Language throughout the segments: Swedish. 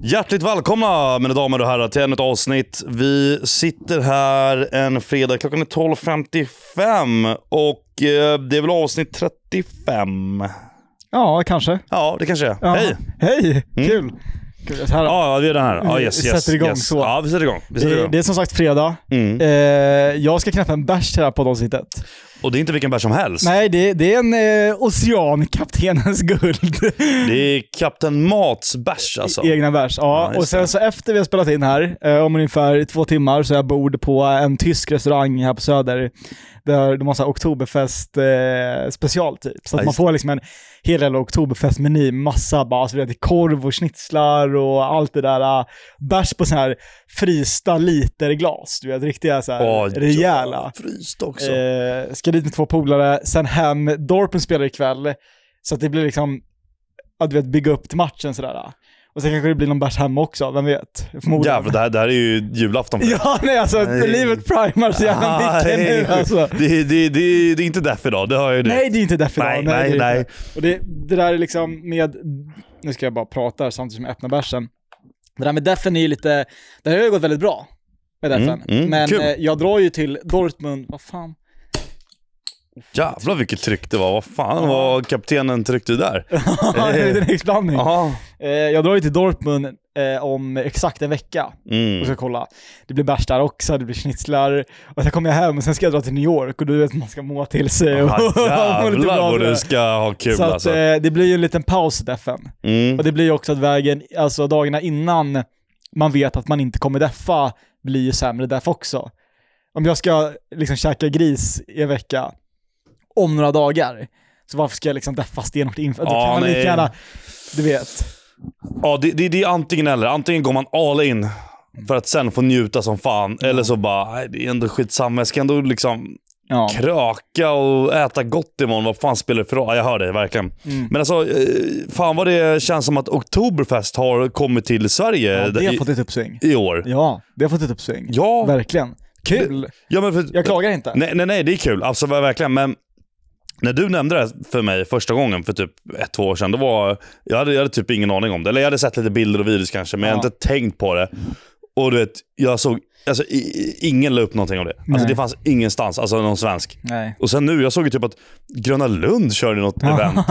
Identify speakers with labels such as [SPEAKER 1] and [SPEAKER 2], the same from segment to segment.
[SPEAKER 1] Hjärtligt välkomna mina damer och herrar till ännu ett avsnitt. Vi sitter här en fredag, klockan är 12.55 och eh, det är väl avsnitt 35.
[SPEAKER 2] Ja, kanske.
[SPEAKER 1] Ja, det kanske är.
[SPEAKER 2] Ja.
[SPEAKER 1] Hej!
[SPEAKER 2] Hej! Kul! Kul. Så här,
[SPEAKER 1] Ja, ja, vi är den här. Ja,
[SPEAKER 2] Vi
[SPEAKER 1] yes,
[SPEAKER 2] sätter
[SPEAKER 1] yes,
[SPEAKER 2] igång
[SPEAKER 1] yes.
[SPEAKER 2] så.
[SPEAKER 1] Ja, vi sätter igång. Vi sätter
[SPEAKER 2] det,
[SPEAKER 1] igång.
[SPEAKER 2] det är som sagt fredag.
[SPEAKER 1] Mm.
[SPEAKER 2] Eh, jag ska knäppa en bärs till det här poddavsnittet.
[SPEAKER 1] Och det är inte vilken bär som helst.
[SPEAKER 2] Nej, det, det är en eh, oceankaptenens guld.
[SPEAKER 1] Det är Kapten Mats bärs alltså.
[SPEAKER 2] Egna bärs.
[SPEAKER 1] Ja, just
[SPEAKER 2] Ja. och sen så efter vi har spelat in här, eh, om ungefär två timmar, så är jag bord på en tysk restaurang här på Söder. Där de har så här Oktoberfest eh, special typ. Så
[SPEAKER 1] Ja,
[SPEAKER 2] att man
[SPEAKER 1] just
[SPEAKER 2] får liksom en hel del Oktoberfest-meny, massa bara, alltså, det korv och schnitzlar och allt det där. eh, Bärs på så här frysta literglas, du vet riktiga så här
[SPEAKER 1] Åh,
[SPEAKER 2] rejäla.
[SPEAKER 1] Fryst också.
[SPEAKER 2] Eh, ska dit med två polare, sen hem. Dorpen spelar ikväll. Så att det blir liksom, ja, du vet, bygga upp till matchen sådär. Och sen kanske det blir någon bärs hemma också, vem vet? Förmodligen.
[SPEAKER 1] Jävlar, det här, det här är ju julafton för dig.
[SPEAKER 2] Ja, nej alltså,
[SPEAKER 1] Nej. Ah,
[SPEAKER 2] livet primar så jävla mycket
[SPEAKER 1] Nej.
[SPEAKER 2] nu alltså.
[SPEAKER 1] det, det, det, det är inte därför idag, det hör jag nu.
[SPEAKER 2] Nej, det är inte därför
[SPEAKER 1] Nej,
[SPEAKER 2] idag. det är
[SPEAKER 1] nej,
[SPEAKER 2] det
[SPEAKER 1] nej.
[SPEAKER 2] inte. Och det, det där är liksom med, nu ska jag bara prata här samtidigt som jag öppnar bärsen. Det där med defen är ju lite, det här har ju gått väldigt bra med defen.
[SPEAKER 1] Mm, mm,
[SPEAKER 2] Men
[SPEAKER 1] kul.
[SPEAKER 2] eh, jag drar ju till Dortmund, vad fan?
[SPEAKER 1] Jävlar vilket tryck det var. Vad fan var kaptenen tryckte där?
[SPEAKER 2] det är en liten exblandning.
[SPEAKER 1] Jaha.
[SPEAKER 2] Eh, jag drar ju till Dortmund eh, om exakt en vecka och
[SPEAKER 1] Mm.
[SPEAKER 2] ska kolla. Det blir bärs där också, det blir schnitzlar. Och sen kommer jag hem och sen ska jag dra till New York och du vet man ska må till sig. Och,
[SPEAKER 1] Ah,
[SPEAKER 2] må lite bra
[SPEAKER 1] Jävlar
[SPEAKER 2] för
[SPEAKER 1] vad du
[SPEAKER 2] det.
[SPEAKER 1] ska ha kul
[SPEAKER 2] Så att,
[SPEAKER 1] alltså.
[SPEAKER 2] eh, det blir ju en liten paus i defen.
[SPEAKER 1] Mm.
[SPEAKER 2] Och det blir ju också att vägen, alltså dagarna innan man vet att man inte kommer deffa blir ju sämre deff också. Om jag ska liksom käka gris i en vecka om några dagar, så varför ska jag liksom deffa stenhårt inför? Då
[SPEAKER 1] Ja,
[SPEAKER 2] kan man lika
[SPEAKER 1] Ah, nej.
[SPEAKER 2] gärna, du vet.
[SPEAKER 1] Ja, det, det, det är antingen eller. Antingen går man all in för att sen få njuta som fan. Eller så bara, nej, det är ändå skitsamma. Jag ska ändå liksom
[SPEAKER 2] Ja.
[SPEAKER 1] kröka och äta gott imorgon. Vad fan spelar det för roll? Ja, jag hör dig verkligen.
[SPEAKER 2] Mm.
[SPEAKER 1] Men alltså, eh, fan vad det känns som att Oktoberfest har kommit till Sverige
[SPEAKER 2] Ja, det har
[SPEAKER 1] Eh, i,
[SPEAKER 2] fått ett uppsving.
[SPEAKER 1] i år.
[SPEAKER 2] Ja, det har fått ett uppsving.
[SPEAKER 1] Ja,
[SPEAKER 2] Verkligen. Kul!
[SPEAKER 1] ja men för,
[SPEAKER 2] Jag klagar inte.
[SPEAKER 1] Nej, nej, nej, det är kul. Alltså ver- verkligen. Men när du nämnde det för mig första gången för typ ett, två år sedan. Det var, jag, hade, jag hade typ ingen aning om det. Eller jag hade sett lite bilder och videos kanske, men jag hade
[SPEAKER 2] Ja.
[SPEAKER 1] inte tänkt på det. Och du vet, jag såg... Alltså, i- i, ingen la upp någonting om det. Alltså,
[SPEAKER 2] Nej.
[SPEAKER 1] det fanns ingenstans. Alltså någon svensk.
[SPEAKER 2] Nej.
[SPEAKER 1] Och sen nu, jag såg ju typ att Gröna Lund körde något event.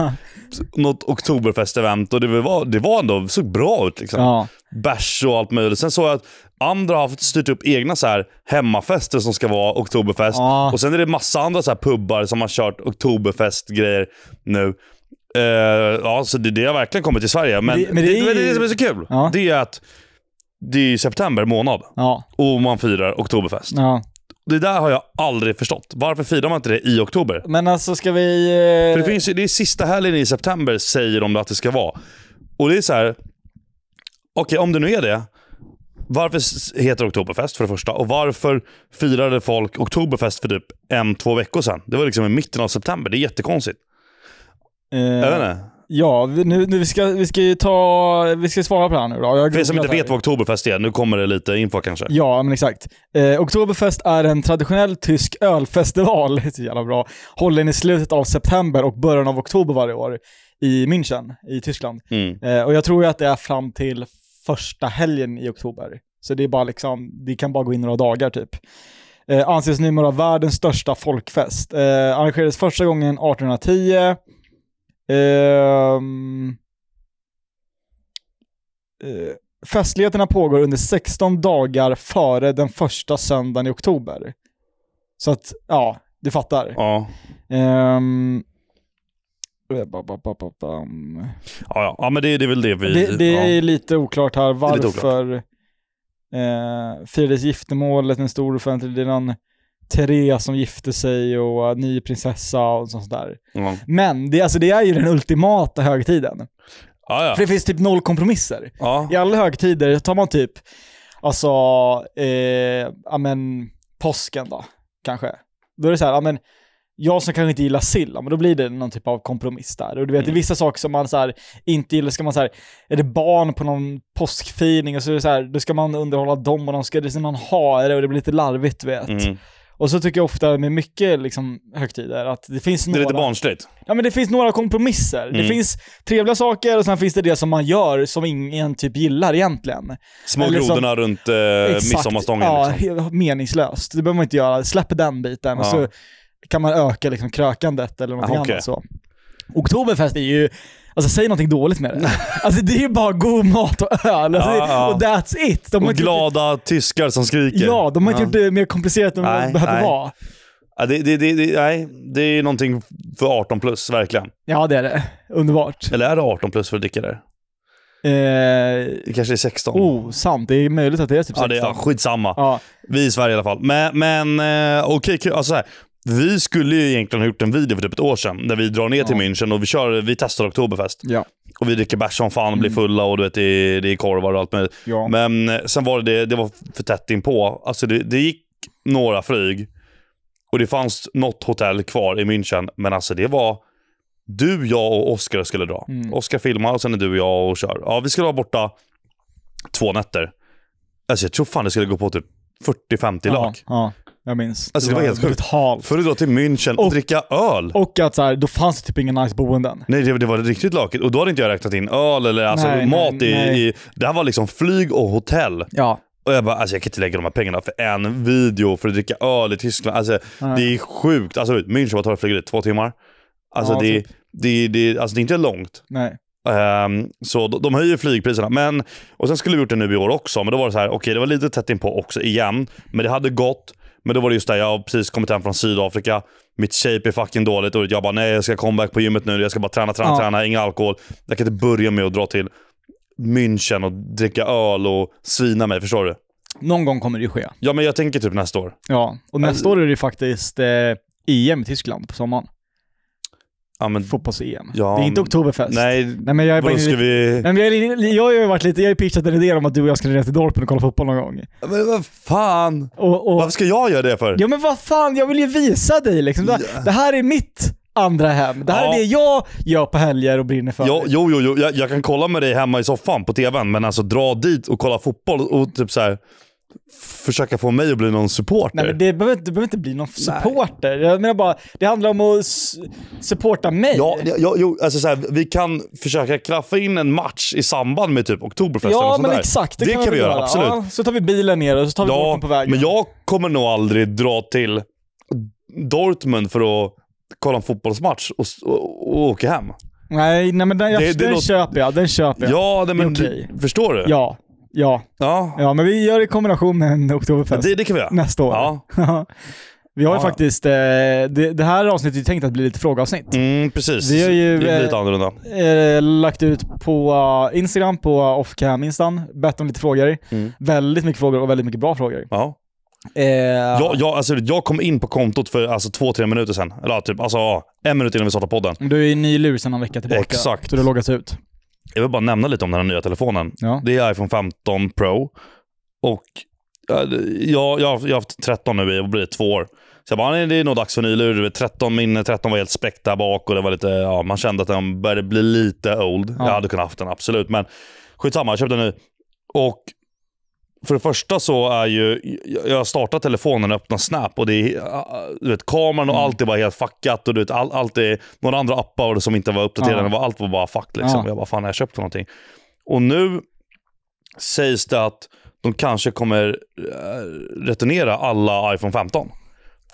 [SPEAKER 1] Något Oktoberfest-event. Och det var, det var ändå, det såg bra ut liksom
[SPEAKER 2] Ja.
[SPEAKER 1] bärs och allt möjligt. Sen såg jag att andra har styrt upp egna så här hemmafester som ska vara Oktoberfest.
[SPEAKER 2] Ja.
[SPEAKER 1] Och sen är det massa andra så här pubbar som har kört Oktoberfest-grejer nu. Eh, ja, så det, det har verkligen kommit till Sverige. Men,
[SPEAKER 2] det- men det
[SPEAKER 1] det,
[SPEAKER 2] är ju-
[SPEAKER 1] men det, är det som är så kul.
[SPEAKER 2] Ja.
[SPEAKER 1] Det är att det är september månad
[SPEAKER 2] Ja.
[SPEAKER 1] och man firar Oktoberfest.
[SPEAKER 2] ja.
[SPEAKER 1] Det där har jag aldrig förstått. Varför firar man inte det i oktober?
[SPEAKER 2] Men alltså ska vi...
[SPEAKER 1] För
[SPEAKER 2] Eh.
[SPEAKER 1] det, finns, ju- det är sista helgen i september säger de att det ska vara. Och det är så här. Okej, om det nu är det. Varför s- heter det Oktoberfest för det första? Och varför firade folk Oktoberfest för typ en, två veckor sedan? Det var liksom i mitten av september. Det är jättekonstigt.
[SPEAKER 2] eh,
[SPEAKER 1] Jag vet inte.
[SPEAKER 2] Ja, vi- nu, nu vi ska vi ska ju ta... Vi ska svara på det här nu då. Jag har
[SPEAKER 1] För er som
[SPEAKER 2] googlat
[SPEAKER 1] inte
[SPEAKER 2] här.
[SPEAKER 1] vet vad Oktoberfest är, nu kommer det lite info kanske.
[SPEAKER 2] Ja, men exakt. Eh, Oktoberfest är en traditionell tysk ölfestival, så jävla bra, hållen i slutet av september och början av oktober varje år i München i Tyskland.
[SPEAKER 1] Mm.
[SPEAKER 2] Eh, och jag tror ju att det är fram till första helgen i oktober. Så det är bara liksom, det kan bara gå in några dagar typ. Eh, anses numera världens största folkfest. Eh, arrangerades första gången 1810. Ehm, eh, festligheterna pågår under 16 dagar före den första söndagen i oktober. Så att, ja, du fattar.
[SPEAKER 1] Ja.
[SPEAKER 2] Ehm, eh, ba- ba- ba- ba- bam.
[SPEAKER 1] Ja, ja. ja, men det, det är väl det vi...
[SPEAKER 2] Det, det
[SPEAKER 1] ja.
[SPEAKER 2] är lite oklart här
[SPEAKER 1] är lite
[SPEAKER 2] varför Eh, firades giftermålet med en stor offentlig det är någon Therese som gifte sig och eh, ny prinsessa och sånt där.
[SPEAKER 1] Ja.
[SPEAKER 2] Men det, alltså, det är ju den ultimata högtiden.
[SPEAKER 1] Ja,
[SPEAKER 2] För
[SPEAKER 1] ja.
[SPEAKER 2] det finns typ noll kompromisser.
[SPEAKER 1] Ja.
[SPEAKER 2] I alla högtider tar man typ, alltså, eh, ja men påsken då, kanske. Då är det så här, ja men, jag som kanske inte gillar sill, ja, men då blir det någon typ av kompromiss där. Och du vet,
[SPEAKER 1] Mm.
[SPEAKER 2] det är vissa saker som man så här, inte gillar, ska man så här, är det barn på någon påskfirning och så är det så här, då ska man underhålla dem och de ska, det är någon hare och det blir lite larvigt, du vet.
[SPEAKER 1] Mm.
[SPEAKER 2] Och så tycker jag ofta med mycket liksom, högtider att det finns
[SPEAKER 1] Det är
[SPEAKER 2] några...
[SPEAKER 1] lite barnsligt.
[SPEAKER 2] Ja, men det finns några kompromisser. Det
[SPEAKER 1] Mm.
[SPEAKER 2] finns trevliga saker och sen finns det det som man gör som ingen typ gillar egentligen.
[SPEAKER 1] Små
[SPEAKER 2] Eller som-
[SPEAKER 1] grodorna runt eh,
[SPEAKER 2] Exakt.
[SPEAKER 1] midsommarstången.
[SPEAKER 2] Ja,
[SPEAKER 1] liksom.
[SPEAKER 2] he- meningslöst. Det behöver man inte göra. Släpp den biten och
[SPEAKER 1] Ja.
[SPEAKER 2] så kan man öka liksom krökandet eller någonting
[SPEAKER 1] Ah, okej.
[SPEAKER 2] annat. Så. Oktoberfest är ju, alltså säg någonting dåligt med det. alltså det är ju bara god mat och öl. Alltså,
[SPEAKER 1] Ja,
[SPEAKER 2] det-
[SPEAKER 1] ja.
[SPEAKER 2] Och that's it. De har typ-
[SPEAKER 1] Och
[SPEAKER 2] inte gjort-
[SPEAKER 1] glada tyskar som skriker.
[SPEAKER 2] Ja, de har inte gjort det mer komplicerat än vad det
[SPEAKER 1] Nej,
[SPEAKER 2] behöver
[SPEAKER 1] nej.
[SPEAKER 2] vara.
[SPEAKER 1] Ja, det, det, det, det, nej, det är någonting för 18 plus, verkligen.
[SPEAKER 2] Ja, det är det. Underbart.
[SPEAKER 1] Eller är det 18 plus för att dricka där?
[SPEAKER 2] Eh,
[SPEAKER 1] Det kanske är 16.
[SPEAKER 2] oh, sant. Det är möjligt att det är typ 16.
[SPEAKER 1] ja, det är, ja, skitsamma.
[SPEAKER 2] Ja.
[SPEAKER 1] Vi i Sverige i alla fall. Men, men eh, okej, kul. alltså så här. Vi skulle ju egentligen ha gjort en video för typ ett år sedan, där vi drar ner till
[SPEAKER 2] Ja.
[SPEAKER 1] München och vi, kör, vi testar Oktoberfest.
[SPEAKER 2] Ja.
[SPEAKER 1] Och vi dricker bärs som fan och blir fulla och du vet, det, är, det är korvar och allt möjligt.
[SPEAKER 2] Ja.
[SPEAKER 1] Men eh, sen var det, det var för tätt inpå. Alltså det, det gick några flyg och det fanns något hotell kvar i München. Men alltså det var du, jag och Oskar skulle dra.
[SPEAKER 2] Mm.
[SPEAKER 1] Oskar filmar och sen är du och jag och kör. Ja, vi skulle vara borta två nätter. Alltså jag tror fan det skulle gå på typ 40-50 lak.
[SPEAKER 2] Ja, ja, jag minns.
[SPEAKER 1] Alltså, det var helt sjukt.
[SPEAKER 2] brutalt.
[SPEAKER 1] För att dra till München och,
[SPEAKER 2] Och-
[SPEAKER 1] dricka öl.
[SPEAKER 2] Och att så här, då fanns det typ inga nice boenden.
[SPEAKER 1] Nej, det, det var riktigt lakigt. Och då hade inte jag räknat in öl eller alltså
[SPEAKER 2] Nej,
[SPEAKER 1] mat.
[SPEAKER 2] nej,
[SPEAKER 1] i,
[SPEAKER 2] nej.
[SPEAKER 1] I, det här var liksom flyg och hotell.
[SPEAKER 2] Ja.
[SPEAKER 1] Och jag bara, alltså jag kan inte lägga de här pengarna för en video för att dricka öl i Tyskland. Alltså
[SPEAKER 2] Nej.
[SPEAKER 1] det är sjukt. Alltså München, vad tar det att flyga dit? Två timmar? Alltså,
[SPEAKER 2] Ja,
[SPEAKER 1] det,
[SPEAKER 2] typ.
[SPEAKER 1] det, det, alltså det är inte långt.
[SPEAKER 2] Nej.
[SPEAKER 1] Ehm, så de, de höjer flygpriserna. Men, och sen skulle vi gjort det nu i år också, men då var det så här, okej det var lite tätt inpå också igen. Men det hade gått. Men då var det just där, jag har precis kommit hem från Sydafrika. Mitt shape är fucking dåligt och jag bara nej jag ska comeback på gymmet nu. Jag ska bara träna, träna,
[SPEAKER 2] Ja.
[SPEAKER 1] träna. Ingen alkohol. Jag kan inte börja med att dra till München och dricka öl och svina mig. Förstår du?
[SPEAKER 2] Någon gång kommer det ju ske.
[SPEAKER 1] Ja, men jag tänker typ nästa år.
[SPEAKER 2] Ja. Och nästa år är det ju faktiskt eh, EM i Tyskland på sommaren.
[SPEAKER 1] Ja, men,
[SPEAKER 2] Fotbolls-EM.
[SPEAKER 1] Mm. Ja,
[SPEAKER 2] det är inte
[SPEAKER 1] men-
[SPEAKER 2] oktoberfest.
[SPEAKER 1] nej,
[SPEAKER 2] Nej men jag är bara
[SPEAKER 1] vadå
[SPEAKER 2] inne
[SPEAKER 1] ska
[SPEAKER 2] lite...
[SPEAKER 1] vi...
[SPEAKER 2] Nej, men jag, är, lite- jag har ju varit lite, jag har ju pitchat en idé om att du och jag ska resa till Dorpen och kolla fotboll någon gång.
[SPEAKER 1] Men vad fan?
[SPEAKER 2] Och, och,
[SPEAKER 1] Varför ska jag göra det för?
[SPEAKER 2] ja men vad fan, jag vill ju visa dig liksom. Det,
[SPEAKER 1] Ja.
[SPEAKER 2] det här är mitt andra hem. Det här
[SPEAKER 1] Ja.
[SPEAKER 2] är det jag gör på helger och brinner för.
[SPEAKER 1] Jo, jo, jo, jo. Jag, jag kan kolla med dig hemma i soffan på tvn, men alltså dra dit och kolla fotboll och typ så här, försöka få mig att bli någon supporter.
[SPEAKER 2] Nej men det behöver, inte- det behöver inte bli någon supporter. Jag menar bara, det handlar om att s- supporta mig.
[SPEAKER 1] Ja, det- ja, jo, alltså så här, vi kan försöka klaffa in en match i samband med typ Oktoberfest eller
[SPEAKER 2] Ja,
[SPEAKER 1] något sånt
[SPEAKER 2] men
[SPEAKER 1] där.
[SPEAKER 2] exakt. Det,
[SPEAKER 1] Det
[SPEAKER 2] vi
[SPEAKER 1] kan vi göra, absolut.
[SPEAKER 2] Ja, så tar vi bilen ner och så tar vi bort
[SPEAKER 1] Ja,
[SPEAKER 2] den på vägen.
[SPEAKER 1] men jag kommer nog aldrig dra till Dortmund för att kolla en fotbollsmatch och, och, och åka hem.
[SPEAKER 2] Nej, nej men den, jag,
[SPEAKER 1] Det- det
[SPEAKER 2] den
[SPEAKER 1] låter-
[SPEAKER 2] köper jag. Den köper jag.
[SPEAKER 1] Ja, nej, men
[SPEAKER 2] Det är
[SPEAKER 1] du-
[SPEAKER 2] okej.
[SPEAKER 1] förstår du?
[SPEAKER 2] Ja, ja,
[SPEAKER 1] Ja.
[SPEAKER 2] ja. Men vi gör det i kombination med en Oktoberfest
[SPEAKER 1] Det, det kan vi göra.
[SPEAKER 2] nästa år.
[SPEAKER 1] Ja.
[SPEAKER 2] vi har ju
[SPEAKER 1] Ja.
[SPEAKER 2] faktiskt, eh, det, det här avsnittet är ju tänkt att bli lite frågeavsnitt.
[SPEAKER 1] Mm, precis.
[SPEAKER 2] Vi har ju,
[SPEAKER 1] det blir
[SPEAKER 2] eh,
[SPEAKER 1] lite annorlunda.
[SPEAKER 2] Eh, lagt ut på eh, Instagram, på offcam-instan, bett om lite frågor.
[SPEAKER 1] Mm.
[SPEAKER 2] Väldigt mycket frågor och väldigt mycket bra frågor.
[SPEAKER 1] Ja.
[SPEAKER 2] Eh,
[SPEAKER 1] Jag, jag, alltså, jag kom in på kontot för alltså, två, tre minuter sedan. Eller ja, typ alltså, ja, en minut innan vi startade podden.
[SPEAKER 2] Du är ju ny lur sedan en vecka tillbaka.
[SPEAKER 1] Exakt.
[SPEAKER 2] Så du har loggats ut.
[SPEAKER 1] Jag vill bara nämna lite om den här nya telefonen.
[SPEAKER 2] Ja.
[SPEAKER 1] Det är iPhone 15 Pro. Och ja, det- jag, jag, har- jag har haft 13 nu i vad blir det, två år. Så jag bara, nej, det är nog dags för en ny lur. Du vet, 13, min 13 var helt spräckt där bak och det var lite, ja, man kände att den började bli lite old.
[SPEAKER 2] Ja.
[SPEAKER 1] Jag hade kunnat haft den, absolut. Men skitsamma, jag köpte en ny. Och för det första så är ju, jag- jag startar telefonen och öppnar Snap och det är, du vet, kameran
[SPEAKER 2] Mm.
[SPEAKER 1] och allt är bara helt fuckat och du vet, all, allt är, några andra appar som inte var uppdaterade,
[SPEAKER 2] Ja.
[SPEAKER 1] ja. allt var bara fuck liksom.
[SPEAKER 2] Ja.
[SPEAKER 1] Jag bara, fan har jag köpt för någonting? Och nu sägs det att de kanske kommer eh, returnera alla iPhone 15.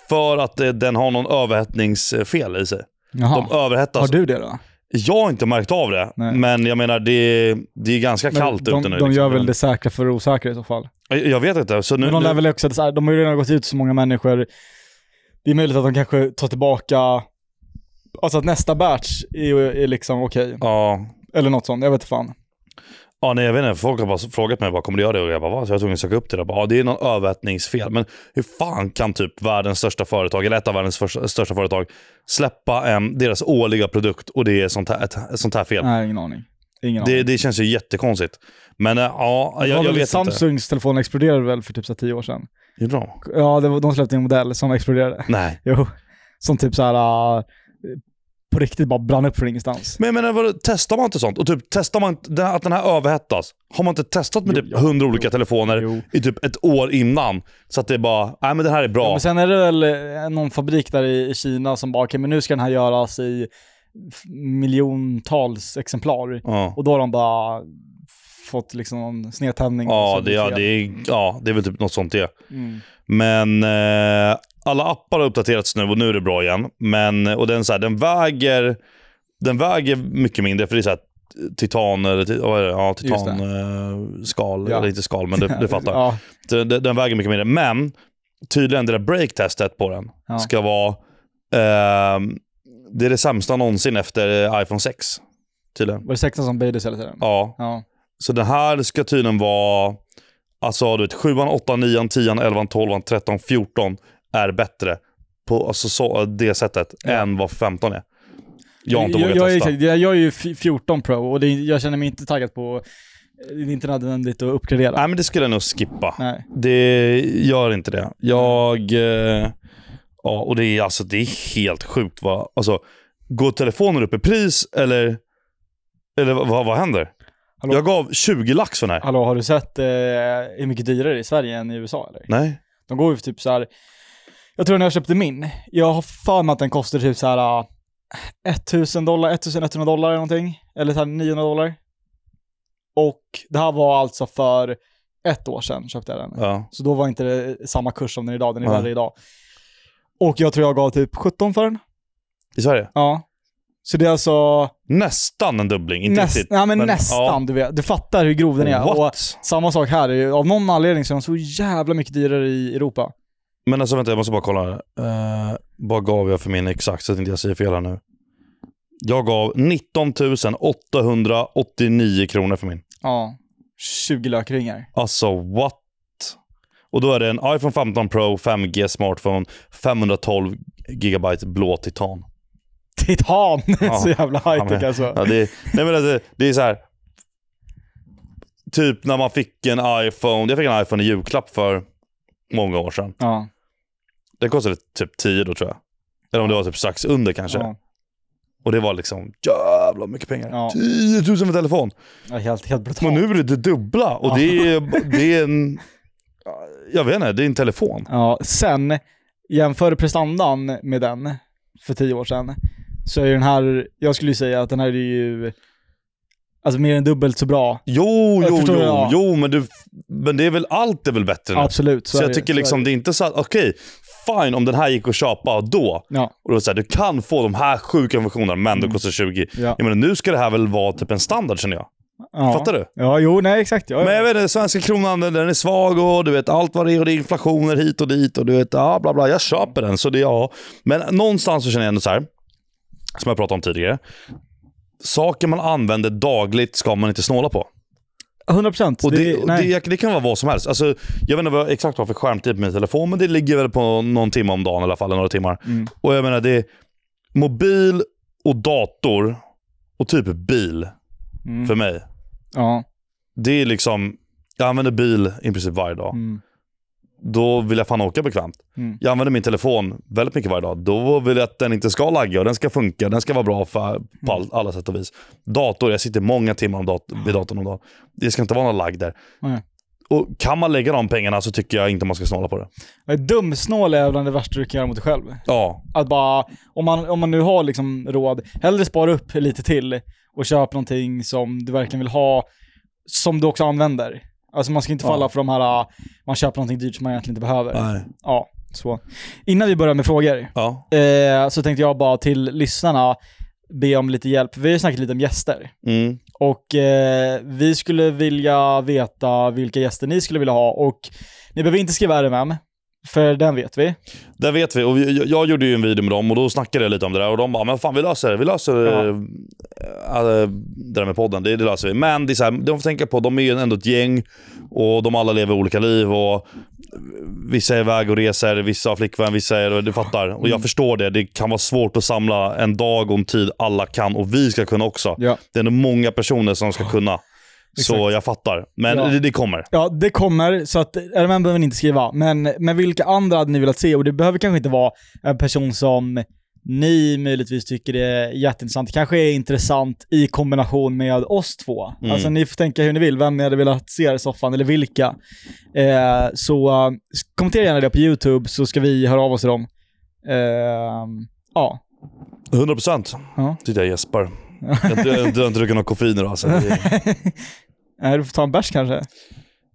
[SPEAKER 1] För att eh, den har någon överhettningsfel i sig.
[SPEAKER 2] Jaha.
[SPEAKER 1] De alltså, överhettas.
[SPEAKER 2] Har du det då?
[SPEAKER 1] Jag har inte märkt av det,
[SPEAKER 2] Nej.
[SPEAKER 1] men jag menar det, det är ganska
[SPEAKER 2] Men
[SPEAKER 1] kallt
[SPEAKER 2] de,
[SPEAKER 1] ute nu.
[SPEAKER 2] De
[SPEAKER 1] liksom.
[SPEAKER 2] gör väl det säkra för det osäkra i så fall.
[SPEAKER 1] Jag, jag vet inte. Så nu,
[SPEAKER 2] Men de,
[SPEAKER 1] nu,
[SPEAKER 2] lär väl också, så här, de har ju redan gått ut så många människor. Det är möjligt att de kanske tar tillbaka, alltså att nästa batch är, är liksom okej.
[SPEAKER 1] ja,
[SPEAKER 2] Eller något sånt, jag vet inte fan.
[SPEAKER 1] Ja, nej, jag vet inte. Folk har bara frågat mig, bara, kommer du göra det? Och jag bara, va? Så jag var tvungen att söka upp det. där. Bara, Ja, det är någon överhettningsfel. Men hur fan kan typ världens största företag, eller ett av världens första- största företag, släppa em, deras årliga produkt och det är sånt här, ett, ett sånt här fel?
[SPEAKER 2] Nej, ingen aning. Ingen
[SPEAKER 1] Det,
[SPEAKER 2] aning.
[SPEAKER 1] det känns ju jättekonstigt. Men eh, ja,
[SPEAKER 2] Det var
[SPEAKER 1] jag, jag
[SPEAKER 2] väl
[SPEAKER 1] vet inte.
[SPEAKER 2] Samsungs telefon exploderade väl för typ så här tio år sedan?
[SPEAKER 1] Gjorde de?
[SPEAKER 2] Ja, det var, de släppte en modell som exploderade.
[SPEAKER 1] Nej.
[SPEAKER 2] Jo. Som typ så här. äh, på riktigt bara brann upp från ingenstans.
[SPEAKER 1] Men jag menar, vadå, testar man inte sånt? Och typ, testar man inte- den här- att den här överhettas? Har man inte testat med
[SPEAKER 2] Jo,
[SPEAKER 1] typ
[SPEAKER 2] ja.
[SPEAKER 1] hundra olika telefoner
[SPEAKER 2] Jo.
[SPEAKER 1] i typ ett år innan? Så att det är bara, nej men det här är bra.
[SPEAKER 2] Ja, men sen är det väl eh, någon fabrik där i i Kina som bara, okej men nu ska den här göras i f- miljontals exemplar.
[SPEAKER 1] Ja.
[SPEAKER 2] Och då har de bara fått liksom någon snedtändning.
[SPEAKER 1] Ja,
[SPEAKER 2] som
[SPEAKER 1] det, ja,
[SPEAKER 2] fel.
[SPEAKER 1] det, är, ja, det är väl typ något sånt det.
[SPEAKER 2] Mm.
[SPEAKER 1] Men eh, alla appar har uppdaterats nu och nu är det bra igen. Men, och den, så här, den, väger, den väger mycket mindre för det är så här, titan eller ti- vad är det? ja,
[SPEAKER 2] det.
[SPEAKER 1] titan, eh, skal,
[SPEAKER 2] Ja.
[SPEAKER 1] eller inte skal men du, du fattar.
[SPEAKER 2] Ja,
[SPEAKER 1] Så Den, den väger mycket mindre. Men tydligen det där breaktestet på den
[SPEAKER 2] Ja.
[SPEAKER 1] ska vara ehm, det är det sämsta någonsin efter iPhone 6. Tydligen.
[SPEAKER 2] var det 16 som böjdes hela tiden?
[SPEAKER 1] Ja,
[SPEAKER 2] Ja.
[SPEAKER 1] så den här ska tydligen vara... Alltså du vet, 7, 8, 9, 10, 11, 12, 13, 14 är bättre på alltså, så, det sättet
[SPEAKER 2] Ja.
[SPEAKER 1] än vad 15 är. Jag har inte
[SPEAKER 2] jag,
[SPEAKER 1] vågat
[SPEAKER 2] jag, är
[SPEAKER 1] testa.
[SPEAKER 2] exakt- jag, jag är ju f- 14 Pro och det, är- jag känner mig inte taggad på, det är inte nödvändigt att uppgradera.
[SPEAKER 1] Nej, men det skulle jag nog skippa.
[SPEAKER 2] Nej.
[SPEAKER 1] Det gör inte det. Jag... Eh, ja, och det är, alltså, det är helt sjukt. Vad, alltså, går telefonen upp i pris eller, eller vad, vad händer?
[SPEAKER 2] Hallå?
[SPEAKER 1] Jag gav 20 lax för den här.
[SPEAKER 2] Hallå, har du sett eh, hur mycket dyrare i Sverige än i USA eller?
[SPEAKER 1] Nej.
[SPEAKER 2] De går ju för typ så här. jag tror när jag köpte min, jag har för mig att den kostar typ så här äh, 1000 dollar, 1100 dollar eller någonting. Eller så här 900 dollar. Och det här var alltså för ett år sedan köpte jag den.
[SPEAKER 1] Ja.
[SPEAKER 2] Så då var inte det samma kurs som den är idag, den är
[SPEAKER 1] Nej.
[SPEAKER 2] värre idag. Och jag tror jag gav typ 17 för den.
[SPEAKER 1] I Sverige?
[SPEAKER 2] Ja. Så det är alltså
[SPEAKER 1] Nästan en dubbling. Inte
[SPEAKER 2] näst,
[SPEAKER 1] riktigt.
[SPEAKER 2] nej, men
[SPEAKER 1] men-
[SPEAKER 2] nästan, du, vet, du fattar hur grov den är. Och
[SPEAKER 1] What?
[SPEAKER 2] samma sak här, det är ju- av någon anledning så är de så jävla mycket dyrare i Europa.
[SPEAKER 1] Men alltså vänta, jag måste bara kolla. här. Eh, vad gav jag för min exakt så att inte jag säger fel här nu? Jag gav 19 889 kronor för min.
[SPEAKER 2] Ja. 20 lökringar.
[SPEAKER 1] Alltså what? Och då är det en iPhone 15 Pro 5G smartphone, 512 gigabyte blå titan.
[SPEAKER 2] Titan!
[SPEAKER 1] Ja.
[SPEAKER 2] så jävla high-tech
[SPEAKER 1] men-
[SPEAKER 2] alltså.
[SPEAKER 1] Ja, det, är- nej men alltså, det är så här. Typ när man fick en iPhone. Jag fick en iPhone i julklapp för många år sedan.
[SPEAKER 2] Ja.
[SPEAKER 1] Den kostade typ 10 då tror jag. Eller om det var typ strax under kanske.
[SPEAKER 2] ja.
[SPEAKER 1] Och det var liksom jävla mycket pengar.
[SPEAKER 2] Ja.
[SPEAKER 1] 10 000 för telefon.
[SPEAKER 2] ja helt, helt brutalt.
[SPEAKER 1] Men nu är det det dubbla. Och det, är, det är en... Jag vet inte, det är en telefon.
[SPEAKER 2] Ja, sen, jämför prestandan med den för 10 år sedan, så är ju den här, jag skulle ju säga att den här är ju alltså mer än dubbelt så bra.
[SPEAKER 1] Jo,
[SPEAKER 2] Jag
[SPEAKER 1] jo,
[SPEAKER 2] förstår,
[SPEAKER 1] jo,
[SPEAKER 2] ja.
[SPEAKER 1] jo men, du, men det är väl, allt är väl bättre nu.
[SPEAKER 2] Absolut.
[SPEAKER 1] Så,
[SPEAKER 2] är
[SPEAKER 1] jag
[SPEAKER 2] det,
[SPEAKER 1] tycker
[SPEAKER 2] är
[SPEAKER 1] liksom,
[SPEAKER 2] det.
[SPEAKER 1] det är inte så att, okej, fine om den här gick att köpa då.
[SPEAKER 2] Ja,
[SPEAKER 1] Och då så här, du kan få de här sjuka funktionerna, men det
[SPEAKER 2] Mm.
[SPEAKER 1] kostar 20.
[SPEAKER 2] ja.
[SPEAKER 1] Jag menar, nu ska det här väl vara typ en standard känner jag.
[SPEAKER 2] ja.
[SPEAKER 1] Fattar du?
[SPEAKER 2] Ja, jo, nej exakt. Ja,
[SPEAKER 1] Men jag
[SPEAKER 2] ja.
[SPEAKER 1] vet inte, svenska kronan den den är svag och du vet allt vad det är och det är inflationer hit och dit och du vet ja, bla bla. Jag köper den så det är ja. Men någonstans så känner jag ändå så här, som jag pratade om tidigare. Saker man använder dagligt ska man inte snåla på.
[SPEAKER 2] 100 procent.
[SPEAKER 1] Och det, och det, det kan vara vad som helst. Alltså, jag vet inte vad jag exakt har för skärmtid på min telefon, men det ligger väl på någon timme om dagen i alla fall, några timmar.
[SPEAKER 2] Mm.
[SPEAKER 1] Och jag menar, det är mobil och dator och typ bil
[SPEAKER 2] Mm.
[SPEAKER 1] för mig.
[SPEAKER 2] Ja.
[SPEAKER 1] Det är liksom, jag använder bil i princip varje dag.
[SPEAKER 2] Mm.
[SPEAKER 1] Då vill jag fan åka bekvämt.
[SPEAKER 2] Mm.
[SPEAKER 1] Jag använder min telefon väldigt mycket varje dag. Då vill jag att den inte ska lagga och den ska funka. Den ska vara bra för, på
[SPEAKER 2] Mm.
[SPEAKER 1] all, alla sätt och vis. Dator, jag sitter många timmar om dat- vid datorn om dagen. Det ska inte vara någon lagg där.
[SPEAKER 2] Nej.
[SPEAKER 1] Och kan man lägga de pengarna så tycker jag inte man ska snåla på det.
[SPEAKER 2] Dumsnål är bland det värsta du kan göra mot dig själv.
[SPEAKER 1] Ja,
[SPEAKER 2] Att bara, om man, om man nu har liksom råd, hellre spara upp lite till och köp någonting som du verkligen vill ha, som du också använder. Alltså man ska inte
[SPEAKER 1] Ja.
[SPEAKER 2] falla för de här, ah, man köper någonting dyrt som man egentligen inte behöver.
[SPEAKER 1] nej.
[SPEAKER 2] Ja, så. Innan vi börjar med frågor,
[SPEAKER 1] Ja.
[SPEAKER 2] eh, så tänkte jag bara till lyssnarna be om lite hjälp. Vi har ju snackat lite om gäster.
[SPEAKER 1] Mm.
[SPEAKER 2] Och eh, vi skulle vilja veta vilka gäster ni skulle vilja ha. Och ni behöver inte skriva RMM, för den vet vi.
[SPEAKER 1] Där vet vi. Och vi- jag, jag gjorde ju en video med dem och då snackade jag lite om det där. Och de bara, men fan vi löser det. Vi löser
[SPEAKER 2] Ja.
[SPEAKER 1] eh, eh, det där med podden. Det, det löser vi. Men det är så här, de får tänka på, de är ju ändå ett gäng. Och de alla lever olika liv. Och vissa är iväg och reser, vissa har flickvän, vissa är... Du fattar. Och
[SPEAKER 2] Mm.
[SPEAKER 1] jag förstår det. Det kan vara svårt att samla en dag och en tid alla kan. Och vi ska kunna också.
[SPEAKER 2] Ja.
[SPEAKER 1] Det är ändå många personer som ska kunna. Så
[SPEAKER 2] Exakt.
[SPEAKER 1] jag fattar. Men
[SPEAKER 2] Ja.
[SPEAKER 1] det, det kommer.
[SPEAKER 2] Ja, det kommer, så att RMM behöver ni inte skriva. Men, men vilka andra hade ni velat se? Och det behöver kanske inte vara en person som ni möjligtvis tycker det är jätteintressant. Det kanske är intressant i kombination med oss två.
[SPEAKER 1] Mm.
[SPEAKER 2] Alltså ni får tänka hur ni vill, vem ni hade velat se i soffan eller vilka. Eh, så eh, kommentera gärna det på YouTube så ska vi höra av oss till dem. Eh, ja.
[SPEAKER 1] 100 procent.
[SPEAKER 2] Ja.
[SPEAKER 1] Titta jag gäspar. Jag dr- jag har inte druckit någon koffein idag. Alltså. Det-
[SPEAKER 2] Nej, Eh, du får ta en bärs kanske.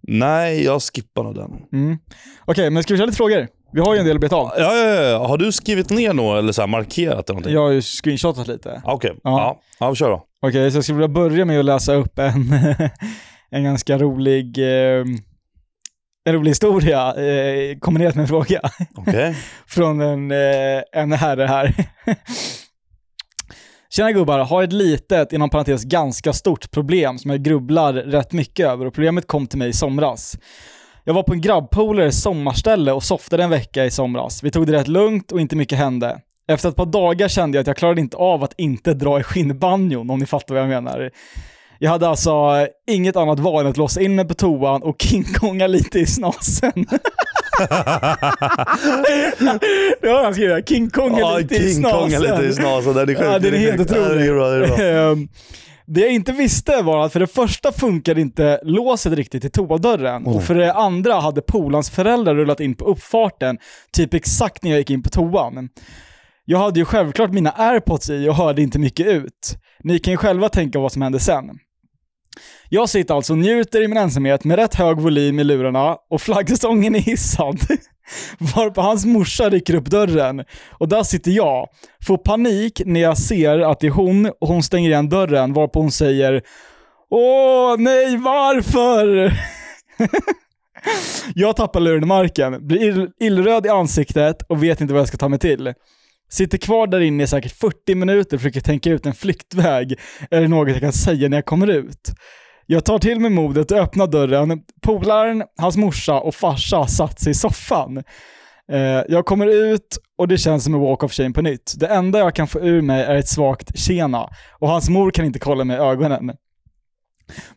[SPEAKER 1] Nej, jag skippar nog den.
[SPEAKER 2] Mm. Okej, men ska vi köra lite frågor? Vi har ju en del att beta av.
[SPEAKER 1] Ja, ja, ja. Har du skrivit ner något eller så här markerat eller någonting?
[SPEAKER 2] Jag har ju screenshotat lite.
[SPEAKER 1] Ah, Okej,
[SPEAKER 2] Ja.
[SPEAKER 1] ja. ja. vi kör då.
[SPEAKER 2] Okej, så jag skulle vilja börja med att läsa upp en, en ganska rolig, eh, en rolig historia eh, kombinerat med en fråga
[SPEAKER 1] Okej.
[SPEAKER 2] från en, eh, en herre här. Tjena gubbar, har ett litet, inom parentes ganska stort problem som jag grubblar rätt mycket över och problemet kom till mig i somras. Jag var på en grabbpolares sommarställe och softade en vecka i somras. Vi tog det rätt lugnt och inte mycket hände. Efter ett par dagar kände jag att jag klarade inte av att inte dra i skinnbanjon, om ni fattar vad jag menar. Jag hade alltså eh, inget annat val än att låsa in mig på toan och kingkonga lite i snasen. det har han skrivit, kingkonga
[SPEAKER 1] Ja,
[SPEAKER 2] lite i
[SPEAKER 1] King Kong är
[SPEAKER 2] snasen.
[SPEAKER 1] lite i snasen. Den är sjuk.
[SPEAKER 2] Ja, den är helt
[SPEAKER 1] sjuk. Ja, det är bra, det är bra.
[SPEAKER 2] Ehm, Det jag inte visste var att för det första funkade inte låset riktigt i toadörren och för det andra hade polans föräldrar rullat in på uppfarten typ exakt när jag gick in på toan. Jag hade ju självklart mina airpods i och hörde inte mycket ut. Ni kan ju själva tänka vad som hände sen. Jag sitter alltså och njuter i min ensamhet med rätt hög volym i lurarna och flaggstången är hissad. Varpå hans morsa rycker upp dörren och där sitter jag. Får panik när jag ser att det är hon och hon stänger igen dörren varpå hon säger Åh nej, varför? jag tappar luren i marken, blir ill- illröd i ansiktet och vet inte vad jag ska ta mig till. Sitter kvar där inne i säkert 40 minuter och försöker tänka ut en flyktväg eller något jag kan säga när jag kommer ut. Jag tar till mig modet och öppnar dörren. Polaren, hans morsa och farsa har satt sig i soffan. Eh, jag kommer ut och det känns som en walk of shame på nytt. Det enda jag kan få ur mig är ett svagt tjena och hans mor kan inte kolla mig i ögonen.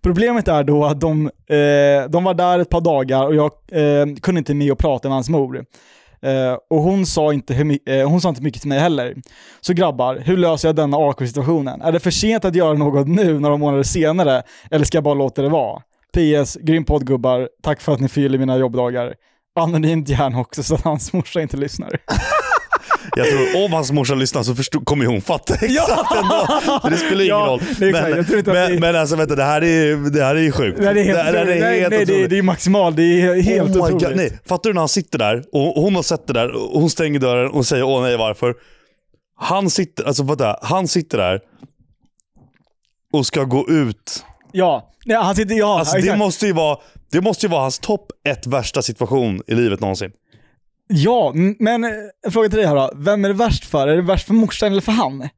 [SPEAKER 2] Problemet är då att de, eh, de var där ett par dagar och jag eh, kunde inte med och prata med hans mor. Eh, och hon sa, inte hur, my- eh, hon sa inte mycket till mig heller. Så grabbar, hur löser jag denna awkward-situationen? Är det för sent att göra något nu, några månader senare, eller ska jag bara låta det vara? PS, grym podd gubbar. Tack för att ni fyller mina jobbdagar. Anonymt gärna också så att hans morsa inte lyssnar.
[SPEAKER 1] Jag tror om hans morsa lyssnar så förstod, kommer ju hon fatta exakt ändå. Så det spelar ingen
[SPEAKER 2] Ja,
[SPEAKER 1] roll.
[SPEAKER 2] det är klart. Jag tror inte att
[SPEAKER 1] men,
[SPEAKER 2] det-
[SPEAKER 1] men alltså vänta, det här är, det här är ju sjukt.
[SPEAKER 2] Nej, det är helt
[SPEAKER 1] här
[SPEAKER 2] otroligt. nej, nej, det, är-
[SPEAKER 1] otroligt.
[SPEAKER 2] det är maximal. Det är helt
[SPEAKER 1] Oh my
[SPEAKER 2] otroligt.
[SPEAKER 1] God, nej. Fattar du när han sitter där och och hon har sett det där och hon stänger dörren och säger åh nej varför. Han sitter, alltså, vänta, han sitter där och ska gå ut.
[SPEAKER 2] Ja, nej, han sitter... Ja,
[SPEAKER 1] Alltså, det,
[SPEAKER 2] exakt.
[SPEAKER 1] måste ju vara, det måste ju vara hans topp ett värsta situation i livet någonsin.
[SPEAKER 2] ja m- men eh, en fråga till dig här då. Vem är det värst för? Är det värst för morsan eller för han?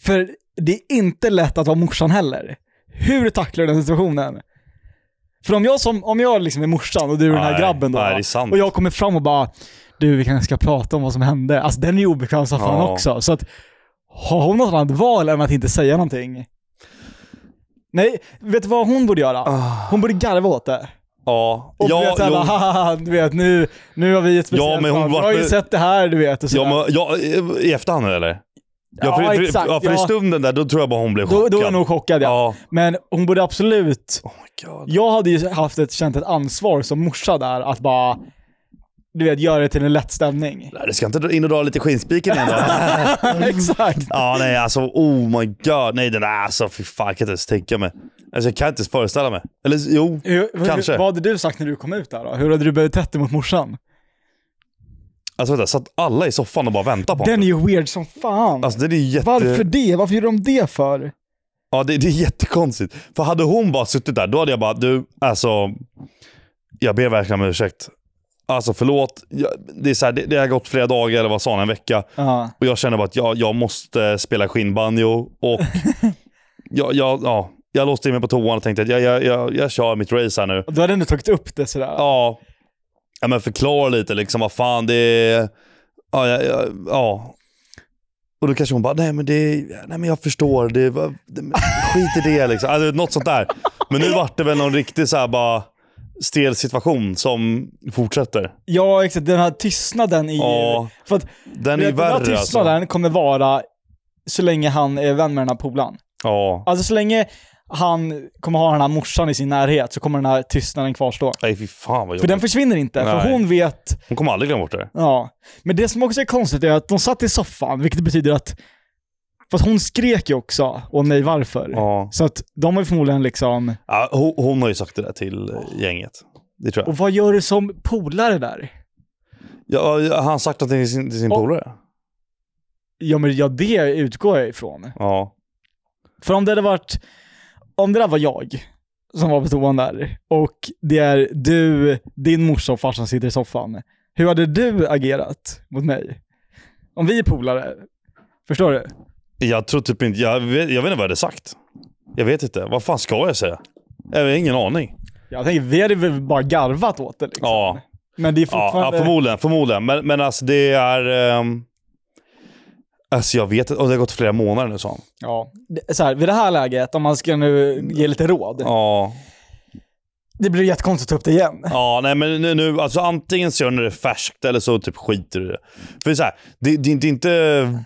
[SPEAKER 2] För det är inte lätt att vara morsan heller. Hur tacklar du den situationen? För om jag, som, om jag liksom är morsan och du är den här
[SPEAKER 1] Nej,
[SPEAKER 2] grabben då,
[SPEAKER 1] nej, det är sant.
[SPEAKER 2] och jag kommer fram och bara du vi kanske ska prata om vad som hände. Alltså den är ju obekväm som fan
[SPEAKER 1] Ja.
[SPEAKER 2] också. Så att, har hon något annat val än att inte säga någonting? Nej, vet du vad hon borde göra? Hon borde garva åt det.
[SPEAKER 1] Ja,
[SPEAKER 2] Och du
[SPEAKER 1] Ah. ja,
[SPEAKER 2] vet såhär,
[SPEAKER 1] jo.
[SPEAKER 2] bara, "Haha, du vet nu, nu har vi ett speciellt
[SPEAKER 1] Ja, men hon
[SPEAKER 2] fall.
[SPEAKER 1] var-
[SPEAKER 2] Jag har ju sett det här du vet. Och
[SPEAKER 1] Ja, men,
[SPEAKER 2] sådär.
[SPEAKER 1] ja, eh, I efterhand eller?
[SPEAKER 2] Ja,
[SPEAKER 1] för, för,
[SPEAKER 2] exakt,
[SPEAKER 1] ja, för i
[SPEAKER 2] ja.
[SPEAKER 1] stunden där, då tror jag bara hon blev
[SPEAKER 2] då,
[SPEAKER 1] chockad.
[SPEAKER 2] då är hon nog chockad ja.
[SPEAKER 1] ja.
[SPEAKER 2] Men hon borde absolut,
[SPEAKER 1] Oh my god.
[SPEAKER 2] jag hade ju haft ett, känt ett ansvar som morsa där att bara, du vet, göra det till en lätt stämning.
[SPEAKER 1] Nej, Du ska inte dra in och dra lite skinnspiken igen då?
[SPEAKER 2] Exakt.
[SPEAKER 1] ja, nej alltså oh my god. Nej, den där alltså fy fan, jag kan inte ens tänka mig. Alltså jag kan inte ens föreställa mig. Eller jo.
[SPEAKER 2] Hur- hur-
[SPEAKER 1] Kanske.
[SPEAKER 2] Vad hade du sagt när du kom ut där då? Hur hade du betett dig mot morsan?
[SPEAKER 1] Alltså vänta, satt alla i soffan och bara väntade på honom?
[SPEAKER 2] Den är ju weird som fan.
[SPEAKER 1] Alltså den är jätte...
[SPEAKER 2] Varför det? Varför gjorde de det för?
[SPEAKER 1] Ja, det, det är jättekonstigt. För hade hon bara suttit där, då hade jag bara, du, alltså. Jag ber verkligen om ursäkt. Alltså förlåt, jag, det, är så här, det, det har gått flera dagar, eller vad sa han, en vecka.
[SPEAKER 2] Ja.
[SPEAKER 1] Och jag känner bara att jag, jag måste spela skinnbanjo och jag, jag, ja, jag låste in mig på toan och tänkte att jag, jag, jag, jag kör mitt race här nu.
[SPEAKER 2] Du hade ändå tagit upp det sådär.
[SPEAKER 1] Ja, ja men förklara lite liksom vad fan det är. Ja, ja, ja, ja. Och då kanske hon bara, nej men, det, nej, men jag förstår, det, var- det, skit i det liksom. Alltså, något sånt där. Men nu vart det väl någon riktig så här bara, stel situation som fortsätter.
[SPEAKER 2] Ja, exakt. Den här tystnaden i...
[SPEAKER 1] Ja,
[SPEAKER 2] För att
[SPEAKER 1] den är
[SPEAKER 2] den här
[SPEAKER 1] värre alltså.
[SPEAKER 2] tystnaden kommer vara så länge han är vän med den här polaren.
[SPEAKER 1] Ja,
[SPEAKER 2] Alltså så länge han kommer ha den här morsan i sin närhet så kommer den här tystnaden kvarstå.
[SPEAKER 1] nej fy fan vad
[SPEAKER 2] För
[SPEAKER 1] jobbigt.
[SPEAKER 2] den försvinner inte, för
[SPEAKER 1] Nej.
[SPEAKER 2] hon vet...
[SPEAKER 1] Hon kommer aldrig glömma bort det.
[SPEAKER 2] Ja. Men det som också är konstigt är att de satt i soffan, vilket betyder att... Fast hon skrek ju också, åh nej varför.
[SPEAKER 1] Ja.
[SPEAKER 2] Så att de har ju förmodligen liksom...
[SPEAKER 1] Ja, hon, hon har ju sagt det där till eh, gänget. Det tror jag.
[SPEAKER 2] Och vad gör du som polare där?
[SPEAKER 1] Ja, ja, har han sagt någonting till sin, till sin
[SPEAKER 2] Och-
[SPEAKER 1] polare?
[SPEAKER 2] Ja men ja, det utgår jag ifrån.
[SPEAKER 1] Ja.
[SPEAKER 2] För om det hade varit, om det där var jag som var på toan där och det är du, din morsa och farsan sitter i soffan. Hur hade du agerat mot mig? Om vi är polare, förstår du?
[SPEAKER 1] Jag tror typ inte... Jag vet, jag vet inte vad jag hade sagt. Jag vet inte. Vad fan ska jag säga? Jag har ingen aning.
[SPEAKER 2] Jag tänker, vi hade väl bara garvat åt det liksom.
[SPEAKER 1] Ja.
[SPEAKER 2] Men det är
[SPEAKER 1] Ja, ja,
[SPEAKER 2] fortfarande...
[SPEAKER 1] förmodligen. förmodligen. Men, men alltså det är... ehm, alltså jag vet inte. Och det har gått flera månader nu sa han.
[SPEAKER 2] Ja. Det- Så här, vid det här läget, om man ska nu ge lite råd.
[SPEAKER 1] Ja.
[SPEAKER 2] Det blir jättekonstigt att ta upp det igen.
[SPEAKER 1] Ja, nej men nu, nu alltså antingen så gör ni det färskt eller så typ skiter du i det. För så här, det, det, är inte- det är inte...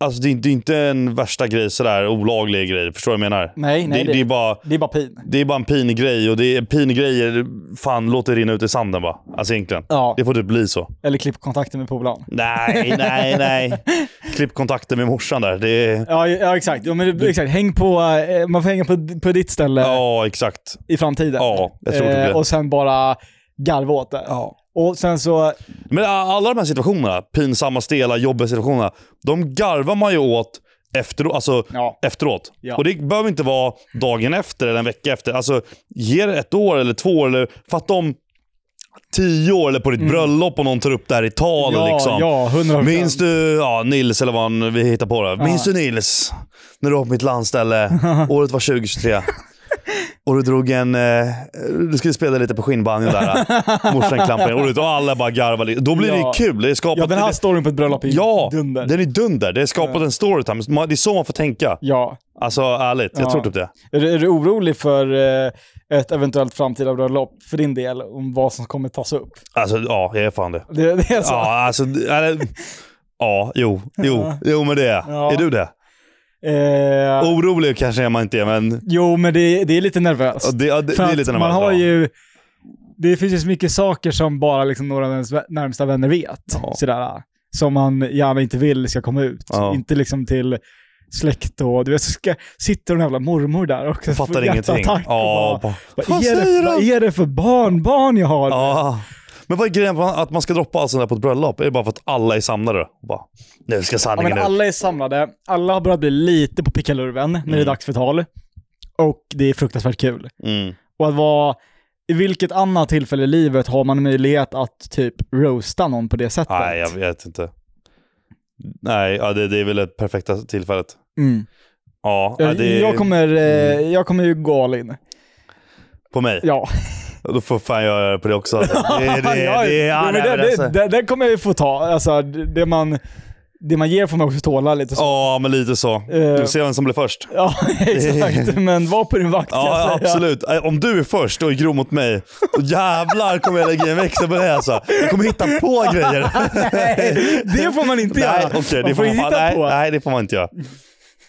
[SPEAKER 1] Alltså det, är- det är inte en värsta grej sådär, olaglig grej. Förstår du vad jag menar?
[SPEAKER 2] Nej, nej.
[SPEAKER 1] det, det är bara...
[SPEAKER 2] det är bara pin.
[SPEAKER 1] Det är bara en pinig grej och det är pinig grejer fan låter rinna ut i sanden bara. Alltså egentligen.
[SPEAKER 2] Ja,
[SPEAKER 1] Det får typ bli så.
[SPEAKER 2] eller klipp kontakten med polaren.
[SPEAKER 1] Nej, nej, nej. Klipp kontakten med morsan där. Det är...
[SPEAKER 2] Ja, ja exakt. Ja, men, det- exakt. Häng på, eh, man får hänga på, på ditt ställe
[SPEAKER 1] Ja, exakt.
[SPEAKER 2] i framtiden.
[SPEAKER 1] Ja, jag tror det blir det.
[SPEAKER 2] Eh, och sen bara garva åt det. Och sen så,
[SPEAKER 1] Men a- alla de här situationerna, pinsamma, stela, jobbiga situationerna, de garvar man ju åt efteråt. Alltså,
[SPEAKER 2] ja,
[SPEAKER 1] efteråt.
[SPEAKER 2] Ja.
[SPEAKER 1] Och det behöver inte vara dagen efter eller en vecka efter. Alltså, ge det ett år eller två år. Eller, fatta om tio år eller på ditt bröllop och någon tar upp det här i tal.
[SPEAKER 2] Mm. ja,
[SPEAKER 1] liksom.
[SPEAKER 2] ja, hundra
[SPEAKER 1] Minns du ja, Nils, eller vad han, vi hittar på det. Minns du Nils? När du var på mitt landställe. Året var 2023. Och du drog en... Eh, du skulle spela lite på skinnbanjo där. eh. Morsan klampade in. Och du- och alla bara garvade. lite. Då blir
[SPEAKER 2] Ja.
[SPEAKER 1] det ju kul. Det är skapat...
[SPEAKER 2] Ja, den här storyn på ett bröllop är ju
[SPEAKER 1] ja,
[SPEAKER 2] dunder.
[SPEAKER 1] den är dunder. Det är skapat en storytime. Man- Det är så man får tänka.
[SPEAKER 2] Ja.
[SPEAKER 1] Alltså ärligt, jag
[SPEAKER 2] Ja.
[SPEAKER 1] tror typ det.
[SPEAKER 2] Är, du- är du orolig för eh, ett eventuellt framtida bröllop för din del om vad som kommer tas upp?
[SPEAKER 1] Alltså ja, jag är fan det.
[SPEAKER 2] Det, det är så?
[SPEAKER 1] Ja, alltså... Eller, ja, jo, jo,
[SPEAKER 2] Ja.
[SPEAKER 1] jo men det är
[SPEAKER 2] Ja.
[SPEAKER 1] Är du det?
[SPEAKER 2] Eh,
[SPEAKER 1] Orolig kanske är man inte är, men...
[SPEAKER 2] Jo, men det, det är lite nervöst.
[SPEAKER 1] ja, Det, ja, det, det
[SPEAKER 2] För
[SPEAKER 1] är
[SPEAKER 2] att
[SPEAKER 1] lite
[SPEAKER 2] man
[SPEAKER 1] nervöst,
[SPEAKER 2] har
[SPEAKER 1] ja.
[SPEAKER 2] ju... Det finns ju så mycket saker som bara liksom några av ens vä- närmsta vänner vet.
[SPEAKER 1] Ja.
[SPEAKER 2] Sådär, som man gärna inte vill ska komma ut.
[SPEAKER 1] Ja.
[SPEAKER 2] Inte liksom till släkt och... Du vet, så ska, sitter den jävla mormor där också.
[SPEAKER 1] Jag fattar ingenting.
[SPEAKER 2] Ja,
[SPEAKER 1] Ja,
[SPEAKER 2] bara,
[SPEAKER 1] bara,
[SPEAKER 2] vad, är det,
[SPEAKER 1] säger
[SPEAKER 2] vad
[SPEAKER 1] han?
[SPEAKER 2] är det för barnbarn jag har?
[SPEAKER 1] ja. Men vad är grejen med att man ska droppa allt sånt där på ett bröllop? Är det bara för att alla är samlade? Och Bara, nu ska
[SPEAKER 2] Ja,
[SPEAKER 1] sanningen
[SPEAKER 2] men
[SPEAKER 1] ut.
[SPEAKER 2] alla är samlade, alla har börjat bli lite på pickalurven när det är
[SPEAKER 1] Mm.
[SPEAKER 2] dags för tal. Och det är fruktansvärt kul.
[SPEAKER 1] Mm.
[SPEAKER 2] Och att vara, i vilket annat tillfälle i livet har man möjlighet att typ roasta någon på det sättet?
[SPEAKER 1] Nej, jag vet inte. Nej, ja, det, det är väl det perfekta tillfället.
[SPEAKER 2] Mm.
[SPEAKER 1] Ja, ja,
[SPEAKER 2] Jag,
[SPEAKER 1] det Mm.
[SPEAKER 2] jag, kommer, eh, jag kommer ju gå all in.
[SPEAKER 1] på mig.
[SPEAKER 2] Ja.
[SPEAKER 1] Då får fan jag göra det på det också. alltså. Det, det, det,
[SPEAKER 2] Ja,
[SPEAKER 1] det,
[SPEAKER 2] jo,
[SPEAKER 1] ja,
[SPEAKER 2] men
[SPEAKER 1] nej,
[SPEAKER 2] det,
[SPEAKER 1] men alltså.
[SPEAKER 2] det, det, det kommer jag ju få ta. Alltså, det det man, det man ger får man också tåla lite. Så.
[SPEAKER 1] Ja, men lite så.
[SPEAKER 2] Eh.
[SPEAKER 1] Du ser vem som blir först.
[SPEAKER 2] Ja, exakt. Men var på din vakt kan
[SPEAKER 1] Ja,
[SPEAKER 2] jag säga.
[SPEAKER 1] absolut. Eh, Om du är först och är grov mot mig, då jävlar kommer jag lägga in växel på det här, alltså. Jag kommer hitta på grejer.
[SPEAKER 2] Nej, det får man inte
[SPEAKER 1] Nej,
[SPEAKER 2] göra.
[SPEAKER 1] okej, det får man,
[SPEAKER 2] inte
[SPEAKER 1] fan, nej, nej, det får man inte göra.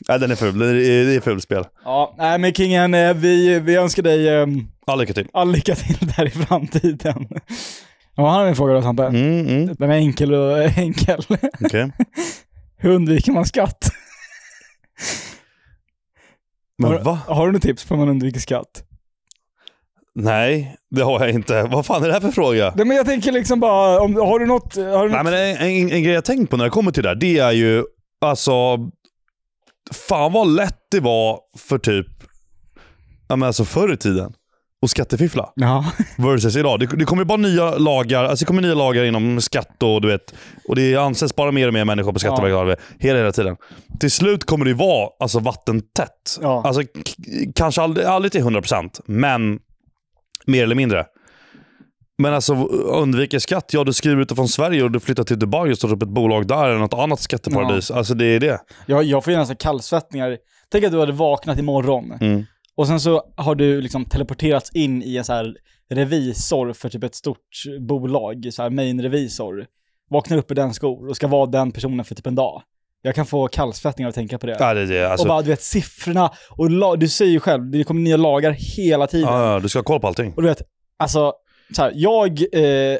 [SPEAKER 1] Nej, den är ful. Det är, det är ful spel.
[SPEAKER 2] Ja, nej men Kingen, eh, vi, vi önskar dig ehm,
[SPEAKER 1] Ja, lycka till.
[SPEAKER 2] all lycka till där i framtiden. Ja, här har vi en fråga då Sampe.
[SPEAKER 1] Mm, mm.
[SPEAKER 2] Den är enkel och enkel.
[SPEAKER 1] Okej.
[SPEAKER 2] Hur undviker man skatt?
[SPEAKER 1] Men va?
[SPEAKER 2] Har du något tips på hur man undviker skatt?
[SPEAKER 1] Nej, det har jag inte. Vad fan är det här för fråga?
[SPEAKER 2] Nej, men jag tänker liksom bara, om, har du något... Har du
[SPEAKER 1] Nej,
[SPEAKER 2] något?
[SPEAKER 1] men en, en, en grej jag tänkt på när det kommer till det där, det är ju alltså... Fan vad lätt det var för typ... Ja, men alltså förr i tiden. Och skattefiffla.
[SPEAKER 2] Ja.
[SPEAKER 1] Versus idag. Det, det kommer ju bara nya lagar. Alltså det kommer nya lagar inom skatt och du vet. Och det anses bara mer och mer människor på Skatteverket ja. hela, hela tiden. Till slut kommer det ju vara alltså, vattentätt.
[SPEAKER 2] Ja.
[SPEAKER 1] Alltså, k- kanske aldrig, aldrig till 100%, men mer eller mindre. Men alltså undviker skatt, ja du skriver utifrån Sverige och du flyttar till Dubai och startar upp ett bolag där eller något annat skatteparadis. Alltså det är det.
[SPEAKER 2] Jag, jag får ju nästan kallsvettningar. Tänk att du hade vaknat imorgon
[SPEAKER 1] Mm.
[SPEAKER 2] Och sen så har du liksom teleporterats in i en så här revisor för typ ett stort bolag, så här main-revisor. Vaknar upp i den skor och ska vara den personen för typ en dag. Jag kan få kallsvettningar av att tänka på det.
[SPEAKER 1] Ja, det, är det, alltså,
[SPEAKER 2] Och bara, du vet, siffrorna och la- du säger ju själv, det kommer nya lagar hela tiden.
[SPEAKER 1] ja, ja, du ska ha koll på allting.
[SPEAKER 2] Och du vet, alltså, så här, jag... Eh,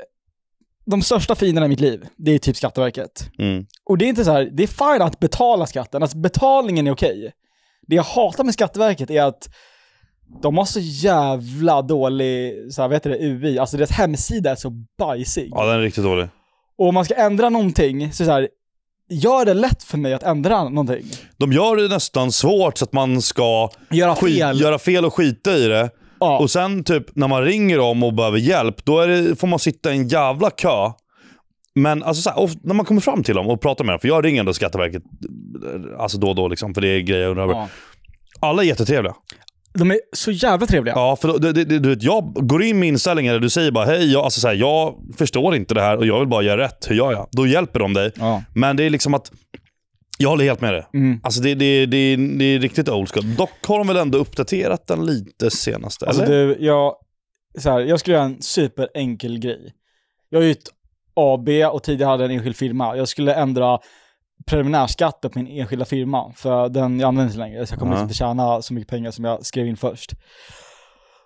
[SPEAKER 2] de största fienderna i mitt liv, det är typ Skatteverket.
[SPEAKER 1] Mm.
[SPEAKER 2] Och det är inte så här, det är fine att betala skatten, alltså betalningen är okej. Det jag hatar med Skatteverket är att de har så jävla dålig, så här, vad heter det, UI, alltså deras hemsida är så bajsig.
[SPEAKER 1] Ja, den är riktigt dålig.
[SPEAKER 2] Och om man ska ändra någonting, så, är det så här, gör det lätt för mig att ändra någonting.
[SPEAKER 1] De gör det nästan svårt så att man ska
[SPEAKER 2] Göra
[SPEAKER 1] skit,
[SPEAKER 2] fel.
[SPEAKER 1] göra fel och skita i det.
[SPEAKER 2] ja.
[SPEAKER 1] Och sen typ när man ringer dem och behöver hjälp, då är det, får man sitta i en jävla kö. Men alltså så här, och när man kommer fram till dem och pratar med dem, för jag ringer ändå Skatteverket eh, alltså då och då, liksom, för det är grejer jag undrar över.
[SPEAKER 2] ja.
[SPEAKER 1] Alla är jättetrevliga.
[SPEAKER 2] De är så jävla trevliga.
[SPEAKER 1] Ja, för då- det, det, det, du vet, jag går in med inställningen där du säger bara hej, jag, alltså så här, jag förstår inte det här och jag vill bara göra rätt. Hur gör jag? Då hjälper de dig.
[SPEAKER 2] Ja.
[SPEAKER 1] Men det är liksom att, jag håller helt med dig.
[SPEAKER 2] Mm.
[SPEAKER 1] Alltså det, det, det, det är riktigt old school. Dock har de väl ändå uppdaterat den lite senaste?
[SPEAKER 2] Alltså
[SPEAKER 1] eller?
[SPEAKER 2] du, jag, så här, jag skulle göra en superenkel grej. Jag är ju ett AB och tidigare hade en enskild firma. Jag skulle ändra preliminärskatten på min enskilda firma, för den jag använder inte längre. Så jag kommer
[SPEAKER 1] Ja.
[SPEAKER 2] liksom inte tjäna så mycket pengar som jag skrev in först.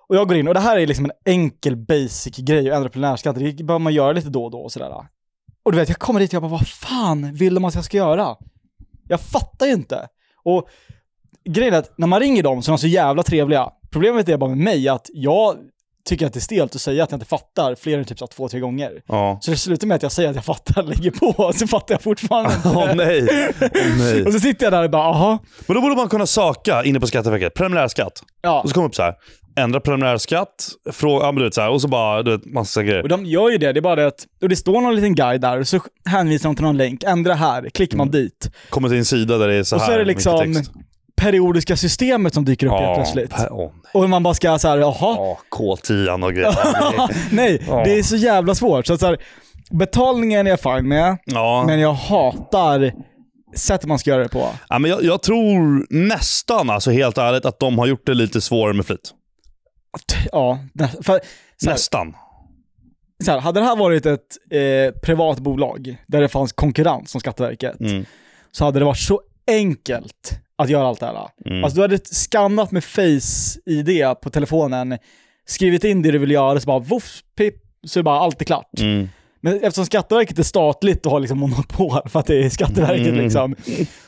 [SPEAKER 2] Och jag går in, och det här är liksom en enkel basic grej att ändra preliminärskatten. Det behöver man göra lite då och då och sådär. Och du vet, jag kommer dit och jag bara, vad fan vill de att jag ska göra? Jag fattar ju inte. Och grejen är att när man ringer dem så är de så jävla trevliga. Problemet är bara med mig att jag tycker att det är stelt att säga att jag inte fattar fler än typ så här två, tre gånger.
[SPEAKER 1] Ja.
[SPEAKER 2] Så det slutar med att jag säger att jag fattar, lägger på, och så fattar jag fortfarande inte.
[SPEAKER 1] Åh nej. Åh, nej.
[SPEAKER 2] Och så sitter jag där och bara, aha.
[SPEAKER 1] Men då borde man kunna söka inne på Skatteverket, preliminärskatt.
[SPEAKER 2] Ja.
[SPEAKER 1] Och så kommer det upp så här, ändra preliminärskatt, fråga, ja, men du vet, så här, och så bara du vet, massa grejer.
[SPEAKER 2] Och de gör ju det, det är bara det att, och det står någon liten guide där, och så hänvisar de till någon länk, ändra här, klickar man dit.
[SPEAKER 1] Kommer till en sida där Mm. det är så
[SPEAKER 2] och
[SPEAKER 1] här
[SPEAKER 2] så är det
[SPEAKER 1] mycket
[SPEAKER 2] liksom
[SPEAKER 1] text.
[SPEAKER 2] periodiska systemet som dyker upp helt
[SPEAKER 1] Ja,
[SPEAKER 2] plötsligt.
[SPEAKER 1] per- åh,
[SPEAKER 2] Och man bara ska såhär, jaha,
[SPEAKER 1] Ja, K10 och grejer.
[SPEAKER 2] nej,
[SPEAKER 1] Ja.
[SPEAKER 2] det är så jävla svårt. Så att så här, betalningen är jag fine med,
[SPEAKER 1] ja.
[SPEAKER 2] men jag hatar sättet man ska göra det på.
[SPEAKER 1] ja, men jag, jag tror nästan, alltså helt ärligt, att de har gjort det lite svårare med flit.
[SPEAKER 2] Ja, nä- för, så här,
[SPEAKER 1] Nästan.
[SPEAKER 2] så här, hade det här varit ett eh, privat bolag där det fanns konkurrens som Skatteverket,
[SPEAKER 1] Mm.
[SPEAKER 2] så hade det varit så enkelt att göra allt det här.
[SPEAKER 1] Mm.
[SPEAKER 2] Alltså du hade skannat med face-id på telefonen, skrivit in det du vill göra, så bara voff, pip, så är bara allt är klart.
[SPEAKER 1] Mm.
[SPEAKER 2] Men eftersom Skatteverket är statligt och har liksom monopol för att det är Skatteverket
[SPEAKER 1] Mm.
[SPEAKER 2] liksom,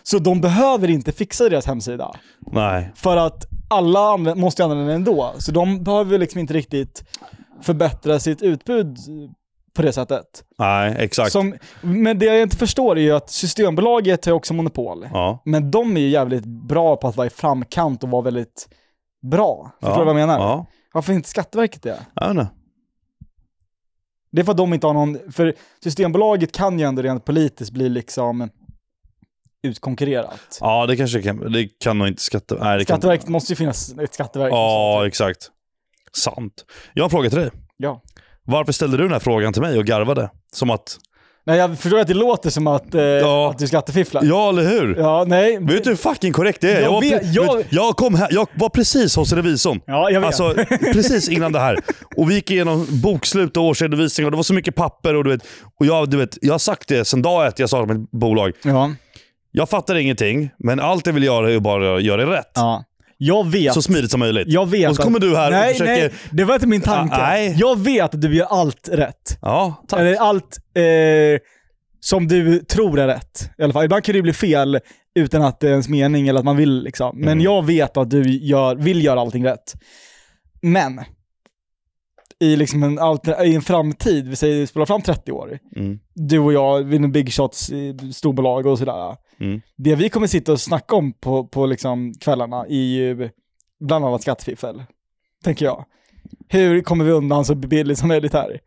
[SPEAKER 2] så de behöver inte fixa deras hemsida.
[SPEAKER 1] Nej.
[SPEAKER 2] För att alla anvä- måste ju använda den ändå. Så de behöver liksom inte riktigt förbättra sitt utbud på det sättet.
[SPEAKER 1] Nej, exakt.
[SPEAKER 2] Som, men det jag inte förstår är ju att Systembolaget har ju också monopol.
[SPEAKER 1] Ja.
[SPEAKER 2] Men de är ju jävligt bra på att vara i framkant och vara väldigt bra. Förstår
[SPEAKER 1] ja.
[SPEAKER 2] du vad jag menar?
[SPEAKER 1] Ja.
[SPEAKER 2] Varför är inte Skatteverket det?
[SPEAKER 1] Jag vet inte.
[SPEAKER 2] Det är för att de inte har någon... För Systembolaget kan ju ändå rent politiskt bli liksom utkonkurrerat.
[SPEAKER 1] Ja, det kanske kan... Det kan nog inte skatte... Nej, det kan...
[SPEAKER 2] Skatteverket måste ju finnas ett skatteverk.
[SPEAKER 1] Ja, exakt. Sant. Jag har en fråga till dig.
[SPEAKER 2] ja.
[SPEAKER 1] Varför ställde du den här frågan till mig och garvade? Som att...
[SPEAKER 2] Nej, jag förstår att det låter som att, eh,
[SPEAKER 1] Ja.
[SPEAKER 2] att du skattefifflar. Ja,
[SPEAKER 1] Ja, eller hur?
[SPEAKER 2] nej.
[SPEAKER 1] Vet du hur fucking korrekt det är?
[SPEAKER 2] Jag
[SPEAKER 1] var,
[SPEAKER 2] vet-
[SPEAKER 1] pre-
[SPEAKER 2] jag-
[SPEAKER 1] vet- jag kom här, jag var precis hos revisorn.
[SPEAKER 2] Ja, jag vet.
[SPEAKER 1] Alltså precis innan det här. Och vi gick igenom bokslut och årsredovisningar och det var så mycket papper. Och, du vet, och jag, du vet, jag har sagt det sedan dag ett jag startade mitt bolag.
[SPEAKER 2] ja.
[SPEAKER 1] Jag fattar ingenting, men allt jag vill göra är bara att göra det rätt.
[SPEAKER 2] ja. Jag vet.
[SPEAKER 1] Så smidigt som möjligt.
[SPEAKER 2] jag vet
[SPEAKER 1] Och så
[SPEAKER 2] att-
[SPEAKER 1] kommer du här
[SPEAKER 2] nej,
[SPEAKER 1] och försöker...
[SPEAKER 2] Nej, det var inte min tanke.
[SPEAKER 1] Ah, nej.
[SPEAKER 2] Jag vet att du gör allt rätt.
[SPEAKER 1] Ja, tack.
[SPEAKER 2] Eller allt eh, som du tror är rätt. I alla fall. Ibland kan det ju bli fel utan att det är ens mening eller att man vill. Liksom. Men
[SPEAKER 1] Mm.
[SPEAKER 2] jag vet att du gör, vill göra allting rätt. Men i, liksom en, alter- i en framtid, vi säger spola fram 30 år,
[SPEAKER 1] Mm.
[SPEAKER 2] du och jag vinner Big Shots i storbolag och sådär.
[SPEAKER 1] Mm.
[SPEAKER 2] Det vi kommer sitta och snacka om på, på liksom kvällarna är ju bland annat skattefiffel, tänker jag. Hur kommer vi undan så billigt som möjligt här?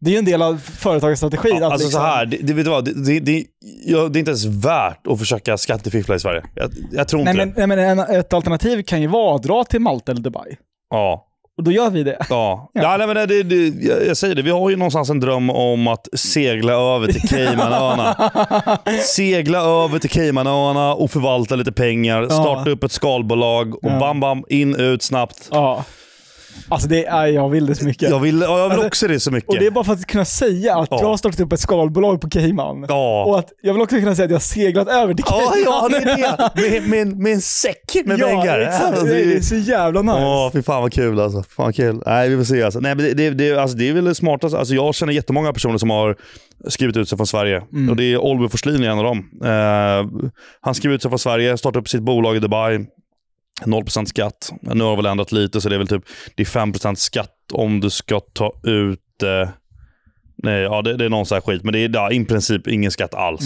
[SPEAKER 2] Det är ju en del av företagsstrategin.
[SPEAKER 1] Ja,
[SPEAKER 2] att
[SPEAKER 1] Alltså
[SPEAKER 2] liksom,
[SPEAKER 1] så här, det, det, vet du vad, det, det, det, ja, det är inte ens värt att försöka skattefiffla i Sverige. Jag, jag tror inte
[SPEAKER 2] Nej men,
[SPEAKER 1] det.
[SPEAKER 2] nej, men en, ett alternativ kan ju vara att dra till Malta eller Dubai.
[SPEAKER 1] Ja.
[SPEAKER 2] Och då gör vi det.
[SPEAKER 1] Ja. ja. nej, men det, det, det, jag jag säger det, vi har ju någonstans en dröm om att segla över till Caymanöarna. segla över till Caymanöarna och förvalta lite pengar, starta upp ett skalbolag och
[SPEAKER 2] Ja.
[SPEAKER 1] bam, bam, in, ut, snabbt.
[SPEAKER 2] Ja. Alltså det är, jag vill det så mycket.
[SPEAKER 1] Jag vill, ja, jag vill
[SPEAKER 2] Alltså,
[SPEAKER 1] också det så mycket.
[SPEAKER 2] Och det är bara för att kunna säga att
[SPEAKER 1] Ja.
[SPEAKER 2] jag har startat upp ett skalbolag på Cayman.
[SPEAKER 1] Ja.
[SPEAKER 2] Och att jag vill också kunna säga att jag har seglat över till
[SPEAKER 1] Ja,
[SPEAKER 2] Cayman.
[SPEAKER 1] ja, det är det. Med, med, en- med en säck med
[SPEAKER 2] ja,
[SPEAKER 1] pengar.
[SPEAKER 2] Exakt.
[SPEAKER 1] Alltså,
[SPEAKER 2] det, är,
[SPEAKER 1] ju-
[SPEAKER 2] det är så jävla nice.
[SPEAKER 1] Åh, fy fan vad kul alltså. Fan vad kul. Nej, vi får se alltså. Nej, men det, det, det, alltså, det är väl det smartaste. Alltså, jag känner jättemånga personer som har skrivit ut sig från Sverige. Och det är Oliver Forslin är en av dem. Eh, han skrev ut sig från Sverige, startade upp sitt bolag i Dubai. 0% skatt. Nu har det väl ändrat lite, så det är väl typ det är 5% skatt om du ska ta ut... Eh, nej, ja, det, det är någon sån här skit, men det är ja, i princip ingen skatt alls.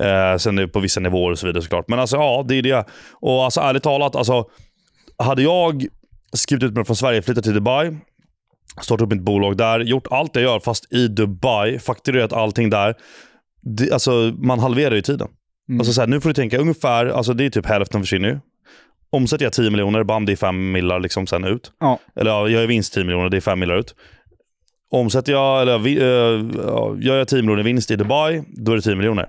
[SPEAKER 1] Eh, sen är det på vissa nivåer och så vidare såklart. Men alltså ja, det är det. Och alltså ärligt talat, alltså, hade jag skrivit ut mig från Sverige, flyttat till Dubai, startat upp mitt bolag där, gjort allt jag gör fast i Dubai, fakturerat allting där. Det, alltså, man halverar ju tiden.
[SPEAKER 2] Mm.
[SPEAKER 1] Alltså, så här, nu får du tänka ungefär, alltså, det är typ hälften försvinner ju. Omsätter jag 10 miljoner, bam det är 5 millar liksom sen ut.
[SPEAKER 2] Ja.
[SPEAKER 1] Eller ja, jag är vinst 10 miljoner, det är 5 millar ut. Omsätter jag, eller vi, eh, ja, gör jag 10 miljoner i vinst i Dubai, då är det 10 miljoner.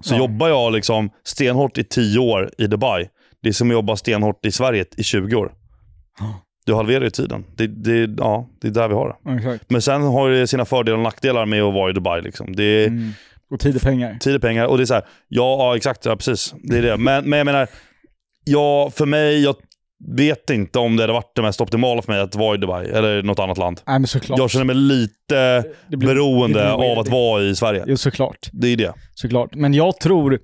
[SPEAKER 1] Så
[SPEAKER 2] Ja.
[SPEAKER 1] jobbar jag liksom stenhårt i 10 år i Dubai, det är som att jobba stenhårt i Sverige i 20 år. Du halverar ju tiden. Det, det, ja, det är där vi har det.
[SPEAKER 2] Ja, exakt.
[SPEAKER 1] Men sen har det sina fördelar och nackdelar med att vara i Dubai. Liksom. Det är
[SPEAKER 2] Mm. Och tid och pengar.
[SPEAKER 1] tid och pengar. Och det är så här, ja, ja exakt, ja, precis. Det är det. Men, men jag menar, ja, för mig, jag vet inte om det hade varit det mest optimala för mig att vara i Dubai eller något annat land.
[SPEAKER 2] Nej men såklart.
[SPEAKER 1] Jag känner mig lite
[SPEAKER 2] det blir- det
[SPEAKER 1] beroende
[SPEAKER 2] blir weird.
[SPEAKER 1] av att vara i Sverige.
[SPEAKER 2] Jo, såklart.
[SPEAKER 1] Det är det.
[SPEAKER 2] Såklart. Men jag tror,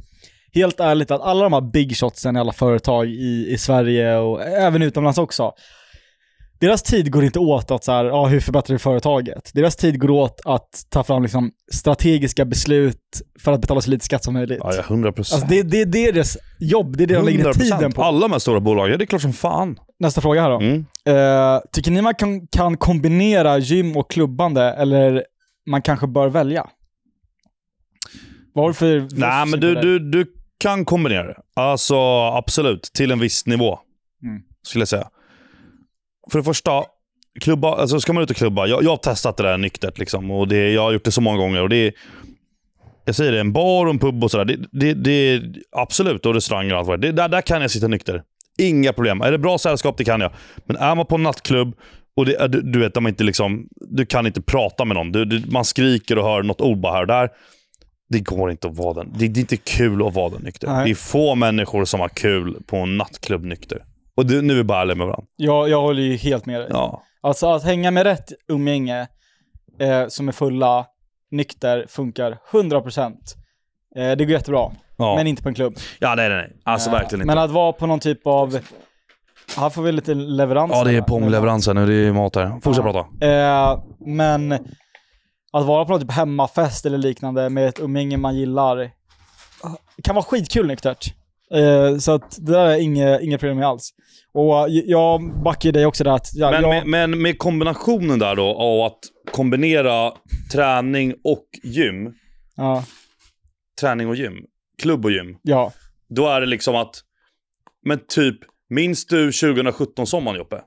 [SPEAKER 2] helt ärligt, att alla de här big shotsen i alla företag i, i Sverige och även utomlands också, deras tid går inte åt att så här, ja, hur förbättrar vi företaget? Deras tid går åt att ta fram liksom, strategiska beslut för att betala så lite skatt som möjligt.
[SPEAKER 1] Ja, ja, 100 procent.
[SPEAKER 2] Alltså, det, det, det är deras jobb, det är det de lägger ner tiden på.
[SPEAKER 1] Alla de här stora bolagen, det är klart som fan.
[SPEAKER 2] Nästa fråga här då.
[SPEAKER 1] Mm.
[SPEAKER 2] Eh, tycker ni man kan, kan kombinera gym och klubbande eller man kanske bör välja? Vad har du för... vad har
[SPEAKER 1] Nej,
[SPEAKER 2] för
[SPEAKER 1] men
[SPEAKER 2] syn på
[SPEAKER 1] du,
[SPEAKER 2] det?
[SPEAKER 1] du, du kan kombinera det. Alltså absolut, till en viss nivå.
[SPEAKER 2] Mm.
[SPEAKER 1] Skulle jag säga. För det första, klubba, alltså ska man ut och klubba. Jag, jag har testat det där nyktert. Liksom, och det, jag har gjort det så många gånger. Och det är, jag säger det, en bar och en pub och sådär. Det, det, det är absolut, och restauranger och allt vad det är. Det- Där, där kan jag sitta nykter. Inga problem. Är det bra sällskap, det kan jag. Men är man på en nattklubb och det, är- du, du vet, de är inte liksom, du kan inte prata med någon. Du, du, man skriker och hör något ord bara här och där. Det går inte att vara den. Det, det är inte kul att vara den nykter.
[SPEAKER 2] Nej.
[SPEAKER 1] Det är få människor som har kul på en nattklubb nykter. Och det, nu är vi bara ärliga med varandra.
[SPEAKER 2] Jag, jag håller ju helt med dig.
[SPEAKER 1] Ja.
[SPEAKER 2] Alltså att hänga med rätt umgänge eh, som är fulla, nykter, funkar 100%. Eh, det går jättebra,
[SPEAKER 1] Ja.
[SPEAKER 2] men inte på en klubb.
[SPEAKER 1] ja, nej, nej, nej. Alltså
[SPEAKER 2] Eh,
[SPEAKER 1] verkligen inte.
[SPEAKER 2] Men att vara på någon typ av... Här får vi lite leverans.
[SPEAKER 1] Ja, det är
[SPEAKER 2] här.
[SPEAKER 1] pongleveranser nu. Det är mat här. Fortsätt
[SPEAKER 2] Ja.
[SPEAKER 1] prata.
[SPEAKER 2] Eh, men att vara på någon typ hemmafest eller liknande med ett umgänge man gillar eh, kan vara skitkul nyktert. Eh, så att det där är inget, inget problem med alls. Och jag backar ju dig också där att... Ja,
[SPEAKER 1] Men,
[SPEAKER 2] jag,
[SPEAKER 1] med, men med kombinationen där då av att kombinera träning och gym.
[SPEAKER 2] ja,
[SPEAKER 1] Träning och gym. Klubb och gym.
[SPEAKER 2] ja,
[SPEAKER 1] Då är det liksom att... Men typ, minns du 2017-sommaren Joppe?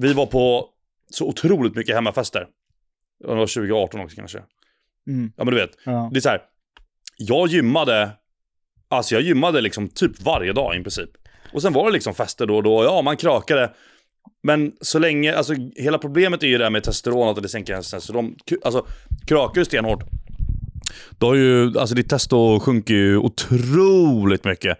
[SPEAKER 1] Vi var på så otroligt mycket hemmafester. Ja, Det var 2018 också kanske.
[SPEAKER 2] Mm.
[SPEAKER 1] Ja men du vet.
[SPEAKER 2] ja.
[SPEAKER 1] Det är så här. Jag gymmade, alltså jag gymmade liksom typ varje dag i princip. Och sen var det liksom fester då och då. Ja, man krökade. Men så länge, alltså hela problemet är ju det här med testosteron, att det sänker ens testosteron. K- Alltså, krökar du stenhårt, då har ju, alltså ditt testo sjunker ju otroligt mycket.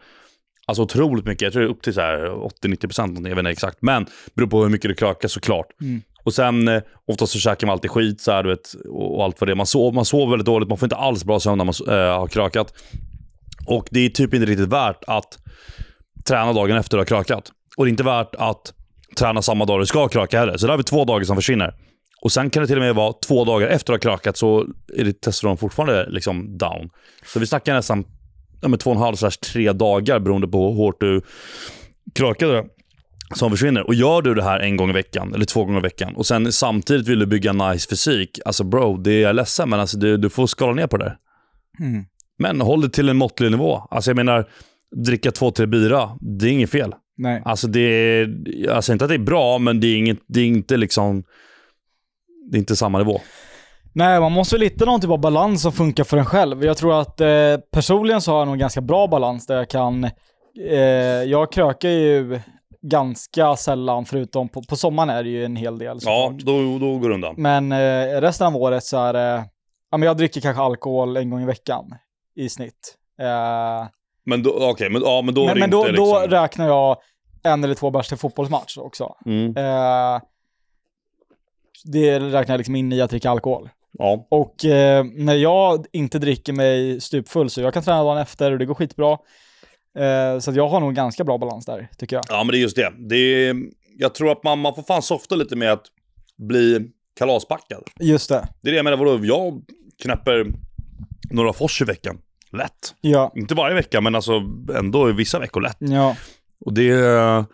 [SPEAKER 1] Alltså otroligt mycket. Jag tror det är upp till så här 80-90% någonting, jag vet inte exakt. Men det beror på hur mycket du krökar såklart.
[SPEAKER 2] Mm.
[SPEAKER 1] Och sen eh, oftast så käkar man alltid skit så här, du vet, och och allt vad det är. Man, sov, man sover väldigt dåligt, man får inte alls bra sömn när man eh, har krökat. Och det är typ inte riktigt värt att träna dagen efter du har krökat. Och det är inte värt att träna samma dag du ska kröka heller. Så där har vi två dagar som försvinner. Och sen kan det till och med vara två dagar efter du har krökat så är ditt testosteron fortfarande liksom down. Så vi snackar nästan ja, men två och en halv slash tre dagar beroende på hur hårt du krökade som försvinner. Och gör du det här en gång i veckan, eller två gånger i veckan, och sen samtidigt vill du bygga en nice fysik, alltså bro, det är jag ledsen, men alltså, du, du får skala ner på det där.
[SPEAKER 2] Mm.
[SPEAKER 1] Men håll det till en måttlig nivå. Alltså jag menar, dricka två, tre bira, det är inget fel.
[SPEAKER 2] Nej.
[SPEAKER 1] Alltså det är, jag säger inte att det är bra, men det är, inget, det är inte liksom... Det är inte samma nivå.
[SPEAKER 2] Nej, man måste väl hitta någon typ av balans som funkar för en själv. Jag tror att eh, personligen så har jag nog en ganska bra balans där jag kan... Eh, jag krökar ju ganska sällan, förutom på, på sommaren är det ju en hel del.
[SPEAKER 1] Ja,
[SPEAKER 2] såklart.
[SPEAKER 1] då, då går det undan.
[SPEAKER 2] Men eh, resten av året så är det... Ja, men jag dricker kanske alkohol en gång i veckan i snitt. Eh,
[SPEAKER 1] Men då, okej, men, ja, men då är
[SPEAKER 2] men
[SPEAKER 1] det
[SPEAKER 2] men då,
[SPEAKER 1] inte
[SPEAKER 2] då
[SPEAKER 1] liksom...
[SPEAKER 2] räknar jag en eller två bärs till fotbollsmatch också.
[SPEAKER 1] Mm,
[SPEAKER 2] Eh, det räknar jag liksom in i att dricka alkohol.
[SPEAKER 1] ja.
[SPEAKER 2] Och eh, när jag inte dricker mig stupfull så jag kan träna dagen efter och det går skitbra. Eh, så att jag har nog ganska bra balans där, tycker jag.
[SPEAKER 1] ja, men det är just det. det är, jag tror att man, man får fan softa lite med att bli kalaspackad.
[SPEAKER 2] Just det.
[SPEAKER 1] Det är det jag menar, vadå? Jag knäpper några fors i veckan. Lätt.
[SPEAKER 2] Ja.
[SPEAKER 1] Inte varje vecka, men alltså ändå i vissa veckor lätt.
[SPEAKER 2] Ja.
[SPEAKER 1] Och det är...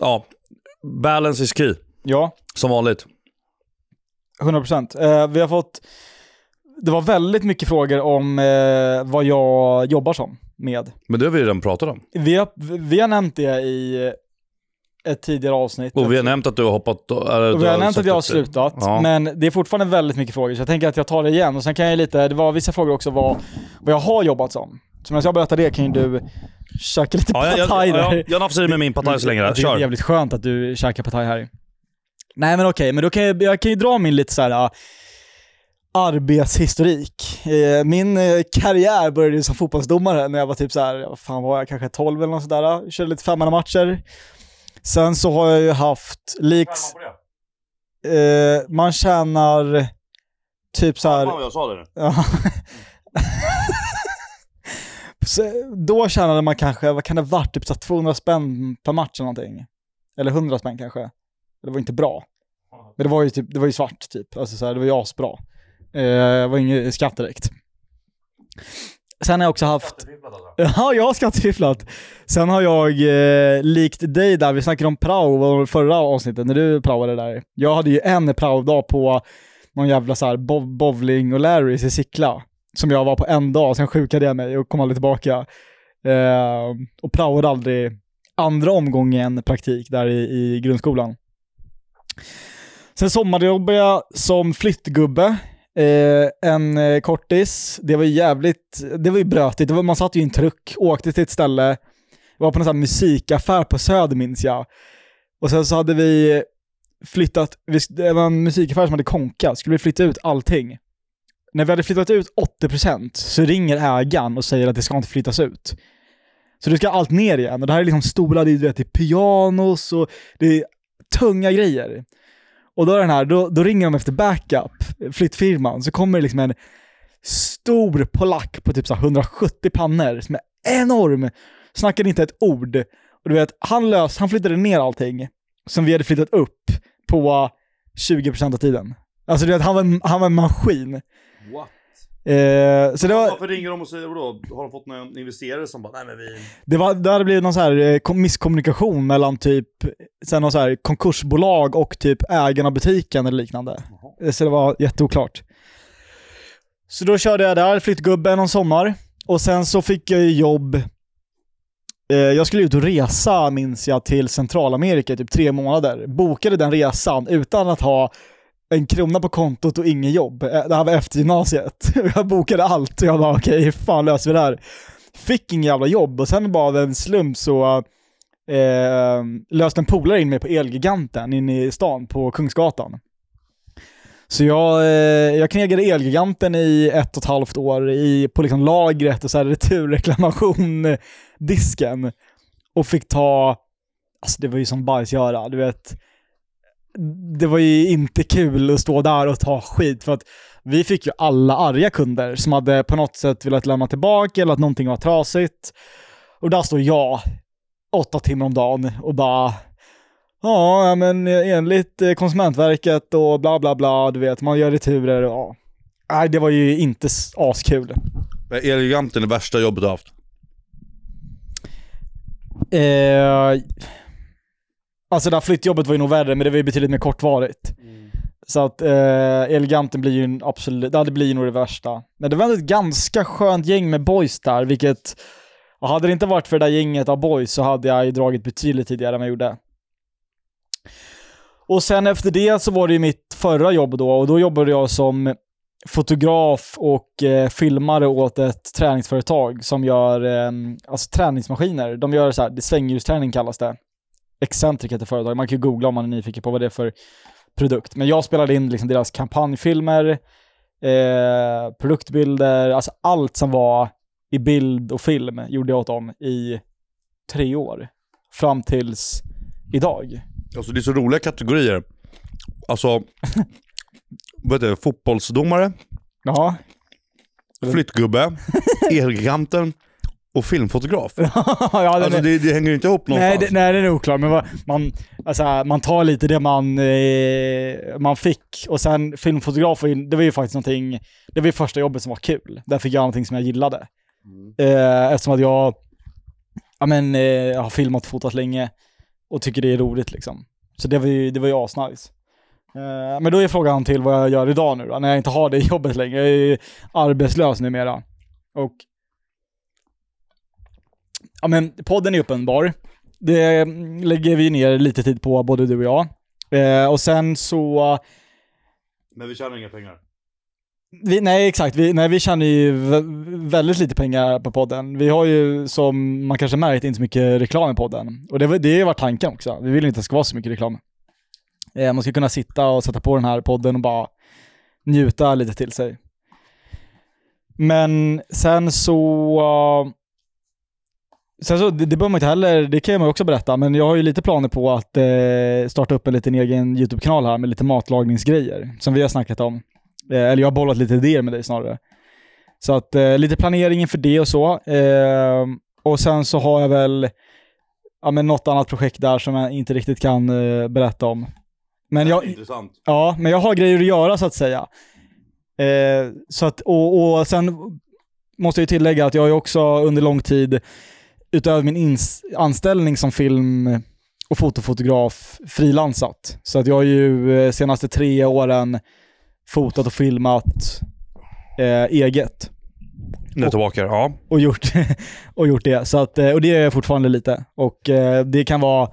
[SPEAKER 1] Ja, balance is key.
[SPEAKER 2] Ja.
[SPEAKER 1] Som vanligt.
[SPEAKER 2] 100 procent. Eh, vi har fått... Det var väldigt mycket frågor om eh, vad jag jobbar som med.
[SPEAKER 1] Men det har vi redan pratat om.
[SPEAKER 2] Vi har, vi har nämnt det i ett tidigare avsnitt.
[SPEAKER 1] Och vi har nämnt att du har hoppat... Eller,
[SPEAKER 2] Och
[SPEAKER 1] du
[SPEAKER 2] vi har nämnt
[SPEAKER 1] sagt
[SPEAKER 2] att jag har slutat,
[SPEAKER 1] Ja.
[SPEAKER 2] men det är fortfarande väldigt mycket frågor, så jag tänker att jag tar det igen. Och sen kan jag lite, det var vissa frågor också vad, vad jag har jobbat som. Så medan jag berättar det kan ju du käka lite
[SPEAKER 1] Ja, jag,
[SPEAKER 2] pad
[SPEAKER 1] jag,
[SPEAKER 2] thai där.
[SPEAKER 1] jag, jag, jag nafsar i mig min partaj så länge. Där.
[SPEAKER 2] Det är
[SPEAKER 1] Kör.
[SPEAKER 2] jävligt skönt att du käkar pad thai här. Nej men okej, men då kan jag, jag kan ju dra min lite så här äh, arbetshistorik. Eh, Min eh, karriär började ju som fotbollsdomare när jag var typ så här, vad fan var jag kanske 12 eller något sådär. ah. Körde lite femmannamatcher. Sen så har jag ju haft, liks... Eh, man tjänar typ så här...
[SPEAKER 1] jag sa det nu.
[SPEAKER 2] Ja. Så Då tjänade man kanske, vad kan det ha varit, typ så här 200 spänn per match eller någonting. Eller 100 spänn kanske. Det var inte bra. Men det var ju, typ, det var ju svart typ. Alltså så här, det var ju asbra. Eh, det var ingen skatt direkt. Sen har jag också haft... Ja, jag har skattefifflat. Sen har jag, eh, likt dig där, vi snackade om prao i förra avsnittet när du praoade där. Jag hade ju en praodag på någon jävla så här bov- bowling och Larrys i Sickla. Som jag var på en dag, sen sjukade jag mig och kom aldrig tillbaka. Eh, och praoade aldrig andra omgången praktik där i, i grundskolan. Sen sommarjobbade jag som flyttgubbe. Eh, en eh, kortis. Det var ju jävligt, det var ju brötigt. Det var, man satt ju i en truck, åkte till ett ställe. Jag var på en sån här musikaffär på Söder minns jag. Och sen så hade vi flyttat, vi, det var en musikaffär som hade konka, skulle vi flytta ut allting. När vi hade flyttat ut 80% så ringer ägaren och säger att det ska inte flyttas ut. Så du ska allt ner igen. Och det här är liksom stolar, det är, du vet, det är pianos och det är tunga grejer. Och då, är den här, då, då ringer de efter backup, flyttfirman, så kommer det liksom en stor polack på typ så här 170 pannor som är enorm. Snackade inte ett ord. Och du vet, han, lös, han flyttade ner allting som vi hade flyttat upp på 20% av tiden. Alltså du vet, han var en, han var en maskin.
[SPEAKER 1] What?
[SPEAKER 2] Eh, så det var,
[SPEAKER 1] Varför ringer de och säger vadå? Har de fått någon investerare som bara, nej men vi...
[SPEAKER 2] Det, var, det hade blivit någon så här eh, kom- misskommunikation mellan typ sen någon så här konkursbolag och typ ägarna av butiken eller liknande. Eh, Så det var jätteoklart. Så då körde jag där, flyttgubben någon sommar. Och sen så fick jag ju jobb. Eh, Jag skulle ut och resa minns jag till Centralamerika i typ tre månader. Bokade den resan utan att ha en krona på kontot och ingen jobb. Eh, Det här var efter gymnasiet. Jag bokade allt och jag bara okej, hur fan löser vi det här? Fick ingen jävla jobb och sen bara av en slump så eh, löste en polare in mig på Elgiganten inne i stan på Kungsgatan. Så jag, eh, jag knegade Elgiganten i ett och ett halvt år i, på liksom lagret och så här returreklamation-disken. Och fick ta, alltså det var ju som bajsgöra, du vet. Det var ju inte kul att stå där och ta skit för att vi fick ju alla arga kunder som hade på något sätt velat lämna tillbaka eller att någonting var trasigt. Och där står jag åtta timmar om dagen och bara Ja, ja, men enligt eh, Konsumentverket och bla bla bla, du vet, man gör returer och ja. Nej, det var ju inte s- askul.
[SPEAKER 1] Elgiganten är det värsta jobbet du har haft.
[SPEAKER 2] Eh, alltså det här flyttjobbet var ju nog värre, men det var ju betydligt mer kortvarigt. Så att eh, Eleganten blir ju en absolut, ja, det blir ju nog det värsta. Men det var ändå ett ganska skönt gäng med boys där, vilket Och hade det inte varit för det där gänget av boys så hade jag ju dragit betydligt tidigare än vad jag gjorde. Och sen efter det så var det ju mitt förra jobb då och då jobbade jag som fotograf och eh, filmare åt ett träningsföretag som gör eh, alltså träningsmaskiner. De gör så här, det svänghjulsträning kallas det. Excentric heter företaget. Man kan ju googla om man är nyfiken på vad det är för produkt. Men jag spelade in liksom deras kampanjfilmer, eh, produktbilder, alltså allt som var i bild och film gjorde jag åt dem i tre år. Fram tills idag.
[SPEAKER 1] Alltså det är så roliga kategorier. Alltså, vad heter det? Fotbollsdomare,
[SPEAKER 2] Ja. Mm.
[SPEAKER 1] flyttgubbe, Elgiganten och filmfotograf.
[SPEAKER 2] ja, den
[SPEAKER 1] Alltså
[SPEAKER 2] är-
[SPEAKER 1] det, det hänger ju inte ihop
[SPEAKER 2] Nej,
[SPEAKER 1] någonstans.
[SPEAKER 2] det, nej, den är oklar. Men vad- man, alltså, man tar lite det man, eh, man fick. Och sen filmfotograf, var ju- det var ju faktiskt någonting, det var ju första jobbet som var kul. Där fick jag någonting som jag gillade. Eh, eftersom att jag, ja, men, eh, jag har filmat och fotat länge och tycker det är roligt liksom. Så det var ju, det var ju asnice. Eh, men då är frågan till vad jag gör idag nu då, när jag inte har det jobbet längre. Jag är ju arbetslös numera. Och Ja men podden är uppenbar. Det lägger vi ner lite tid på, både du och jag. Eh, och sen så...
[SPEAKER 1] Men vi tjänar inga pengar.
[SPEAKER 2] Vi, nej exakt, vi, nej, vi tjänar ju vä- väldigt lite pengar på podden. Vi har ju, som man kanske märkt, inte så mycket reklam i podden. Och det, var- det har ju varit tanken också. Vi vill inte att det ska vara så mycket reklam. Eh, man ska kunna sitta och sätta på den här podden och bara njuta lite till sig. Men sen så... eh, Sen så, det, det behöver man inte heller, det kan jag också berätta, men jag har ju lite planer på att eh, starta upp en liten egen YouTube-kanal här med lite matlagningsgrejer, som vi har snackat om. Eh, Eller jag har bollat lite idéer med dig snarare. Så att eh, lite planeringen för det och så. Eh, och sen så har jag väl ja, men något annat projekt där som jag inte riktigt kan eh, berätta om. Men jag,
[SPEAKER 1] Intressant.
[SPEAKER 2] Ja, men jag har grejer att göra så att säga. Eh, så att, och, och sen måste jag ju tillägga att jag har ju också under lång tid, utöver min ins- anställning som film och fotofotograf, frilansat. Så att jag har ju eh, senaste tre åren fotat och filmat eh, eget
[SPEAKER 1] Nu är jag tillbaka. Ja.
[SPEAKER 2] och gjort, och gjort det. Så att, eh, och det gör jag fortfarande lite. Och eh, det kan vara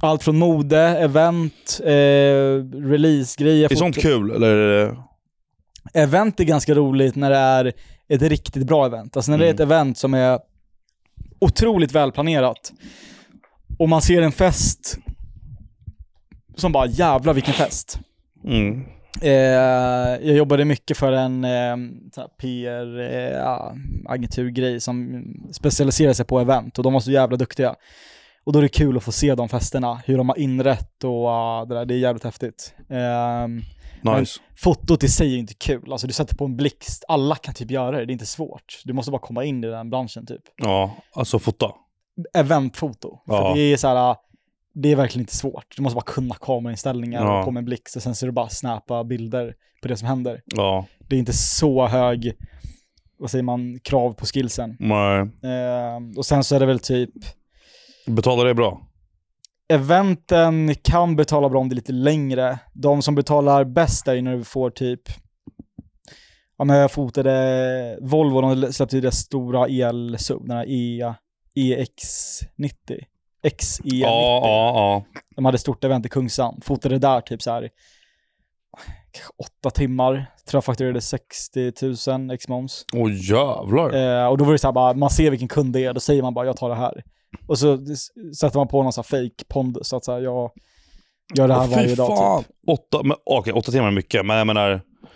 [SPEAKER 2] allt från mode, event, eh, releasegrejer.
[SPEAKER 1] Är sånt kul? Eller?
[SPEAKER 2] event är ganska roligt när det är ett riktigt bra event. Alltså när det är ett event som är otroligt välplanerat och man ser en fest som bara jävlar vilken fest.
[SPEAKER 1] Mm.
[SPEAKER 2] Eh, jag jobbade mycket för en eh, PR-agenturgrej eh, ah, som specialiserar sig på event och de var så jävla duktiga. Och då är det kul att få se de festerna, hur de har inrett och ah, det där. Det är jävligt häftigt. Ehm,
[SPEAKER 1] Nice.
[SPEAKER 2] fotot i sig är inte kul. Alltså du sätter på en blixt. Alla kan typ göra det. Det är inte svårt. Du måste bara komma in i den branschen typ.
[SPEAKER 1] Ja, alltså fota.
[SPEAKER 2] Eventfoto.
[SPEAKER 1] Ja.
[SPEAKER 2] För det är så här, det är verkligen inte svårt. Du måste bara kunna kamerainställningar
[SPEAKER 1] Ja.
[SPEAKER 2] och på med en blixt och sen så är det bara att snappa bilder på det som händer.
[SPEAKER 1] Ja.
[SPEAKER 2] Det är inte så hög, vad säger man, krav på skillsen.
[SPEAKER 1] Nej.
[SPEAKER 2] Eh, och sen så är det väl typ,
[SPEAKER 1] Betalar det bra?
[SPEAKER 2] eventen kan betala bra om det är lite längre. De som betalar bäst är ju när du får typ, ja men jag fotade Volvo, de släppte ju deras stora el-sub, den här e, EX90. XE90.
[SPEAKER 1] Ja, ja, ja.
[SPEAKER 2] E De hade ett stort event i Kungsan. Fotade där typ så här kanske åtta timmar. Tror jag fakturerade 60 000 ex moms.
[SPEAKER 1] Åh jävlar.
[SPEAKER 2] Eh, och då var det så här bara, man ser vilken kund det är, då säger man bara jag tar det här. Och så s- sätter man på någon sån här fake pondus, så att så här, jag gör det här
[SPEAKER 1] Åh, fy
[SPEAKER 2] varje dag.
[SPEAKER 1] fan.
[SPEAKER 2] Typ.
[SPEAKER 1] Åtta, men, okej, åtta timmar är mycket, men jag menar...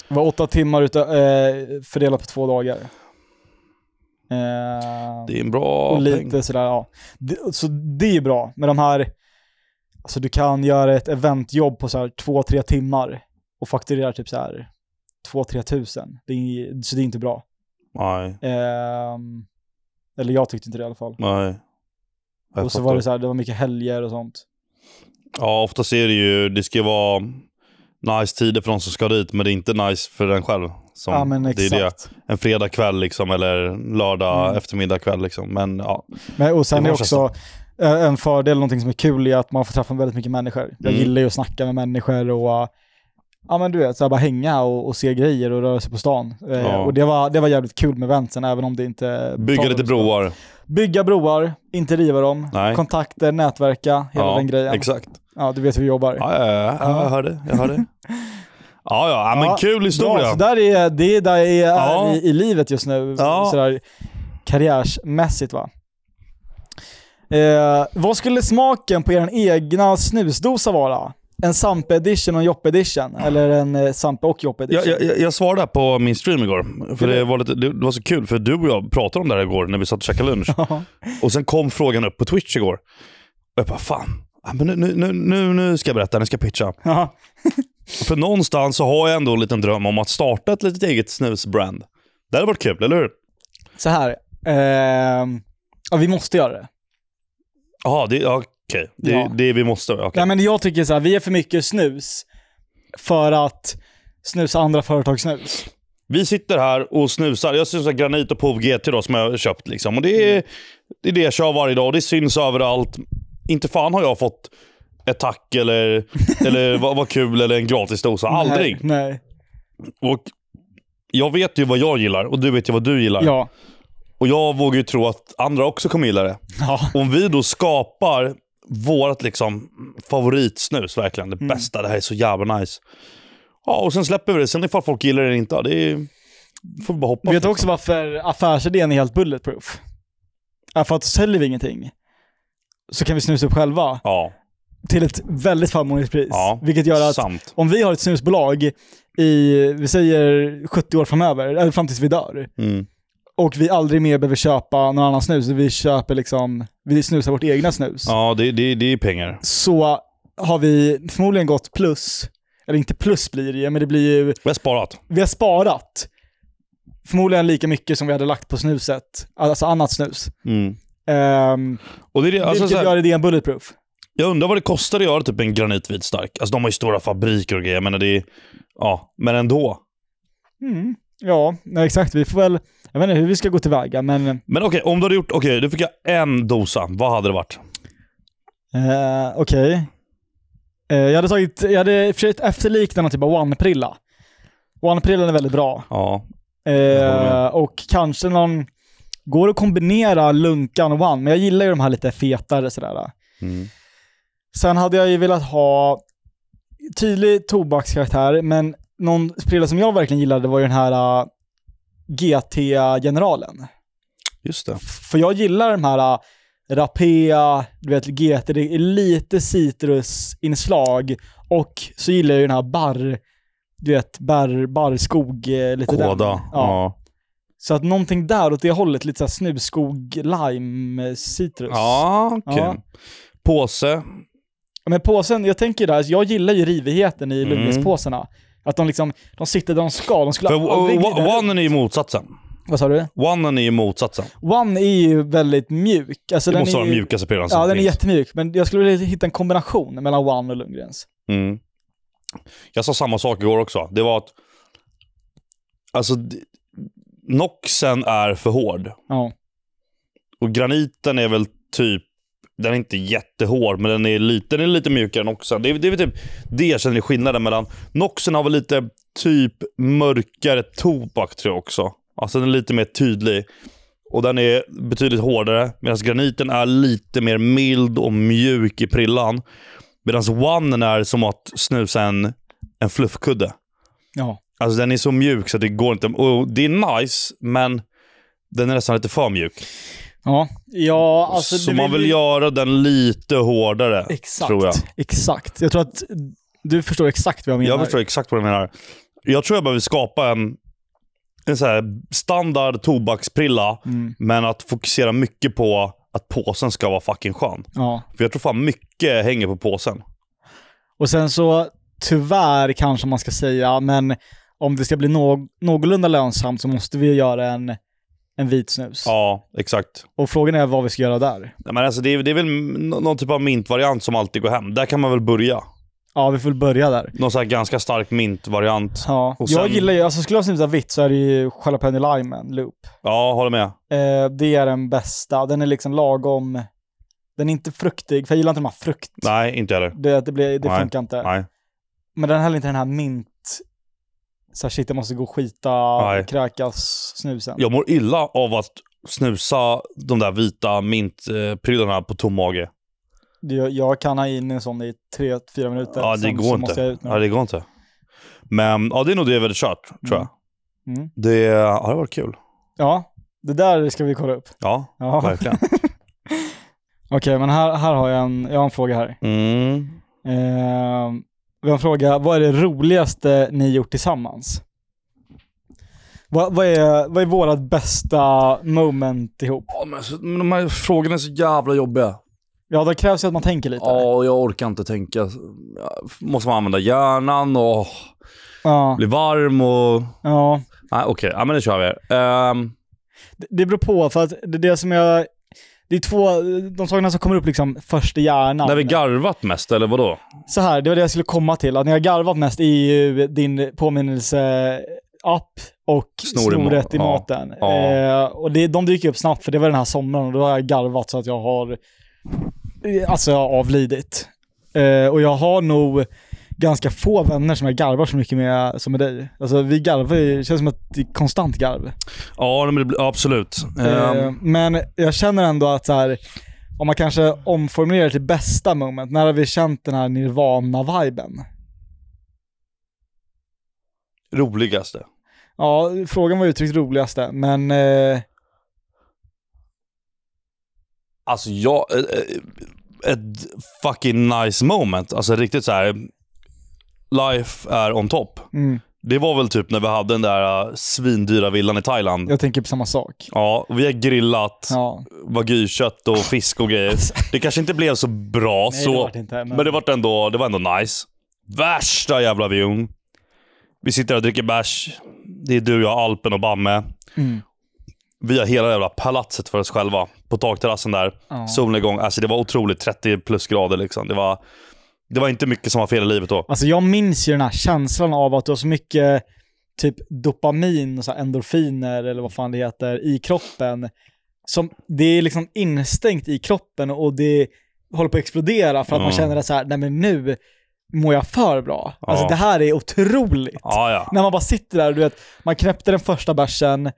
[SPEAKER 2] Det var åtta timmar utö- eh, fördelat på två dagar. Eh,
[SPEAKER 1] Det är en bra
[SPEAKER 2] och
[SPEAKER 1] peng.
[SPEAKER 2] lite sådär, ja. Det, så det är bra med de här, alltså du kan göra ett eventjobb på så här två, tre timmar och fakturera typ så här två, tre tusen. Det är, så det är inte bra.
[SPEAKER 1] Nej,
[SPEAKER 2] Ehm, eller jag tyckte inte det i alla fall.
[SPEAKER 1] nej. Jag
[SPEAKER 2] Och så var
[SPEAKER 1] fattar.
[SPEAKER 2] det så här, det var mycket helger och sånt.
[SPEAKER 1] Ja, oftast är det ju... Det ska ju vara nice tider för de som ska dit, men det är inte nice för den själv. Som,
[SPEAKER 2] ja men
[SPEAKER 1] det är
[SPEAKER 2] exakt.
[SPEAKER 1] det. En fredag kväll liksom, eller lördag
[SPEAKER 2] Mm.
[SPEAKER 1] eftermiddag kväll liksom. Men ja.
[SPEAKER 2] Men, och sen
[SPEAKER 1] Det
[SPEAKER 2] är
[SPEAKER 1] var
[SPEAKER 2] också eh, en fördel, någonting som är kul, är att man får träffa väldigt mycket människor. Jag
[SPEAKER 1] Mm.
[SPEAKER 2] gillar ju att snacka med människor och eh, ja men du vet, så här bara hänga och, och se grejer och röra sig på stan. Eh,
[SPEAKER 1] Ja.
[SPEAKER 2] Och det var, det var jävligt kul med eventsen, även om det inte...
[SPEAKER 1] Bygga lite broar.
[SPEAKER 2] Bygga broar, inte riva dem.
[SPEAKER 1] Nej.
[SPEAKER 2] Kontakter, nätverka, hela
[SPEAKER 1] ja,
[SPEAKER 2] den grejen.
[SPEAKER 1] Exakt.
[SPEAKER 2] Ja, du vet hur vi jobbar.
[SPEAKER 1] Ja, ja, ja, ja. Jag hörde. Jag hörde. Ja, ja, ja, men
[SPEAKER 2] Ja,
[SPEAKER 1] kul
[SPEAKER 2] Bra,
[SPEAKER 1] historia.
[SPEAKER 2] så där är, det är där jag är
[SPEAKER 1] Ja.
[SPEAKER 2] i, i livet just nu,
[SPEAKER 1] Ja.
[SPEAKER 2] sådär karriärsmässigt va. Eh, vad skulle smaken på er egna snusdosa vara? En Sampe edition och en Joppe edition? Eller en eh, Sampe och Joppe edition?
[SPEAKER 1] Jag, jag, jag- jag svarade på min stream igår. För det, var lite, det var så kul, för du och jag pratade om det här igår när vi satt och käkade lunch.
[SPEAKER 2] Ja.
[SPEAKER 1] Och sen kom frågan upp på Twitch igår. Och jag bara, fan. ja, Men nu, nu- nu, nu, nu ska jag berätta, nu ska jag pitcha.
[SPEAKER 2] Ja.
[SPEAKER 1] För någonstans så har jag ändå en liten dröm om att starta ett litet eget snusbrand. Det hade varit kul, eller hur?
[SPEAKER 2] Så här. ehm, ja, vi måste göra det.
[SPEAKER 1] Jaha, det, ja, okej. Det,
[SPEAKER 2] Ja.
[SPEAKER 1] det vi måste.
[SPEAKER 2] Nej,
[SPEAKER 1] Okay.
[SPEAKER 2] men jag tycker så här, vi är för mycket snus för att snusa andra företagssnus.
[SPEAKER 1] Vi sitter här och snusar. Jag snusar Granit och POV GT då, som jag har köpt. Liksom. Och det,
[SPEAKER 2] Mm.
[SPEAKER 1] är, det är det jag kör varje dag och det syns överallt. Inte fan har jag fått ett tack eller, eller vad, vad kul eller en gratis dosa. Aldrig.
[SPEAKER 2] Nej. nej.
[SPEAKER 1] Och jag vet ju vad jag gillar och du vet ju vad du gillar.
[SPEAKER 2] Ja.
[SPEAKER 1] Och jag vågar ju tro att andra också kommer gilla det.
[SPEAKER 2] ja.
[SPEAKER 1] Om vi då skapar vårt liksom favoritsnus, verkligen det
[SPEAKER 2] Mm.
[SPEAKER 1] bästa, det här är så jävla nice. Ja, och sen släpper vi det. Sen ifall folk gillar det eller inte, ja, det är, får vi bara hoppas.
[SPEAKER 2] Vet du också varför affärsidén är helt bulletproof? Ja, för att säljer vi ingenting så kan vi snusa upp själva
[SPEAKER 1] Ja,
[SPEAKER 2] till ett väldigt förmånligt pris.
[SPEAKER 1] Ja,
[SPEAKER 2] Vilket gör att
[SPEAKER 1] sant.
[SPEAKER 2] om vi har ett snusbolag i, vi säger 70 år framöver, eller fram tills vi dör,
[SPEAKER 1] Mm.
[SPEAKER 2] och vi aldrig mer behöver köpa någon annan snus, vi köper liksom, vi snusar vårt egna snus,
[SPEAKER 1] Ja, det, det, det är pengar.
[SPEAKER 2] så har vi förmodligen gått plus, eller inte plus blir det ju, men det blir ju
[SPEAKER 1] Vi har sparat.
[SPEAKER 2] vi har sparat förmodligen lika mycket som vi hade lagt på snuset, alltså annat snus.
[SPEAKER 1] Mm.
[SPEAKER 2] Ehm,
[SPEAKER 1] Och det är det, alltså, så
[SPEAKER 2] vilket
[SPEAKER 1] här,
[SPEAKER 2] gör idén bulletproof.
[SPEAKER 1] Jag undrar vad det kostar att göra typ en granitvit stark. Alltså de har ju stora fabriker och grejer. Jag menar, det är, ja, men ändå.
[SPEAKER 2] Mm. Ja, nej, exakt. Vi får väl, jag vet inte hur vi ska gå tillväga, men
[SPEAKER 1] Men okej, om du hade gjort... Okej, du fick jag en dosa. Vad hade det varit?
[SPEAKER 2] eh, okej. Eh, jag hade tagit, jag hade försökt efterlikna någon typ av One-prilla. One-prillan är väldigt bra.
[SPEAKER 1] Ja. håller
[SPEAKER 2] Eh, och kanske någon, går att kombinera lunkan och One, men jag gillar ju de här lite fetare sådär.
[SPEAKER 1] Mm.
[SPEAKER 2] Sen hade jag ju velat ha tydlig tobakskaraktär, men någon prilla som jag verkligen gillade var ju den här äh, GT-generalen.
[SPEAKER 1] Just det.
[SPEAKER 2] F- För jag gillar de här äh, Rapea, du vet GT, det är lite citrusinslag och så gillar jag ju den här barr, du vet barr, barrskog, eh, lite den.
[SPEAKER 1] Kåda.
[SPEAKER 2] Ja.
[SPEAKER 1] ja.
[SPEAKER 2] Så att någonting där åt det hållet, lite såhär snusskog, lime, eh, citrus.
[SPEAKER 1] Ja, okej.
[SPEAKER 2] Ja.
[SPEAKER 1] Påse.
[SPEAKER 2] Ja, Men påsen, jag tänker där, jag gillar ju rivigheten
[SPEAKER 1] Mm.
[SPEAKER 2] i Lundgrens-påsarna. Att de liksom, de sitter där de ska, de skulle
[SPEAKER 1] För
[SPEAKER 2] aldrig glida
[SPEAKER 1] o-
[SPEAKER 2] runt.
[SPEAKER 1] onen är ju motsatsen.
[SPEAKER 2] Vad sa du?
[SPEAKER 1] Onen är ju motsatsen.
[SPEAKER 2] One är ju väldigt mjuk. Alltså,
[SPEAKER 1] Det
[SPEAKER 2] den
[SPEAKER 1] måste
[SPEAKER 2] är,
[SPEAKER 1] vara den mjukaste prylen som
[SPEAKER 2] Ja, den är
[SPEAKER 1] finns.
[SPEAKER 2] jättemjuk. Men jag skulle vilja hitta en kombination mellan One och Lundgrens.
[SPEAKER 1] Mm. Jag sa samma sak igår också. Det var att... Alltså, d- Noxen är för hård.
[SPEAKER 2] Ja.
[SPEAKER 1] Och graniten är väl typ... Den är inte jättehård, men den är lite, den är lite mjukare än Noxen. Det är, det är väl typ det jag känner är skillnaden mellan... Noxen har väl lite typ mörkare tobak tror jag också. Alltså den är lite mer tydlig. Och den är betydligt hårdare. Medan graniten är lite mer mild och mjuk i prillan. Medan onen är som att snusa en, en fluffkudde.
[SPEAKER 2] Ja.
[SPEAKER 1] Alltså den är så mjuk så det går inte... Och det är nice, men den är nästan lite för mjuk.
[SPEAKER 2] Ja, ja alltså...
[SPEAKER 1] så
[SPEAKER 2] det
[SPEAKER 1] man vill
[SPEAKER 2] ju-
[SPEAKER 1] göra den lite hårdare,
[SPEAKER 2] Exakt.
[SPEAKER 1] tror jag.
[SPEAKER 2] Exakt. Jag tror att du förstår exakt vad jag menar.
[SPEAKER 1] Jag förstår exakt vad du menar. Jag tror jag behöver skapa en, en så här standard tobaksprilla,
[SPEAKER 2] Mm.
[SPEAKER 1] men att fokusera mycket på att påsen ska vara fucking skön.
[SPEAKER 2] Ja.
[SPEAKER 1] För jag tror fan mycket hänger på påsen.
[SPEAKER 2] Och sen så, tyvärr kanske man ska säga, men om det ska bli nå- någorlunda lönsamt så måste vi göra en, en vit snus.
[SPEAKER 1] Ja, exakt.
[SPEAKER 2] Och frågan är vad vi ska göra där.
[SPEAKER 1] Nej, men alltså, det, är, det är väl nå- någon typ av mintvariant som alltid går hem. Där kan man väl börja.
[SPEAKER 2] Ja, vi får väl börja där.
[SPEAKER 1] Någon så här ganska stark mintvariant.
[SPEAKER 2] Ja.
[SPEAKER 1] Och
[SPEAKER 2] Jag
[SPEAKER 1] sen-
[SPEAKER 2] gillar ju, alltså skulle jag snusa vitt så är det ju Jalapeno Lime en Loop.
[SPEAKER 1] Ja, håller med.
[SPEAKER 2] Eh, det är den bästa. Den är liksom lagom, den är inte fruktig, för jag gillar inte de här frukt.
[SPEAKER 1] Nej, inte heller.
[SPEAKER 2] Det, det, blir, det
[SPEAKER 1] Nej.
[SPEAKER 2] funkar inte.
[SPEAKER 1] Nej.
[SPEAKER 2] Men den hade inte den här mint... Så här, shit, jag måste gå och skita,
[SPEAKER 1] Nej.
[SPEAKER 2] kräkas, snusen.
[SPEAKER 1] Jag mår illa av att snusa de där vita mintprylarna på tom mage.
[SPEAKER 2] Jag, jag kan ha in en sån i tre, fyra minuter.
[SPEAKER 1] Ja, det
[SPEAKER 2] sen så
[SPEAKER 1] går
[SPEAKER 2] måste
[SPEAKER 1] inte.
[SPEAKER 2] jag ut med
[SPEAKER 1] Ja,
[SPEAKER 2] den.
[SPEAKER 1] det går inte. Men ja, det är nog det vi hade kört, tror jag.
[SPEAKER 2] Mm.
[SPEAKER 1] Det ja, det har varit kul.
[SPEAKER 2] ja, det där ska vi kolla upp.
[SPEAKER 1] Ja,
[SPEAKER 2] Ja. Okej,
[SPEAKER 1] verkligen.
[SPEAKER 2] men här, här har jag en, jag har en fråga här.
[SPEAKER 1] Mm.
[SPEAKER 2] Eh, vi har en fråga, vad är det roligaste ni gjort tillsammans? Vad, vad är, vad är vårat bästa moment ihop?
[SPEAKER 1] Ja, men, så, men de här frågorna är så jävla jobbiga.
[SPEAKER 2] Ja, det krävs ju att man tänker lite.
[SPEAKER 1] Ja, och jag orkar inte tänka. Måste man använda hjärnan och
[SPEAKER 2] Ja,
[SPEAKER 1] bli varm och...
[SPEAKER 2] ja.
[SPEAKER 1] Nej, okej. Ja, men det kör vi. Ehm,
[SPEAKER 2] Det- Det beror på, för att det är det som jag... Det är två, de sakerna som kommer upp liksom först i hjärnan.
[SPEAKER 1] när vi garvat mest, eller vadå?
[SPEAKER 2] Så här, det var det jag skulle komma till. Att när jag garvat mest är ju din påminnelseapp och
[SPEAKER 1] Snor i ma-
[SPEAKER 2] snoret i
[SPEAKER 1] ja.
[SPEAKER 2] maten.
[SPEAKER 1] Ja.
[SPEAKER 2] Eh, och det, de dyker upp snabbt för det var den här sommaren och då har jag garvat så att jag har eh, alltså jag har avlidit. Eh, och jag har nog ganska få vänner som jag garvar så mycket med som med dig. Alltså vi garvar ju, det känns som att det är konstant garv.
[SPEAKER 1] Ja, men det blir, absolut. Ehm,
[SPEAKER 2] Eh, men jag känner ändå att så här, om man kanske omformulerar till bästa moment, när har vi känt den här nirvana-viben?
[SPEAKER 1] Roligaste.
[SPEAKER 2] Ja, frågan var uttryckt roligaste, men eh,
[SPEAKER 1] Alltså jag... eh, eh, Ett fucking nice moment. Alltså riktigt så här. Life är on top.
[SPEAKER 2] mm,
[SPEAKER 1] Det var väl typ när vi hade den där eh, svindyra villan i Thailand.
[SPEAKER 2] jag tänker på samma sak.
[SPEAKER 1] Ja, vi har grillat
[SPEAKER 2] Ja.
[SPEAKER 1] vagykött och fisk och grejer. Det kanske inte blev så bra
[SPEAKER 2] Nej,
[SPEAKER 1] så,
[SPEAKER 2] det var det inte, men-
[SPEAKER 1] men... det, var ändå, det var ändå nice. Värsta jävla vyn. Vi sitter och dricker bärs. Det är du, jag, Alpen och Bamme.
[SPEAKER 2] Mm.
[SPEAKER 1] Vi har hela jävla palatset för oss själva. På takterrassen där.
[SPEAKER 2] Ja.
[SPEAKER 1] Solnedgång. Alltså det var otroligt. 30 plus grader liksom. Det var, det var inte mycket som var fel i livet då.
[SPEAKER 2] Alltså jag minns ju den här känslan av att du har så mycket typ dopamin och så här endorfiner eller vad fan det heter i kroppen. Som, det är liksom instängt i kroppen och det håller på att explodera för att man
[SPEAKER 1] Ja.
[SPEAKER 2] känner att så här, nej men nu mår jag för bra. Alltså
[SPEAKER 1] Ja.
[SPEAKER 2] det här är otroligt.
[SPEAKER 1] Ja, ja.
[SPEAKER 2] När man bara sitter där, du vet, man knäppte den första bärsen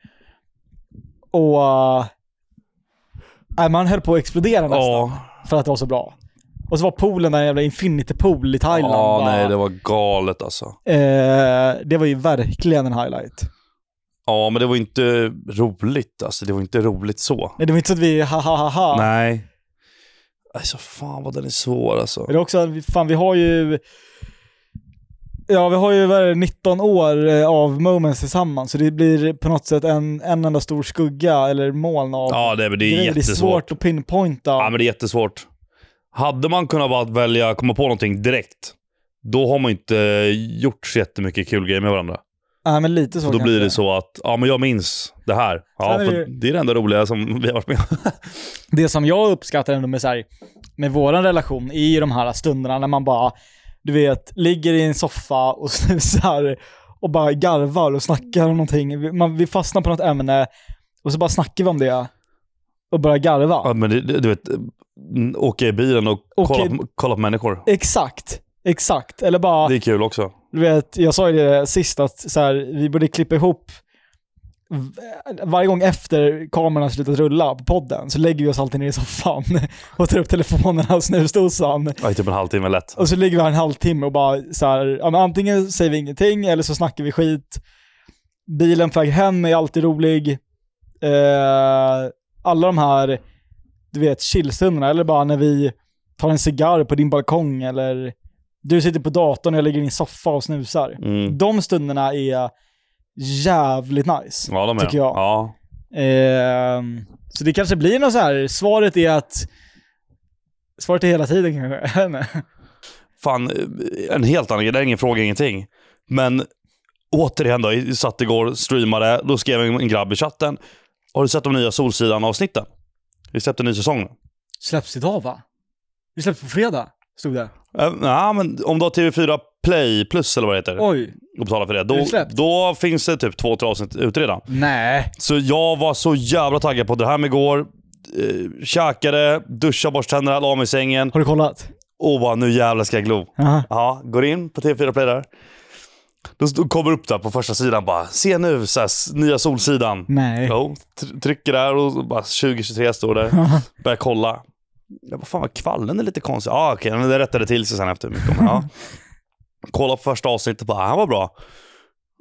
[SPEAKER 2] och... eh, nej, man höll på att explodera nästan
[SPEAKER 1] Ja,
[SPEAKER 2] för att det var så bra. Och så var poolen där, en jävla infinity pool i Thailand.
[SPEAKER 1] ja
[SPEAKER 2] va?
[SPEAKER 1] nej, det var galet alltså.
[SPEAKER 2] Eh, det var ju verkligen en highlight.
[SPEAKER 1] Ja, men det var inte roligt. Alltså, det var inte roligt så.
[SPEAKER 2] Nej, det var inte så att vi ha ha ha ha.
[SPEAKER 1] Nej. Alltså fan vad den är svår alltså.
[SPEAKER 2] Men det är också, fan vi har ju... Ja, vi har ju vad är det, 19 år eh, av moments tillsammans, så det blir på något sätt en, en enda stor skugga eller moln av
[SPEAKER 1] Ja, det, men det är
[SPEAKER 2] grejer. Det är
[SPEAKER 1] jättesvårt.
[SPEAKER 2] svårt att pinpointa.
[SPEAKER 1] ja, men det är jättesvårt. Hade man kunnat bara välja, komma på någonting direkt, då har man inte gjort så jättemycket kul grejer med varandra.
[SPEAKER 2] Nej, men lite så
[SPEAKER 1] Då blir
[SPEAKER 2] kanske.
[SPEAKER 1] det så att, ja men jag minns det här. Ja,
[SPEAKER 2] Sen är
[SPEAKER 1] för
[SPEAKER 2] det
[SPEAKER 1] det...
[SPEAKER 2] ju-
[SPEAKER 1] är det enda roliga som vi har varit med om.
[SPEAKER 2] det som jag uppskattar ändå med, så här, med våran relation är ju de här stunderna när man bara, du vet, ligger i en soffa och snusar och bara garvar och snackar om någonting. Vi, man, vi fastnar på något ämne och så bara snackar vi om det och börjar garva.
[SPEAKER 1] Ja, men det, det- du vet, mm, åka i bilen och kolla,
[SPEAKER 2] Okej.
[SPEAKER 1] på, kolla på människor.
[SPEAKER 2] Exakt, exakt. Eller bara,
[SPEAKER 1] Det är kul också.
[SPEAKER 2] du vet, jag sa ju det sist att så här, vi borde klippa ihop v- varje gång efter kameran har slutat rulla på podden så lägger vi oss alltid ner i soffan och tar upp telefonerna och snusdosan
[SPEAKER 1] Ja, i typ en halvtimme lätt.
[SPEAKER 2] Och så ligger vi här en halvtimme och bara så här, ja, men antingen säger vi ingenting eller så snackar vi skit. Bilen på väg hem är alltid rolig. Eh, alla de här, du vet, chillstunderna, eller bara när vi tar en cigarr på din balkong eller du sitter på datorn och jag ligger i din soffa och snusar.
[SPEAKER 1] Mm.
[SPEAKER 2] De stunderna är jävligt nice.
[SPEAKER 1] Ja, de är
[SPEAKER 2] Tycker jag.
[SPEAKER 1] Ja.
[SPEAKER 2] Ehm, så det kanske blir något så här, svaret är att, svaret är hela tiden kanske. Jag vet inte.
[SPEAKER 1] fan, en helt annan grej. Det är ingen fråga, ingenting. Men återigen då, jag satt igår, streamade, då skrev en en grabb i chatten. Har du sett de nya Solsidan-avsnitten? Vi släppte en ny säsong nu.
[SPEAKER 2] släpps idag va? Vi släpps på fredag, stod det.
[SPEAKER 1] Eh, Nej, men om du har TV4 Play Plus eller vad det heter
[SPEAKER 2] Oj.
[SPEAKER 1] och betalar för det,
[SPEAKER 2] Är
[SPEAKER 1] då,
[SPEAKER 2] det släppt?
[SPEAKER 1] då finns det typ två, tre avsnitt ute redan.
[SPEAKER 2] Nej.
[SPEAKER 1] Så jag var så jävla taggad på det här med igår. Eh, käkade, duschade, borstade tänderna, la mig i sängen.
[SPEAKER 2] Har du kollat?
[SPEAKER 1] Och bara, nu jävlar ska jag glo.
[SPEAKER 2] Aha.
[SPEAKER 1] Ja, går in på TV4 Play där. Då st- kommer upp där på första sidan bara, se nu så här, s- nya Solsidan.
[SPEAKER 2] Nej.
[SPEAKER 1] Jo, tr- trycker där och bara 2023 står det. Börjar kolla. Jag bara, fan vad kvallen är lite konstig. Ja, ah, okej, men det rättade till sig sen efter mycket om. Ja. Kolla på första avsnittet bara, han var bra.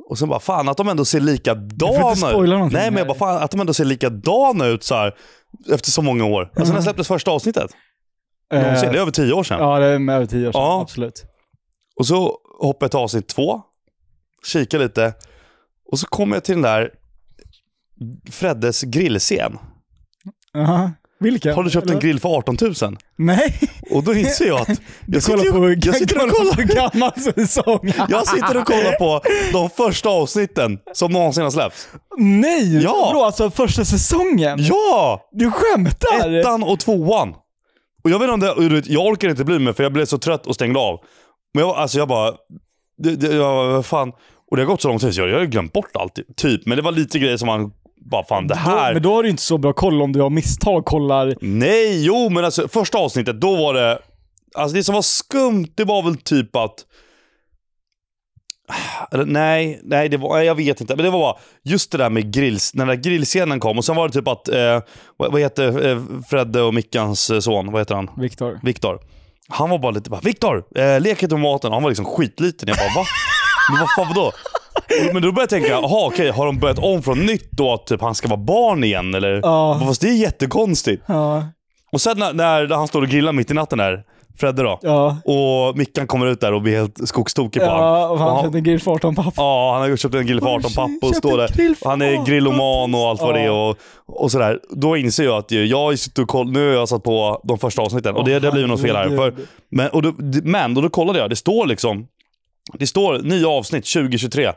[SPEAKER 1] Och sen bara, fan att de ändå ser
[SPEAKER 2] Du får inte
[SPEAKER 1] likadana
[SPEAKER 2] spoila
[SPEAKER 1] ut.
[SPEAKER 2] någonting
[SPEAKER 1] Nej, men
[SPEAKER 2] här.
[SPEAKER 1] jag bara, fan att de ändå ser likadana ut så här efter så många år. Alltså när släpptes första avsnittet? Någonsin.
[SPEAKER 2] Eh,
[SPEAKER 1] Det är över tio år sedan.
[SPEAKER 2] ja, det är med över tio år sedan.
[SPEAKER 1] Ja.
[SPEAKER 2] Absolut.
[SPEAKER 1] Och så hoppar jag till avsnitt två, kikar lite och så kommer jag till den där Freddes grillscen.
[SPEAKER 2] Aha. Vilken?
[SPEAKER 1] Har du köpt en
[SPEAKER 2] Eller?
[SPEAKER 1] grill för 18 000?
[SPEAKER 2] Nej!
[SPEAKER 1] Och då inser jag att jag sitter,
[SPEAKER 2] Kolla på,
[SPEAKER 1] ju- jag sitter, och,
[SPEAKER 2] kolla på gammal säsong.
[SPEAKER 1] jag sitter och kollar på de första avsnitten som någonsin har släppts.
[SPEAKER 2] Nej!
[SPEAKER 1] Ja.
[SPEAKER 2] Bro, alltså första säsongen.
[SPEAKER 1] Ja!
[SPEAKER 2] Du skämtar!
[SPEAKER 1] Ettan och tvåan. Och jag vet inte om det, och du vet, jag orkar inte bli med för jag blev så trött och stängde av. Men jag, alltså jag bara, det, det, jag, vad fan. Och det har gått så lång tid så jag, jag har ju glömt bort allt. Typ, men det var lite grejer som man bara, fan det här.
[SPEAKER 2] Då, men då har du inte så bra koll om du av misstag kollar.
[SPEAKER 1] Nej, jo, men alltså första avsnittet, då var det... Alltså det som var skumt, det var väl typ att... ah, Eller, nej, nej, det var, nej, jag vet inte. Men det var bara just det där med grills, när den där grillscenen kom. Och sen var det typ att, eh, vad, vad heter eh, Fredde och Mickans eh, son, vad heter han?
[SPEAKER 2] Viktor.
[SPEAKER 1] Viktor. Han var bara lite bara, Viktor! Eh, lek lite med maten. Och Han var liksom skitliten. Jag bara, va? Men vad fan vadå? Och- Men då började jag tänka, jaha okej, har de börjat om från nytt då att typ han ska vara barn igen eller?
[SPEAKER 2] Ja.
[SPEAKER 1] Fast det är jättekonstigt.
[SPEAKER 2] Ja.
[SPEAKER 1] Och sen när, när han står och grillar mitt i natten där, Fredde då.
[SPEAKER 2] Ja.
[SPEAKER 1] Och Mickan kommer ut där och blir helt skogstokig på honom.
[SPEAKER 2] Ja, och han köpte en grill för 18 papp.
[SPEAKER 1] Ja, han har köpt en grill för 18 papp och står där. Han är grilloman och allt vad det är och, och sådär. Då inser jag att ju- jag har ju suttit och koll, nu har jag satt på de första avsnitten och det, det har blivit något fel här. För,
[SPEAKER 2] Herregud.
[SPEAKER 1] men, och då, men, och då kollade jag, det står liksom, det står nya avsnitt 2023.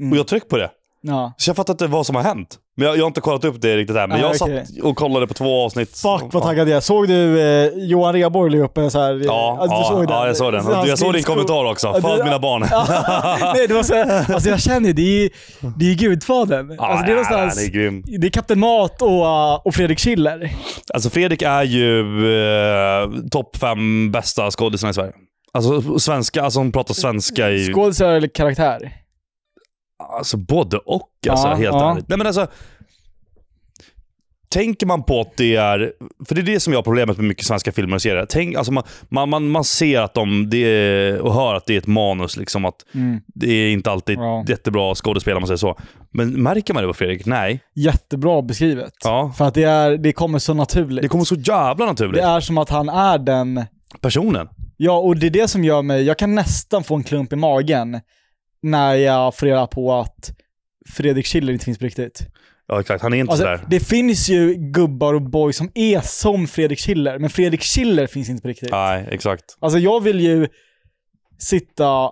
[SPEAKER 2] Mm.
[SPEAKER 1] Och jag tryckte på det.
[SPEAKER 2] Ja.
[SPEAKER 1] Så jag fattar inte vad som har hänt. Men jag, jag har inte kollat upp det riktigt här. Men
[SPEAKER 2] Nej,
[SPEAKER 1] jag
[SPEAKER 2] okej.
[SPEAKER 1] satt och kollade på två avsnitt.
[SPEAKER 2] Fuck vad
[SPEAKER 1] Ja.
[SPEAKER 2] taggad jag är. Såg du eh, Johan Rheborg la upp en så här... eh,
[SPEAKER 1] Ja,
[SPEAKER 2] alltså, du
[SPEAKER 1] ja,
[SPEAKER 2] såg den.
[SPEAKER 1] ja, jag såg den.
[SPEAKER 2] Hans
[SPEAKER 1] Jag såg din
[SPEAKER 2] grillskog.
[SPEAKER 1] kommentar också.
[SPEAKER 2] Ja,
[SPEAKER 1] Föd
[SPEAKER 2] det-
[SPEAKER 1] mina barn.
[SPEAKER 2] Nej, det var så här, alltså jag känner ju, det är ju, det är ju Gudfadern. alltså, det är
[SPEAKER 1] ja,
[SPEAKER 2] någonstans...
[SPEAKER 1] Ah, det är grym.
[SPEAKER 2] det är Kapten Mat och, eh, och Fredrik Schiller.
[SPEAKER 1] Alltså Fredrik är ju eh, topp fem bästa skådisarna i Sverige. Alltså svenska, alltså hon pratar svenska i...
[SPEAKER 2] Skådisar eller karaktär?
[SPEAKER 1] Alltså både och alltså,
[SPEAKER 2] Ja,
[SPEAKER 1] helt
[SPEAKER 2] ja.
[SPEAKER 1] ärligt. Nej men alltså. Tänker man på att det är... För det är det som jag har problemet med mycket svenska filmer och serier. Tänk, alltså man, man, man, man ser att de, det är, och hör att det är ett manus. Liksom, att Det är inte alltid
[SPEAKER 2] Mm, Ja.
[SPEAKER 1] jättebra skådespelare om man säger så. Men märker man det på Fredrik? Nej.
[SPEAKER 2] Jättebra beskrivet.
[SPEAKER 1] Ja.
[SPEAKER 2] För att det, är, det kommer så naturligt.
[SPEAKER 1] Det kommer så jävla
[SPEAKER 2] Det
[SPEAKER 1] naturligt.
[SPEAKER 2] är som att han är den...
[SPEAKER 1] Personen.
[SPEAKER 2] Ja, och det är det som gör mig... Jag kan nästan få en klump i magen när jag får reda på att Fredrik Schiller inte finns på riktigt.
[SPEAKER 1] Ja exakt, han är inte
[SPEAKER 2] Alltså,
[SPEAKER 1] sådär.
[SPEAKER 2] det finns ju gubbar och boys som är som Fredrik Schiller, men Fredrik Schiller finns inte på riktigt.
[SPEAKER 1] Nej, exakt.
[SPEAKER 2] Alltså jag vill ju sitta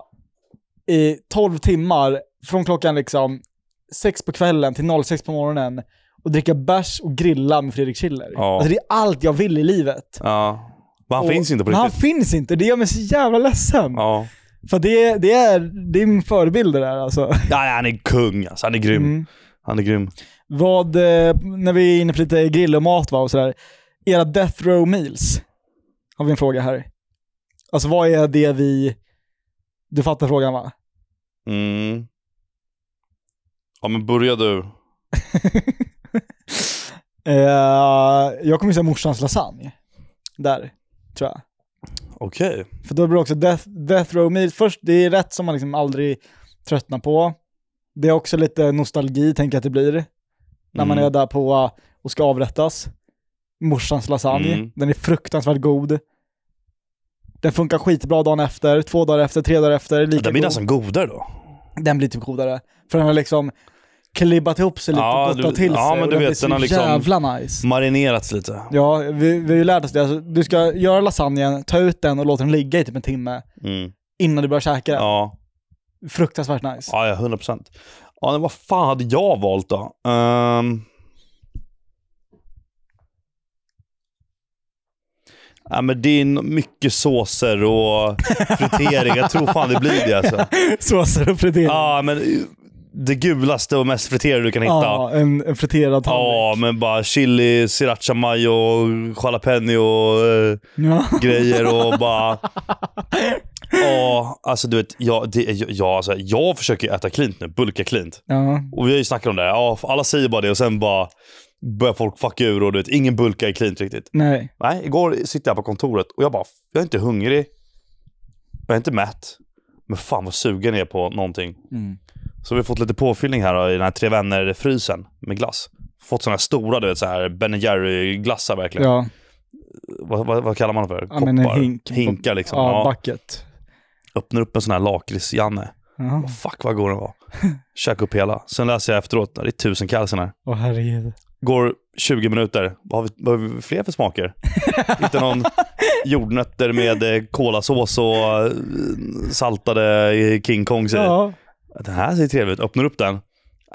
[SPEAKER 2] i 12 timmar från klockan liksom 6 på kvällen till 06 på morgonen och dricka bärs och grilla med Fredrik Schiller.
[SPEAKER 1] Ja.
[SPEAKER 2] Alltså det är allt jag vill i livet.
[SPEAKER 1] Ja. Men han
[SPEAKER 2] Och-
[SPEAKER 1] finns inte på
[SPEAKER 2] men
[SPEAKER 1] riktigt.
[SPEAKER 2] Han finns inte. Det gör mig så jävla ledsen.
[SPEAKER 1] Ja.
[SPEAKER 2] För det, det, är, det är min förebild det där alltså.
[SPEAKER 1] Nej, han är kung alltså. Han är grym.
[SPEAKER 2] Mm.
[SPEAKER 1] Han är grym.
[SPEAKER 2] Vad, eh, när vi är inne på lite grill och mat va, och sådär. Era death row meals. Har vi en fråga här. Alltså vad är det vi... Du fattar frågan va?
[SPEAKER 1] Mm. Ja men börja du.
[SPEAKER 2] Eh, jag kommer säga morsans lasagne. Där, tror jag.
[SPEAKER 1] Okej.
[SPEAKER 2] För då blir det också death, death row meal. Först, det är rätt som man liksom aldrig tröttnar på. Det är också lite nostalgi, tänker jag att det blir. När man
[SPEAKER 1] Mm.
[SPEAKER 2] är där på eh, och ska avrättas. Morsans lasagne.
[SPEAKER 1] Mm.
[SPEAKER 2] Den är fruktansvärt god. Den funkar skitbra dagen efter, två dagar efter, tre dagar efter. Lika
[SPEAKER 1] Den blir
[SPEAKER 2] god.
[SPEAKER 1] nästan godare då.
[SPEAKER 2] den blir typ godare. För den har liksom klibbat ihop sig lite
[SPEAKER 1] Ja,
[SPEAKER 2] och gottat
[SPEAKER 1] du-
[SPEAKER 2] till
[SPEAKER 1] ja,
[SPEAKER 2] sig.
[SPEAKER 1] men
[SPEAKER 2] och
[SPEAKER 1] du vet,
[SPEAKER 2] blir så
[SPEAKER 1] den har liksom-
[SPEAKER 2] jävla nice.
[SPEAKER 1] Marinerats lite.
[SPEAKER 2] Ja, vi, vi har ju lärt oss det. Alltså, du ska göra lasagnen, ta ut den och låta den ligga i typ en timme
[SPEAKER 1] Mm.
[SPEAKER 2] innan du börjar käka den.
[SPEAKER 1] Ja.
[SPEAKER 2] Fruktansvärt nice.
[SPEAKER 1] Ja, ja, 100 procent. Ja, men vad fan hade jag valt då? Ehm. Ja, men det är nog mycket såser och fritering. Jag tror fan det blir det alltså.
[SPEAKER 2] Såser och fritering.
[SPEAKER 1] Ja, men eh, det gulaste och mest friterade du kan hitta. Ja,
[SPEAKER 2] Ja, en, en friterad tallrik.
[SPEAKER 1] men bara chili, sriracha mayo, jalapeno och eh,
[SPEAKER 2] Ja.
[SPEAKER 1] grejer och bara... Ja, alltså du vet, jag, det, är- jag, alltså, jag försöker äta klint nu, bulka klint.
[SPEAKER 2] Ja.
[SPEAKER 1] Och vi har ju snackat om det. här. Ja, alla säger bara det och sen bara börjar folk fucka ur och du vet, ingen bulka är klint riktigt.
[SPEAKER 2] Nej.
[SPEAKER 1] Nej, igår sitter jag på kontoret och jag bara, jag är inte hungrig. Jag är inte mätt. Men fan vad sugen jag är på någonting.
[SPEAKER 2] Mm.
[SPEAKER 1] Så vi har fått lite påfyllning här då, i den här Tre Vänner-frysen med glass. Fått sådana här stora, du vet, så här Ben Jerry-glassar verkligen.
[SPEAKER 2] Ja.
[SPEAKER 1] Vad, vad, vad kallar man dem för?
[SPEAKER 2] Ja, men en hink.
[SPEAKER 1] Hinkar liksom.
[SPEAKER 2] ja,
[SPEAKER 1] Ja,
[SPEAKER 2] bucket.
[SPEAKER 1] öppnar upp en sån här lakrits-Janne.
[SPEAKER 2] Ja.
[SPEAKER 1] Fuck vad god den var. Käkade upp hela. Sen läser jag efteråt, det är tusen kalsen här.
[SPEAKER 2] Åh herregud.
[SPEAKER 1] Går 20 minuter. Vad har vi, vad har vi fler för smaker? Hittar någon jordnötter med eh, kolasås och eh, saltade eh, King Kong säger.
[SPEAKER 2] Ja.
[SPEAKER 1] Den här ser trevlig ut. Öppnar upp den.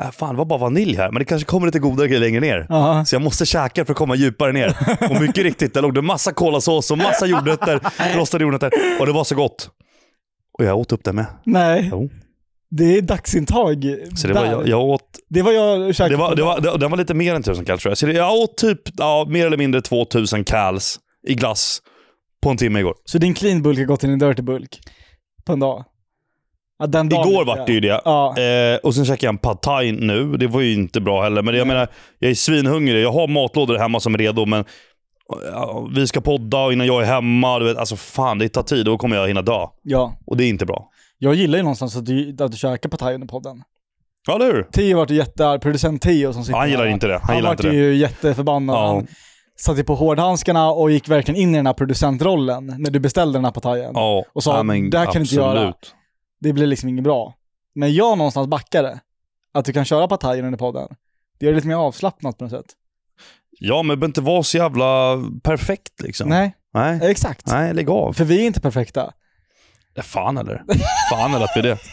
[SPEAKER 1] Äh, fan, det var bara vanilj här. Men det kanske kommer lite godare grejer längre ner.
[SPEAKER 2] Ja.
[SPEAKER 1] Så jag måste käka för att komma djupare ner. Och mycket riktigt, där låg det massa kolasås och massa jordnötter. Rostade jordnötter. Och det var så gott. Och jag åt upp det med.
[SPEAKER 2] Nej.
[SPEAKER 1] Jo.
[SPEAKER 2] Det är dagsintag.
[SPEAKER 1] Så det var,
[SPEAKER 2] där.
[SPEAKER 1] jag, jag åt
[SPEAKER 2] det var jag käkade.
[SPEAKER 1] Det var, det var, det, den var lite mer än 1000 kals tror jag. Så det- jag åt typ ja, mer eller mindre 2000 kals i glass på en timme igår.
[SPEAKER 2] Så din clean bulk har gått till en dirty bulk på en dag? Ja, den dagen
[SPEAKER 1] Igår
[SPEAKER 2] vet jag.
[SPEAKER 1] vart det ju det.
[SPEAKER 2] Ja.
[SPEAKER 1] Eh, och sen käkade jag en pad thai nu. Det var ju inte bra heller. Men jag menar, jag är svinhungrig. Jag har matlådor hemma som är redo, men ja, vi ska podda och innan jag är hemma. Du vet, alltså fan, det tar tid. Då kommer jag hinna dö.
[SPEAKER 2] Ja.
[SPEAKER 1] Och det är inte bra.
[SPEAKER 2] Jag gillar ju någonstans att du, att du käkar Partaj under podden.
[SPEAKER 1] Ja, eller hur?
[SPEAKER 2] Teo vart ju jättearg, producent Teo som sitter
[SPEAKER 1] Ja, han gillar
[SPEAKER 2] här.
[SPEAKER 1] inte det. Han,
[SPEAKER 2] Han
[SPEAKER 1] gillar
[SPEAKER 2] vart
[SPEAKER 1] inte det.
[SPEAKER 2] ju jätteförbannad.
[SPEAKER 1] Ja.
[SPEAKER 2] Han satte på hårdhandskarna och gick verkligen in i den här producentrollen när du beställde den här partajen.
[SPEAKER 1] Ja,
[SPEAKER 2] och sa,
[SPEAKER 1] ja, men
[SPEAKER 2] "Det här kan du inte göra."
[SPEAKER 1] absolut.
[SPEAKER 2] Det blir liksom inget bra. Men jag någonstans backade. Att du kan köra partajen under podden. Det gör det lite mer avslappnat på något sätt.
[SPEAKER 1] Ja, men det behöver inte vara så jävla perfekt liksom.
[SPEAKER 2] Nej,
[SPEAKER 1] Nej.
[SPEAKER 2] exakt.
[SPEAKER 1] Nej, lägg av.
[SPEAKER 2] För vi är inte perfekta.
[SPEAKER 1] Ja, Fan eller? Fan eller att vi är det.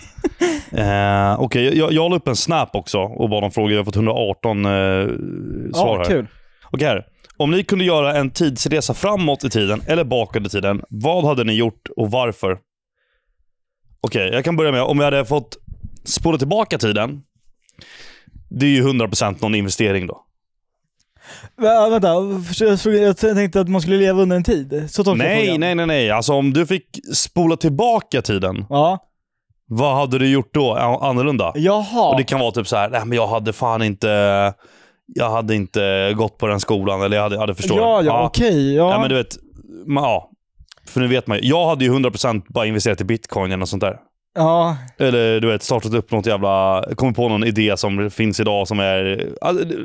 [SPEAKER 1] Eh, Okej, jag, jag la upp en snap också och bad om frågor. Jag har fått 118 eh, svar
[SPEAKER 2] ja,
[SPEAKER 1] här.
[SPEAKER 2] kul.
[SPEAKER 1] Okej, här. Om ni kunde göra en tidsresa framåt i tiden eller bakåt i tiden, vad hade ni gjort och varför? Okej, jag kan börja med om jag hade fått spola tillbaka tiden. Det är ju 100% någon investering då.
[SPEAKER 2] Vä- vänta, för- jag tror- jag tänkte att man skulle leva under en tid. Så tolkar jag
[SPEAKER 1] Nej,
[SPEAKER 2] frågan.
[SPEAKER 1] nej, nej, nej. Alltså om du fick spola tillbaka tiden,
[SPEAKER 2] Ja.
[SPEAKER 1] vad hade du gjort då a- annorlunda?
[SPEAKER 2] Jaha.
[SPEAKER 1] Och det kan vara typ så här, nej men jag hade fan inte, jag hade inte gått på den skolan eller jag hade, jag hade förstått.
[SPEAKER 2] ja, ja, okej. ja.
[SPEAKER 1] Nej, men du vet, man, ja. För nu vet man ju. Jag hade ju 100% bara investerat i bitcoin eller något sånt där.
[SPEAKER 2] ja.
[SPEAKER 1] Eller du vet, startat upp något jävla, kommit på någon idé som finns idag som är, alltså, det-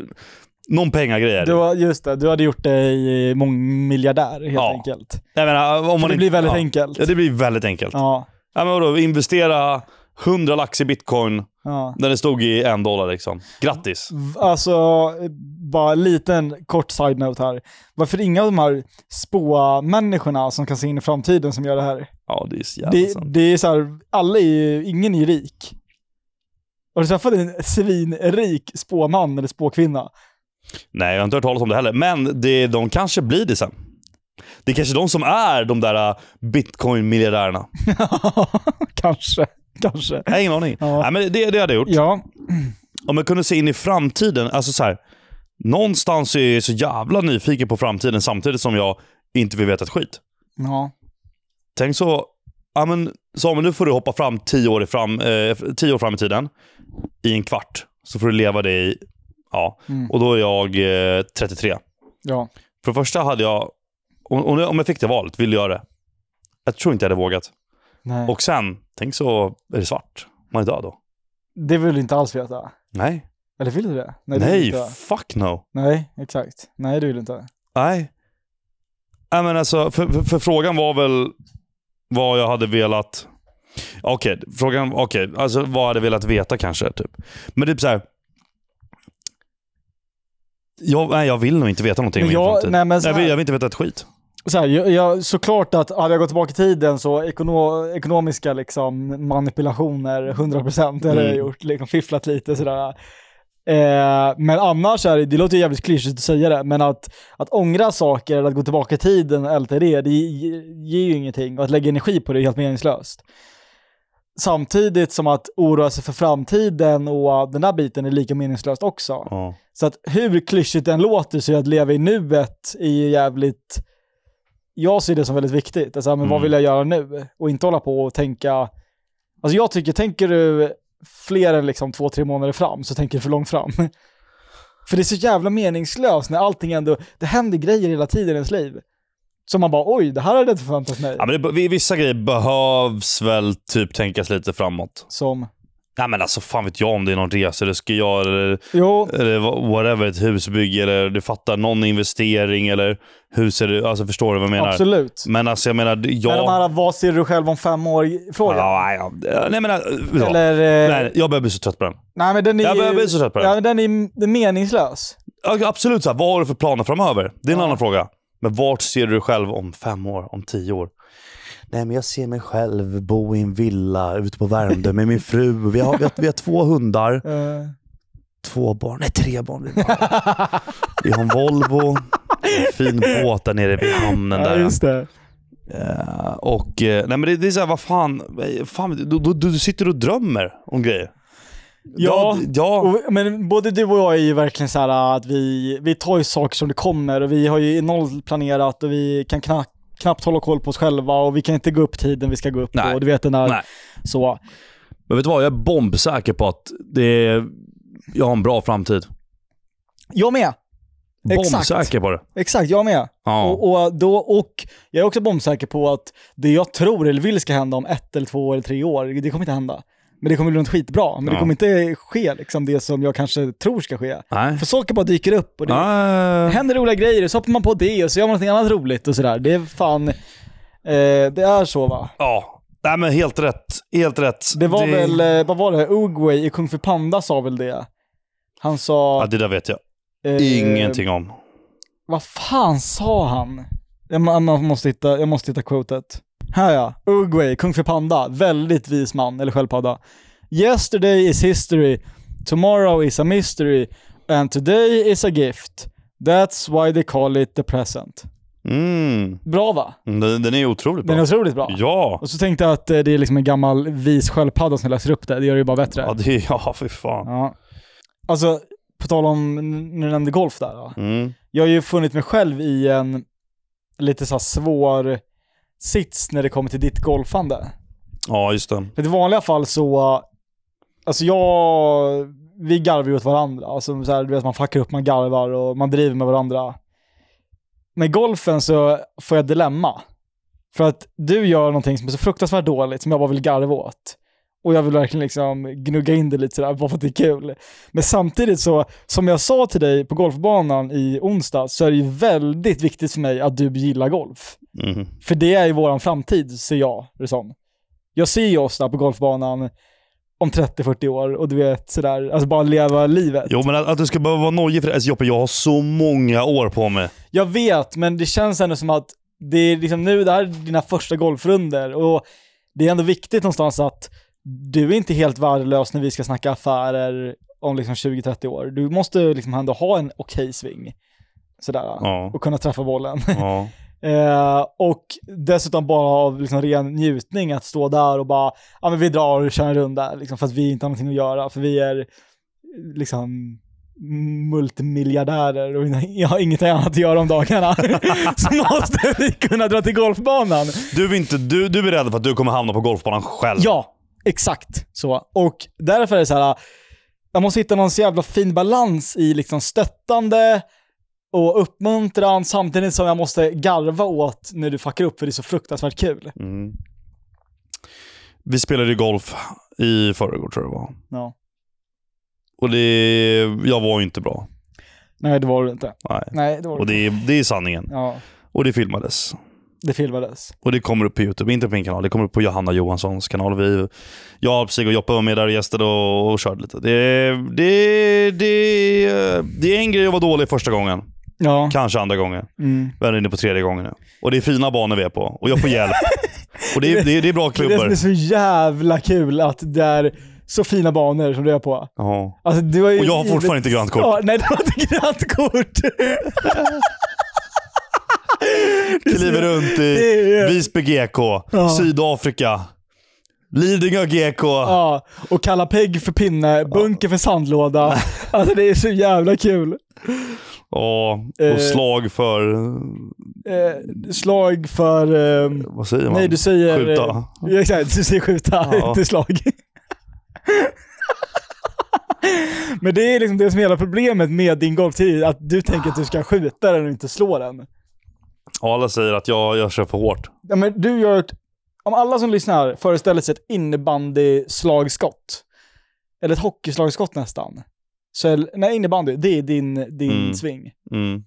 [SPEAKER 1] någon pengagrejer.
[SPEAKER 2] Du, har- just det, du hade gjort dig mångmiljardär helt
[SPEAKER 1] Ja.
[SPEAKER 2] enkelt.
[SPEAKER 1] Jag menar, om man
[SPEAKER 2] det
[SPEAKER 1] inte-
[SPEAKER 2] blir väldigt
[SPEAKER 1] ja.
[SPEAKER 2] enkelt.
[SPEAKER 1] Ja, det blir väldigt enkelt. Ja.
[SPEAKER 2] Ja.
[SPEAKER 1] men vadå, investera 100 lax i bitcoin
[SPEAKER 2] ja.
[SPEAKER 1] när det stod i en dollar liksom. Grattis.
[SPEAKER 2] V- Alltså, bara en liten kort side-note här. Varför inga av de här spåa-människorna som kan se in i framtiden som gör det här?
[SPEAKER 1] Ja, det är så jävla
[SPEAKER 2] Det,
[SPEAKER 1] sant.
[SPEAKER 2] det är så här, alla är ju, ingen är ju rik. Har du träffat en svinrik spåman eller spåkvinna?
[SPEAKER 1] Nej, jag har inte hört talas om det heller. Men det, de kanske blir det sen. Det är kanske de som är de där äh, bitcoin-miljardärerna.
[SPEAKER 2] kanske, kanske.
[SPEAKER 1] Jag har ingen aning.
[SPEAKER 2] Ja.
[SPEAKER 1] Nej, men det, det hade jag gjort.
[SPEAKER 2] Ja,
[SPEAKER 1] Om jag kunde se in i framtiden. Alltså så här, någonstans är jag så jävla nyfiken på framtiden samtidigt som jag inte vill veta ett skit.
[SPEAKER 2] ja.
[SPEAKER 1] Tänk så... Ja, men, Samuel, nu får du hoppa fram tio år, i fram, eh, tio år fram i tiden i en kvart. Så får du leva det i... Ja.
[SPEAKER 2] Mm.
[SPEAKER 1] Och då är jag eh, 33.
[SPEAKER 2] ja.
[SPEAKER 1] För det första hade jag, om- om jag- om jag fick det valet, ville jag det? Jag tror inte jag hade vågat.
[SPEAKER 2] Nej.
[SPEAKER 1] Och sen, tänk så är det svart. Man är död då.
[SPEAKER 2] det vill du inte alls veta.
[SPEAKER 1] Nej.
[SPEAKER 2] Eller vill du det? Nej,
[SPEAKER 1] Nej,
[SPEAKER 2] det vill du inte.
[SPEAKER 1] fuck no.
[SPEAKER 2] Nej, exakt. Nej, det vill du inte.
[SPEAKER 1] Nej. Nej men alltså, för, för, för frågan var väl vad jag hade velat... Okej, frågan... Okej, alltså vad jag hade velat veta kanske. Typ. Men typ så här... Jag, nej, jag vill nog inte veta någonting om
[SPEAKER 2] Men
[SPEAKER 1] min
[SPEAKER 2] jag,
[SPEAKER 1] framtid.
[SPEAKER 2] nej, men så
[SPEAKER 1] jag, vill,
[SPEAKER 2] här,
[SPEAKER 1] jag vill inte veta ett skit.
[SPEAKER 2] så här, jag, jag, såklart att hade jag gått tillbaka i tiden så ekono, ekonomiska liksom, manipulationer 100% det hade jag
[SPEAKER 1] Mm.
[SPEAKER 2] gjort, liksom, fifflat lite sådär. Eh, men annars är det, det låter ju jävligt klyschigt att säga det, men att, att ångra saker eller att gå tillbaka i tiden och älta det, det ge- ger ju ingenting och att lägga energi på det är helt meningslöst. samtidigt som att oroa sig för framtiden och den där biten är lika meningslöst också.
[SPEAKER 1] Ja.
[SPEAKER 2] Så att hur klyschigt den låter så är att leva i nuet är ju jävligt... Jag ser det som väldigt viktigt. Alltså, men vad
[SPEAKER 1] Mm.
[SPEAKER 2] vill jag göra nu? Och inte hålla på och tänka... Alltså jag tycker, tänker du fler än liksom två, tre månader fram så tänker du för långt fram. För det är så jävla meningslöst när allting ändå... Det händer grejer hela tiden i ens liv. Som man bara, oj, det här hade jag inte förväntat mig.
[SPEAKER 1] Ja, men det, vi- vissa grejer behövs väl typ tänkas lite framåt.
[SPEAKER 2] Som,
[SPEAKER 1] Nej men alltså fan vet jag om det är någon resa du ska göra eller,
[SPEAKER 2] jo,
[SPEAKER 1] eller wha- whatever, ett husbygge eller du fattar någon investering eller hur ser du, alltså förstår du vad jag menar?
[SPEAKER 2] absolut.
[SPEAKER 1] Men alltså jag menar, det- jag...
[SPEAKER 2] Men de här, vad ser du själv om fem år-frågan?
[SPEAKER 1] ja, nej, ja, nej men... äh, Ja.
[SPEAKER 2] Eller... eh,
[SPEAKER 1] Nej, jag börjar bli så trött på den.
[SPEAKER 2] Nej, men den är
[SPEAKER 1] Jag
[SPEAKER 2] ju-
[SPEAKER 1] börjar bli så trött på den.
[SPEAKER 2] Ja, men den är, den är meningslös.
[SPEAKER 1] Ja, Absolut, så här, vad har du för planer framöver? Det är en
[SPEAKER 2] Ja.
[SPEAKER 1] annan fråga. Men vart ser du dig själv om fem år, om tio år? Nej, men jag ser mig själv bo i en villa ute på Värmdö med min fru. Vi har, vi har, vi har två hundar,
[SPEAKER 2] Eh,
[SPEAKER 1] två barn, nej tre barn blir det. Vi har en Volvo, en fin båt där nere vid hamnen.
[SPEAKER 2] ja,
[SPEAKER 1] Där.
[SPEAKER 2] just det.
[SPEAKER 1] Eh, och, eh, nej, men det, det är så här, vad fan, fan du, du, du sitter och drömmer om grejer.
[SPEAKER 2] Ja.
[SPEAKER 1] ja,
[SPEAKER 2] Och, men både du och jag är ju verkligen så här att vi, vi tar ju saker som det kommer och vi har ju noll planerat och vi kan kna, knappt hålla koll på oss själva och vi kan inte gå upp tiden vi ska gå upp
[SPEAKER 1] Nej.
[SPEAKER 2] på. Och du vet den där
[SPEAKER 1] Nej.
[SPEAKER 2] så.
[SPEAKER 1] Men vet du vad? Jag är bombsäker på att det är... jag har en bra framtid.
[SPEAKER 2] Jag med! Exakt.
[SPEAKER 1] Bombsäker på det.
[SPEAKER 2] Exakt, jag med.
[SPEAKER 1] Ja.
[SPEAKER 2] Och, och, då, och jag är också bombsäker på att det jag tror eller vill ska hända om ett eller två eller tre år, det kommer inte hända. Men det kommer bli något skitbra. Men det
[SPEAKER 1] Ja.
[SPEAKER 2] kommer inte ske liksom, det som jag kanske tror ska ske.
[SPEAKER 1] Nej.
[SPEAKER 2] För saker bara dyker upp och det
[SPEAKER 1] Ah,
[SPEAKER 2] händer roliga grejer och så hoppar man på det och så gör man något annat roligt och sådär. Det är fan... Eh, det är så va?
[SPEAKER 1] ja. Nej men helt rätt. Helt rätt.
[SPEAKER 2] Det var väl, eh, vad var det? Oogway i Kung Fu Panda sa väl det? Han sa...
[SPEAKER 1] Ja, det där vet jag
[SPEAKER 2] eh,
[SPEAKER 1] ingenting om.
[SPEAKER 2] Vad fan sa han? Jag, må- man måste hitta, jag måste hitta quotet. Här ja. Uruguay, kung för panda. Väldigt vis man, eller sköldpadda. Yesterday is history. Tomorrow is a mystery. And today is a gift. That's why they call it the present.
[SPEAKER 1] Mm.
[SPEAKER 2] Bra va?
[SPEAKER 1] Den, den är otroligt bra.
[SPEAKER 2] Den är otroligt bra.
[SPEAKER 1] Ja.
[SPEAKER 2] Och så tänkte jag att eh, det är liksom en gammal vis sköldpadda som läser upp det. Det gör det ju bara bättre.
[SPEAKER 1] Ja, det, ja fy fan.
[SPEAKER 2] Ja. Alltså, på tal om, n- när du nämnde golf där. Va?
[SPEAKER 1] Mm.
[SPEAKER 2] jag har ju funnit mig själv i en lite så här svår sits när det kommer till ditt golfande.
[SPEAKER 1] Ja, just det.
[SPEAKER 2] För i vanliga fall så, uh, alltså jag, vi garvar ju åt varandra. Alltså så här, du vet man fuckar upp, man garvar och man driver med varandra. Med golfen så får jag dilemma. För att du gör någonting som är så fruktansvärt dåligt som jag bara vill garva åt. Och jag vill verkligen liksom gnugga in det lite sådär, bara för att det är kul. Men samtidigt så, som jag sa till dig på golfbanan i onsdag så är det ju väldigt viktigt för mig att du gillar golf.
[SPEAKER 1] Mm.
[SPEAKER 2] För det är ju våran framtid, ser jag det som. Jag ser ju oss där på golfbanan om 30-40 år och du vet sådär, alltså bara leva livet.
[SPEAKER 1] Jo, men att, att du ska behöva vara nojig för det. Alltså, Joppe, jag har så många år på mig.
[SPEAKER 2] Jag vet, men det känns ändå som att det är liksom nu, det här är dina första golfrunder och det är ändå viktigt någonstans att du är inte helt värdelös när vi ska snacka affärer om liksom 20-30 år. Du måste liksom ändå ha en okej sving. Sådär.
[SPEAKER 1] Ja.
[SPEAKER 2] Och kunna träffa bollen.
[SPEAKER 1] ja.
[SPEAKER 2] Eh, och dessutom bara av liksom ren njutning att stå där och bara, ja men vi drar och kör en runda, liksom, för att vi inte har någonting att göra, för vi är liksom multimiljardärer och jag har inget annat att göra om dagarna. Så måste vi kunna dra till golfbanan.
[SPEAKER 1] Du, är inte, du, du är rädd för att du kommer hamna på golfbanan själv.
[SPEAKER 2] Ja, exakt så. Och därför är det så här, jag måste hitta någon så jävla fin balans i liksom stöttande och uppmuntran samtidigt som jag måste garva åt när du fuckar upp för det är så fruktansvärt kul.
[SPEAKER 1] Mm. Vi spelade ju golf i förrgår tror jag det var.
[SPEAKER 2] Ja.
[SPEAKER 1] Och det, jag var ju inte bra.
[SPEAKER 2] Nej, det var det inte.
[SPEAKER 1] Nej.
[SPEAKER 2] Nej, det var
[SPEAKER 1] Och det, är- det är sanningen.
[SPEAKER 2] Ja,
[SPEAKER 1] Och det filmades.
[SPEAKER 2] det filmades.
[SPEAKER 1] Och det kommer upp på YouTube, inte på min kanal. Det kommer upp på Johanna Johanssons kanal. Vi, jag, Psyk och Joppe var med där och gästade och, och körde lite. Det, det, det, det är en grej att vara dålig första gången.
[SPEAKER 2] Ja.
[SPEAKER 1] Kanske andra gången.
[SPEAKER 2] Mm.
[SPEAKER 1] Vi är inne på tredje gången nu. Och det är fina banor vi är på. Och jag får hjälp. och det, är- det, är- det är bra
[SPEAKER 2] Det är det som
[SPEAKER 1] klubbor.
[SPEAKER 2] är så jävla kul att det är så fina banor som du är på.
[SPEAKER 1] Ja.
[SPEAKER 2] Alltså, du har ju
[SPEAKER 1] Och jag har
[SPEAKER 2] givit-
[SPEAKER 1] fortfarande inte grönt kort.
[SPEAKER 2] Ja, nej, du har inte grönt kort.
[SPEAKER 1] Kliver runt i
[SPEAKER 2] Det är-
[SPEAKER 1] Visby GK,
[SPEAKER 2] Ja.
[SPEAKER 1] Sydafrika, Lidingö GK.
[SPEAKER 2] Ja, och kalla Pegg för pinne, Bunker för sandlåda. Alltså det är så jävla kul.
[SPEAKER 1] Ja,
[SPEAKER 2] Eh.
[SPEAKER 1] och slag för...
[SPEAKER 2] Eh, slag för... ehm,
[SPEAKER 1] Vad säger man?
[SPEAKER 2] nej, du säger...
[SPEAKER 1] Skjuta.
[SPEAKER 2] Eh, ja, exakt, du säger skjuta,
[SPEAKER 1] Ja.
[SPEAKER 2] inte slag. Men det är liksom det som är hela problemet med din golftid, att du tänker att du ska skjuta den och inte slå den.
[SPEAKER 1] Alla säger att jag, jag kör för hårt.
[SPEAKER 2] Ja, men du gör ett, om alla som lyssnar föreställer sig ett innebandyslagskott, eller ett hockeyslagskott nästan, så är, nej, innebandy, det är din, din
[SPEAKER 1] Mm.
[SPEAKER 2] sving.
[SPEAKER 1] Mm.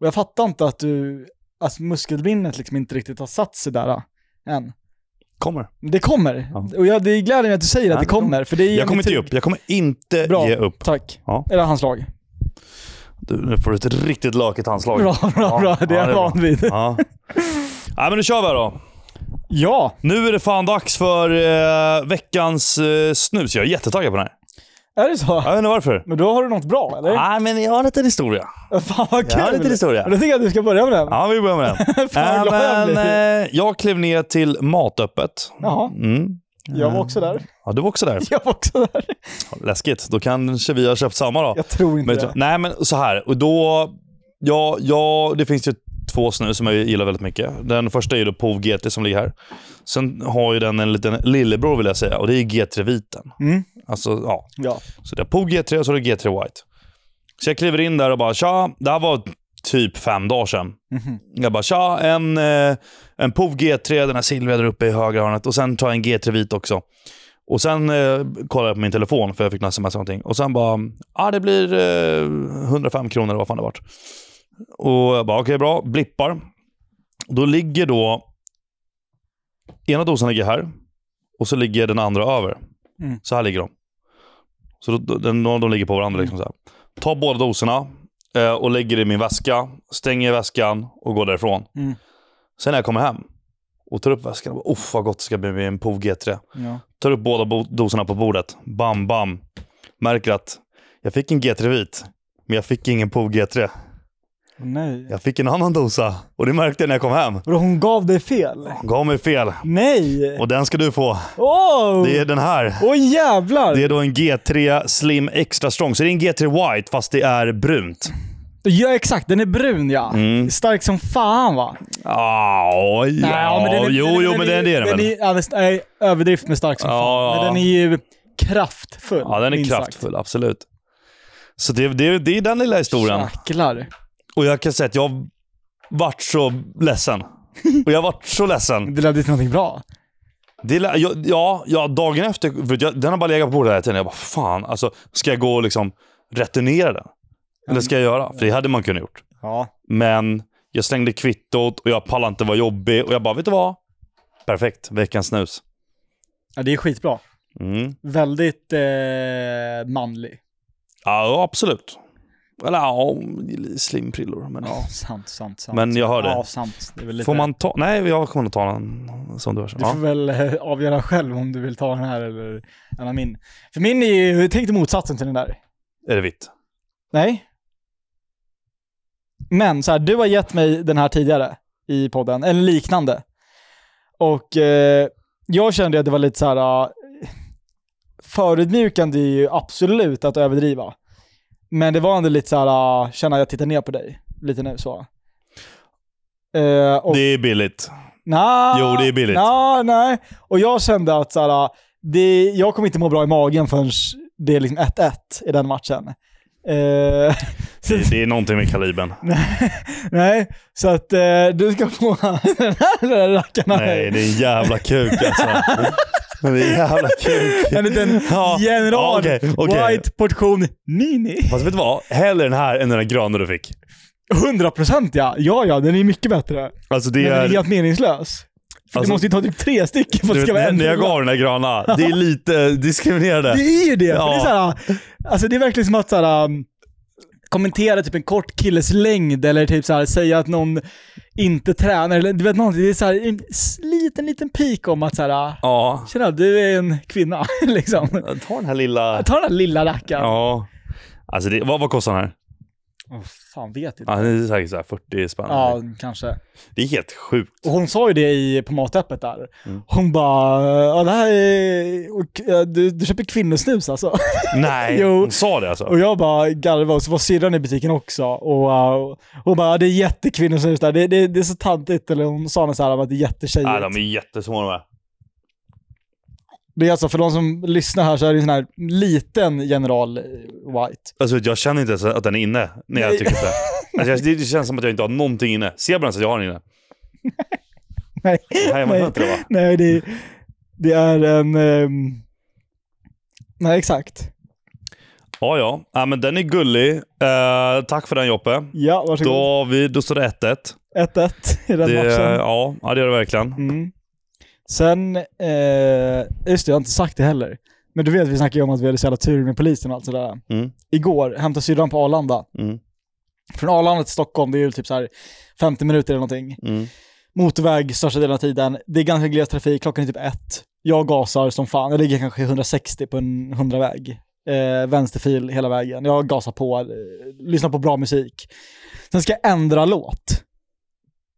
[SPEAKER 2] Och jag fattar inte att du, att muskelminnet liksom inte riktigt har satt sig där ah, än.
[SPEAKER 1] Kommer.
[SPEAKER 2] Men Det kommer.
[SPEAKER 1] Ja.
[SPEAKER 2] Och jag, det gläder mig att du säger
[SPEAKER 1] Ja,
[SPEAKER 2] att det
[SPEAKER 1] det kommer.
[SPEAKER 2] kommer, för det är
[SPEAKER 1] Jag kommer inte ge
[SPEAKER 2] tur.
[SPEAKER 1] upp. Jag kommer inte
[SPEAKER 2] typ. Bra.
[SPEAKER 1] ge upp.
[SPEAKER 2] Tack.
[SPEAKER 1] Ja.
[SPEAKER 2] Eller handslag.
[SPEAKER 1] Du, nu får du ett riktigt lökigt handslag.
[SPEAKER 2] Bra, bra,
[SPEAKER 1] Ja,
[SPEAKER 2] bra.
[SPEAKER 1] ja,
[SPEAKER 2] Det är jag
[SPEAKER 1] bra.
[SPEAKER 2] van vid.
[SPEAKER 1] Ja. Nej, men nu kör vi här då.
[SPEAKER 2] Ja,
[SPEAKER 1] Nu är det fan dags för eh, veckans eh, snus. Jag är jättetaggad på den här.
[SPEAKER 2] är det så?
[SPEAKER 1] Jag vet inte varför.
[SPEAKER 2] Men då har du något bra, eller?
[SPEAKER 1] Nej, men jag har en liten historia.
[SPEAKER 2] Fan vad kul!
[SPEAKER 1] Ah. Jag har lite historia.
[SPEAKER 2] Men Då tycker jag att du ska börja med den.
[SPEAKER 1] Ja, vi börjar med den.
[SPEAKER 2] Fan vad
[SPEAKER 1] Äh,
[SPEAKER 2] glad
[SPEAKER 1] men,
[SPEAKER 2] jag blir.
[SPEAKER 1] eh, jag klev ner till Matöppet.
[SPEAKER 2] Jaha.
[SPEAKER 1] Mm.
[SPEAKER 2] Jag var också där.
[SPEAKER 1] Ja, du var också där.
[SPEAKER 2] Jag var också där.
[SPEAKER 1] Läskigt. Då kanske vi har köpt samma då.
[SPEAKER 2] Jag tror inte
[SPEAKER 1] Men,
[SPEAKER 2] det.
[SPEAKER 1] nej, men så här. Och då, ja, ja, det finns ju två snus som jag gillar väldigt mycket. Den första är ju då POV GT som ligger här. Sen har ju den en liten lillebror vill jag säga och det är G3-viten.
[SPEAKER 2] Mm.
[SPEAKER 1] Alltså, ja.
[SPEAKER 2] Ja.
[SPEAKER 1] Så det är POV G3 och så är det G3 White. Så jag kliver in där och bara tja, det här var typ fem dagar sedan.
[SPEAKER 2] Mhm.
[SPEAKER 1] Jag bara tja, en, eh, en POV G3, den här silvriga där uppe i högra hörnet och sen tar jag en G3-vit också. Och sen eh, kollade jag på min telefon för jag fick något sms eller någonting. Och sen bara, ja ah, det blir eh, 105 kronor eller vad fan det vart. Och jag bara, okej bra, blippar. Då ligger då, ena dosan ligger här och så ligger den andra över.
[SPEAKER 2] Mm.
[SPEAKER 1] Så här ligger de. Så då, då, den, någon av dem ligger på varandra. Liksom så här. Tar båda doserna eh, och lägger i min väska, stänger väskan och går därifrån.
[SPEAKER 2] Mm.
[SPEAKER 1] Sen när jag kommer hem och tar upp väskan, och bara, uff vad gott det ska bli med en POV G3.
[SPEAKER 2] ja.
[SPEAKER 1] Tar upp båda bo- doserna på bordet. Bam, bam. Märker att jag fick en G3-vit, men jag fick ingen POV G3.
[SPEAKER 2] Nej.
[SPEAKER 1] Jag fick en annan dosa och det märkte jag när jag kom hem.
[SPEAKER 2] Vadå, hon gav dig fel?
[SPEAKER 1] Hon gav mig fel.
[SPEAKER 2] Nej!
[SPEAKER 1] Och den ska du få.
[SPEAKER 2] Åh!
[SPEAKER 1] Det är den här.
[SPEAKER 2] Åh jävlar!
[SPEAKER 1] Det är då en G3 Slim Extra Strong. Så det är en G3 White fast det är brunt.
[SPEAKER 2] Ja exakt, den är brun ja.
[SPEAKER 1] Mm.
[SPEAKER 2] Stark som fan va?
[SPEAKER 1] Ah, ja, jo, jo, men den är det
[SPEAKER 2] den
[SPEAKER 1] väl.
[SPEAKER 2] är, ja, visst, nej, överdrift med stark som
[SPEAKER 1] Ja,
[SPEAKER 2] fan.
[SPEAKER 1] ja.
[SPEAKER 2] Men den är ju kraftfull.
[SPEAKER 1] Ja, den är
[SPEAKER 2] minst sagt.
[SPEAKER 1] kraftfull, absolut. Så det, det, det är den lilla historien.
[SPEAKER 2] Jäklar.
[SPEAKER 1] Och jag kan säga att jag vart så ledsen. Och jag vart så ledsen.
[SPEAKER 2] Det ledde till någonting bra.
[SPEAKER 1] Det, lä- jag, ja, ja, dagen efter, för jag, den har bara legat på bordet hela tiden. Jag bara, fan, alltså, ska jag gå och liksom returnera den? Eller ska jag göra? För det hade man kunnat gjort.
[SPEAKER 2] Ja.
[SPEAKER 1] Men jag slängde kvittot och jag pallade inte vara jobbig. Och jag bara, vet du vad? Perfekt, veckans snus.
[SPEAKER 2] ja. Det är skitbra.
[SPEAKER 1] Mm.
[SPEAKER 2] Väldigt eh, manlig.
[SPEAKER 1] Ja, absolut. Eller ja, slimprillor. Men,
[SPEAKER 2] Ja, sant, sant, sant.
[SPEAKER 1] men jag hör
[SPEAKER 2] Ja,
[SPEAKER 1] det.
[SPEAKER 2] sant. Det är väl lite...
[SPEAKER 1] Får man ta? Nej, jag kommer nog ta den som du har.
[SPEAKER 2] Du får
[SPEAKER 1] Ja.
[SPEAKER 2] väl eh, avgöra själv om du vill ta den här eller en av min. För min är ju, tänk dig motsatsen till den där.
[SPEAKER 1] Är det vitt?
[SPEAKER 2] Nej. Men så här, du har gett mig den här tidigare i podden, eller liknande. Och eh, jag kände att det var lite så här, eh, förödmjukande är ju absolut att överdriva. Men det var ändå lite så här, eh, känna att jag tittar ner på dig lite nu så. Eh, och
[SPEAKER 1] Det är billigt.
[SPEAKER 2] Nej.
[SPEAKER 1] Jo, det är billigt.
[SPEAKER 2] Nej, nej. Och jag kände att så här, ah, det, jag kommer inte må bra i magen förrän det är liksom 1-1 i den matchen. Eh, så,
[SPEAKER 1] Det, det är någonting med kalibern.
[SPEAKER 2] nej, så att eh, du ska få den här lilla rackaren av
[SPEAKER 1] Nej,
[SPEAKER 2] mig.
[SPEAKER 1] det är en jävla kuk alltså. Det är en jävla kuk.
[SPEAKER 2] En liten
[SPEAKER 1] Ja,
[SPEAKER 2] general
[SPEAKER 1] ja, okej, okej.
[SPEAKER 2] white portion mini.
[SPEAKER 1] Fast vet du vad? Hellre den här än den där gröna du fick.
[SPEAKER 2] 100% ja. Ja, ja, den är mycket bättre.
[SPEAKER 1] Alltså det
[SPEAKER 2] Men den är
[SPEAKER 1] är...
[SPEAKER 2] helt meningslös. För du
[SPEAKER 1] Alltså-
[SPEAKER 2] måste ju ta typ tre stycken för att
[SPEAKER 1] Du
[SPEAKER 2] det ska vara
[SPEAKER 1] vet,
[SPEAKER 2] en
[SPEAKER 1] när jag
[SPEAKER 2] rulla.
[SPEAKER 1] gav den där gröna, det är lite diskriminerande.
[SPEAKER 2] Det är ju det. För
[SPEAKER 1] Ja.
[SPEAKER 2] det, är så här, alltså det är verkligen som att så här, um, kommentera typ en kort killes längd eller typ så här, säga att någon inte tränar. Eller, du vet någonting. Det är så här, en s- liten, liten pik om att så här, "Ah,
[SPEAKER 1] Ja.
[SPEAKER 2] tjena du är en kvinna. liksom.
[SPEAKER 1] Ta den här lilla...
[SPEAKER 2] Ta den här lilla rackaren.
[SPEAKER 1] Ja. Alltså det, vad, vad kostar den här?
[SPEAKER 2] Oh, fan vet inte.
[SPEAKER 1] Ja, det är säkert så här 40 spänn.
[SPEAKER 2] Ja, kanske.
[SPEAKER 1] Det är helt sjukt.
[SPEAKER 2] Och hon sa ju det i, på matöppet där.
[SPEAKER 1] Mm.
[SPEAKER 2] Hon bara, ja det här är, och, eh, du, du köper kvinnosnus alltså.
[SPEAKER 1] Nej,
[SPEAKER 2] Jo.
[SPEAKER 1] hon sa det alltså.
[SPEAKER 2] Och jag bara garvade och så var syrran i butiken också. Och uh, hon bara, "Ja, det är jättekvinnosnus där. Det, det, det är så tantigt. Eller hon sa något så här om att det är jättetjejigt.
[SPEAKER 1] Nej, de är jättesmå de här.
[SPEAKER 2] Det är alltså, för de som lyssnar här så är det en sån här liten general eh, White.
[SPEAKER 1] Alltså, jag känner inte ens att den är inne när jag
[SPEAKER 2] Nej.
[SPEAKER 1] tycker så här. Alltså, jag- det, det känns som att jag inte har någonting inne. Ser man ens att jag har den inne?
[SPEAKER 2] Nej.
[SPEAKER 1] Det här är man
[SPEAKER 2] Nej.
[SPEAKER 1] inte det va?
[SPEAKER 2] Nej, det, det är en... ehm, nej, exakt.
[SPEAKER 1] Ja, ja. ja men den är gullig. Eh, tack för den Joppe.
[SPEAKER 2] Ja,
[SPEAKER 1] Då,
[SPEAKER 2] varsågod.
[SPEAKER 1] har vi, då står det 1-1.
[SPEAKER 2] 1-1 i den
[SPEAKER 1] Det,
[SPEAKER 2] matchen.
[SPEAKER 1] ja, ja, det gör det verkligen.
[SPEAKER 2] Mm. Sen, eh, just det, jag har inte sagt det heller. Men du vet, vi snackade ju om att vi hade så jävla tur med polisen och allt sådär.
[SPEAKER 1] Mm.
[SPEAKER 2] Igår hämtade syrran på Arlanda.
[SPEAKER 1] Mm.
[SPEAKER 2] Från Arlanda till Stockholm, det är ju typ så här 50 minuter eller någonting.
[SPEAKER 1] Mm.
[SPEAKER 2] Motorväg största delen av tiden. Det är ganska gles trafik, klockan är typ ett. Jag gasar som fan, jag ligger kanske 160 på en 100-väg. Eh, vänsterfil hela vägen. Jag gasar på, eh, lyssnar på bra musik. Sen ska jag ändra låt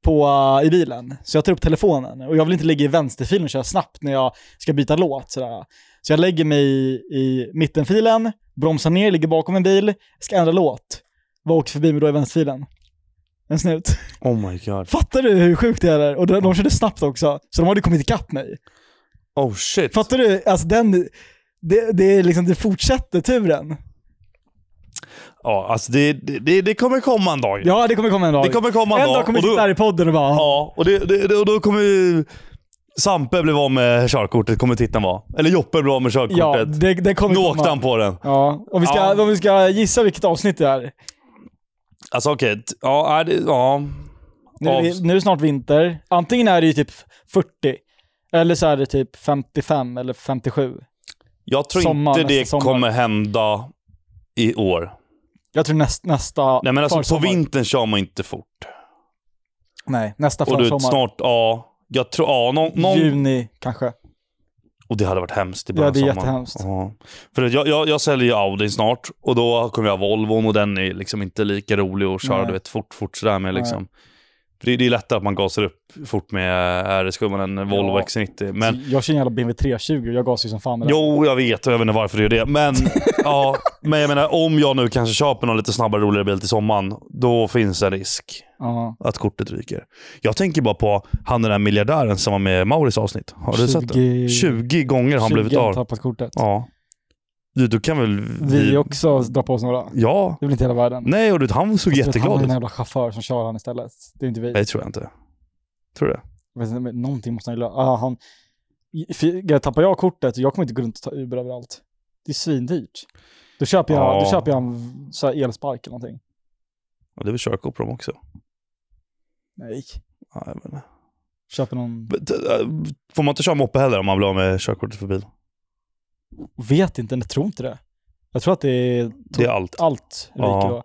[SPEAKER 2] på, eh, i bilen. Så jag tar upp telefonen och jag vill inte ligga i vänsterfilen och köra snabbt när jag ska byta låt. Sådär. Så jag lägger mig i, i mittenfilen, bromsar ner, ligger bakom en bil, ska ändra låt. Vad åker förbi mig då i vänsterfilen? En snut.
[SPEAKER 1] Oh my god.
[SPEAKER 2] Fattar du hur sjukt det är? där? Och de, de körde snabbt också, så de hade kommit ikapp mig.
[SPEAKER 1] Oh shit.
[SPEAKER 2] Fattar du? Alltså den, det, det är liksom, det fortsätter turen.
[SPEAKER 1] Ja, alltså det, det, det- det kommer komma en dag.
[SPEAKER 2] Ja, det kommer komma en dag.
[SPEAKER 1] Det kommer komma en,
[SPEAKER 2] en dag kommer
[SPEAKER 1] och
[SPEAKER 2] vi
[SPEAKER 1] då,
[SPEAKER 2] sitta här i podden och bara,
[SPEAKER 1] Ja, och, det, det, det, och då kommer ju Sampe blev av med körkortet, kommer titeln vara. Eller Joppe blev av med
[SPEAKER 2] ja,
[SPEAKER 1] körkortet.
[SPEAKER 2] det, det kommer
[SPEAKER 1] nu
[SPEAKER 2] komma.
[SPEAKER 1] åkte han på den.
[SPEAKER 2] Ja, om vi, ska,
[SPEAKER 1] Ja.
[SPEAKER 2] om vi ska gissa vilket avsnitt det är.
[SPEAKER 1] Alltså okej, t- ja, är det, ja.
[SPEAKER 2] Nu, är
[SPEAKER 1] Avs-
[SPEAKER 2] vi- nu är det snart vinter. Antingen är det ju typ 40, eller så är det typ 55 eller 57.
[SPEAKER 1] Jag tror
[SPEAKER 2] Sommar,
[SPEAKER 1] inte det
[SPEAKER 2] nästa alltså, sommar.
[SPEAKER 1] kommer hända i år.
[SPEAKER 2] Jag tror näst, nästa
[SPEAKER 1] Nej men alltså på
[SPEAKER 2] försommar.
[SPEAKER 1] vintern kör man inte fort.
[SPEAKER 2] Nej, nästa
[SPEAKER 1] Och du vet,
[SPEAKER 2] försommar.
[SPEAKER 1] snart, ja. Jag tror, ja, någon, någon,
[SPEAKER 2] Juni kanske.
[SPEAKER 1] Och det hade varit hemskt i
[SPEAKER 2] Ja,
[SPEAKER 1] början
[SPEAKER 2] det är
[SPEAKER 1] av sommaren.
[SPEAKER 2] jättehemskt.
[SPEAKER 1] Ja. För att jag, jag, jag säljer ju Audin snart och då kommer jag ha Volvon och den är liksom inte lika rolig att köra
[SPEAKER 2] Nej.
[SPEAKER 1] du vet, fort, fort sådär med.
[SPEAKER 2] Nej.
[SPEAKER 1] Liksom. För det, det är lättare att man gasar upp fort med RS-gumman än Volvo
[SPEAKER 2] Ja.
[SPEAKER 1] XC90. Men
[SPEAKER 2] Jag kör en jävla BMW 320 och jag gasar ju som fan med den.
[SPEAKER 1] jo, jag vet och jag vet inte varför det är det. Men, ja, men jag menar, om jag nu kanske köper någon lite snabbare, roligare bil till sommaren, då finns en risk
[SPEAKER 2] Ja.
[SPEAKER 1] att kortet ryker. Jag tänker bara på han den där miljardären som var med i Mauris avsnitt. Har du sett det? 20 gånger har han blivit
[SPEAKER 2] 20
[SPEAKER 1] av.
[SPEAKER 2] tappat kortet.
[SPEAKER 1] Ja. Du, du kan väl...
[SPEAKER 2] Vi, också drar på oss några. Det
[SPEAKER 1] Ja.
[SPEAKER 2] är väl inte hela världen.
[SPEAKER 1] Nej, och du, han såg
[SPEAKER 2] Jag tror att Alltså, Han är
[SPEAKER 1] jätteglad
[SPEAKER 2] den
[SPEAKER 1] ut.
[SPEAKER 2] här
[SPEAKER 1] Nej,
[SPEAKER 2] jävla chaufför som kör han istället. Det är inte vi.
[SPEAKER 1] det tror jag inte. Tror du det?
[SPEAKER 2] Jag vet inte, men Någonting måste han ju lösa. Ah, han... för jag- Tappar jag kortet, jag kommer inte gå runt och ta Uber överallt. Det är svindyrt. Då köper jag,
[SPEAKER 1] Ja.
[SPEAKER 2] då köper jag en så här elspark eller någonting.
[SPEAKER 1] Ja, det är väl körkort på dem också.
[SPEAKER 2] Nej.
[SPEAKER 1] Ja, jag vet inte.
[SPEAKER 2] Köper någon...
[SPEAKER 1] Men, t- äh, Får man inte köra moppe heller om man blir av med körkortet för bil?
[SPEAKER 2] Vet inte, jag tror inte det. Jag tror att det är
[SPEAKER 1] Det är allt.
[SPEAKER 2] allt ryker
[SPEAKER 1] Ja.
[SPEAKER 2] då.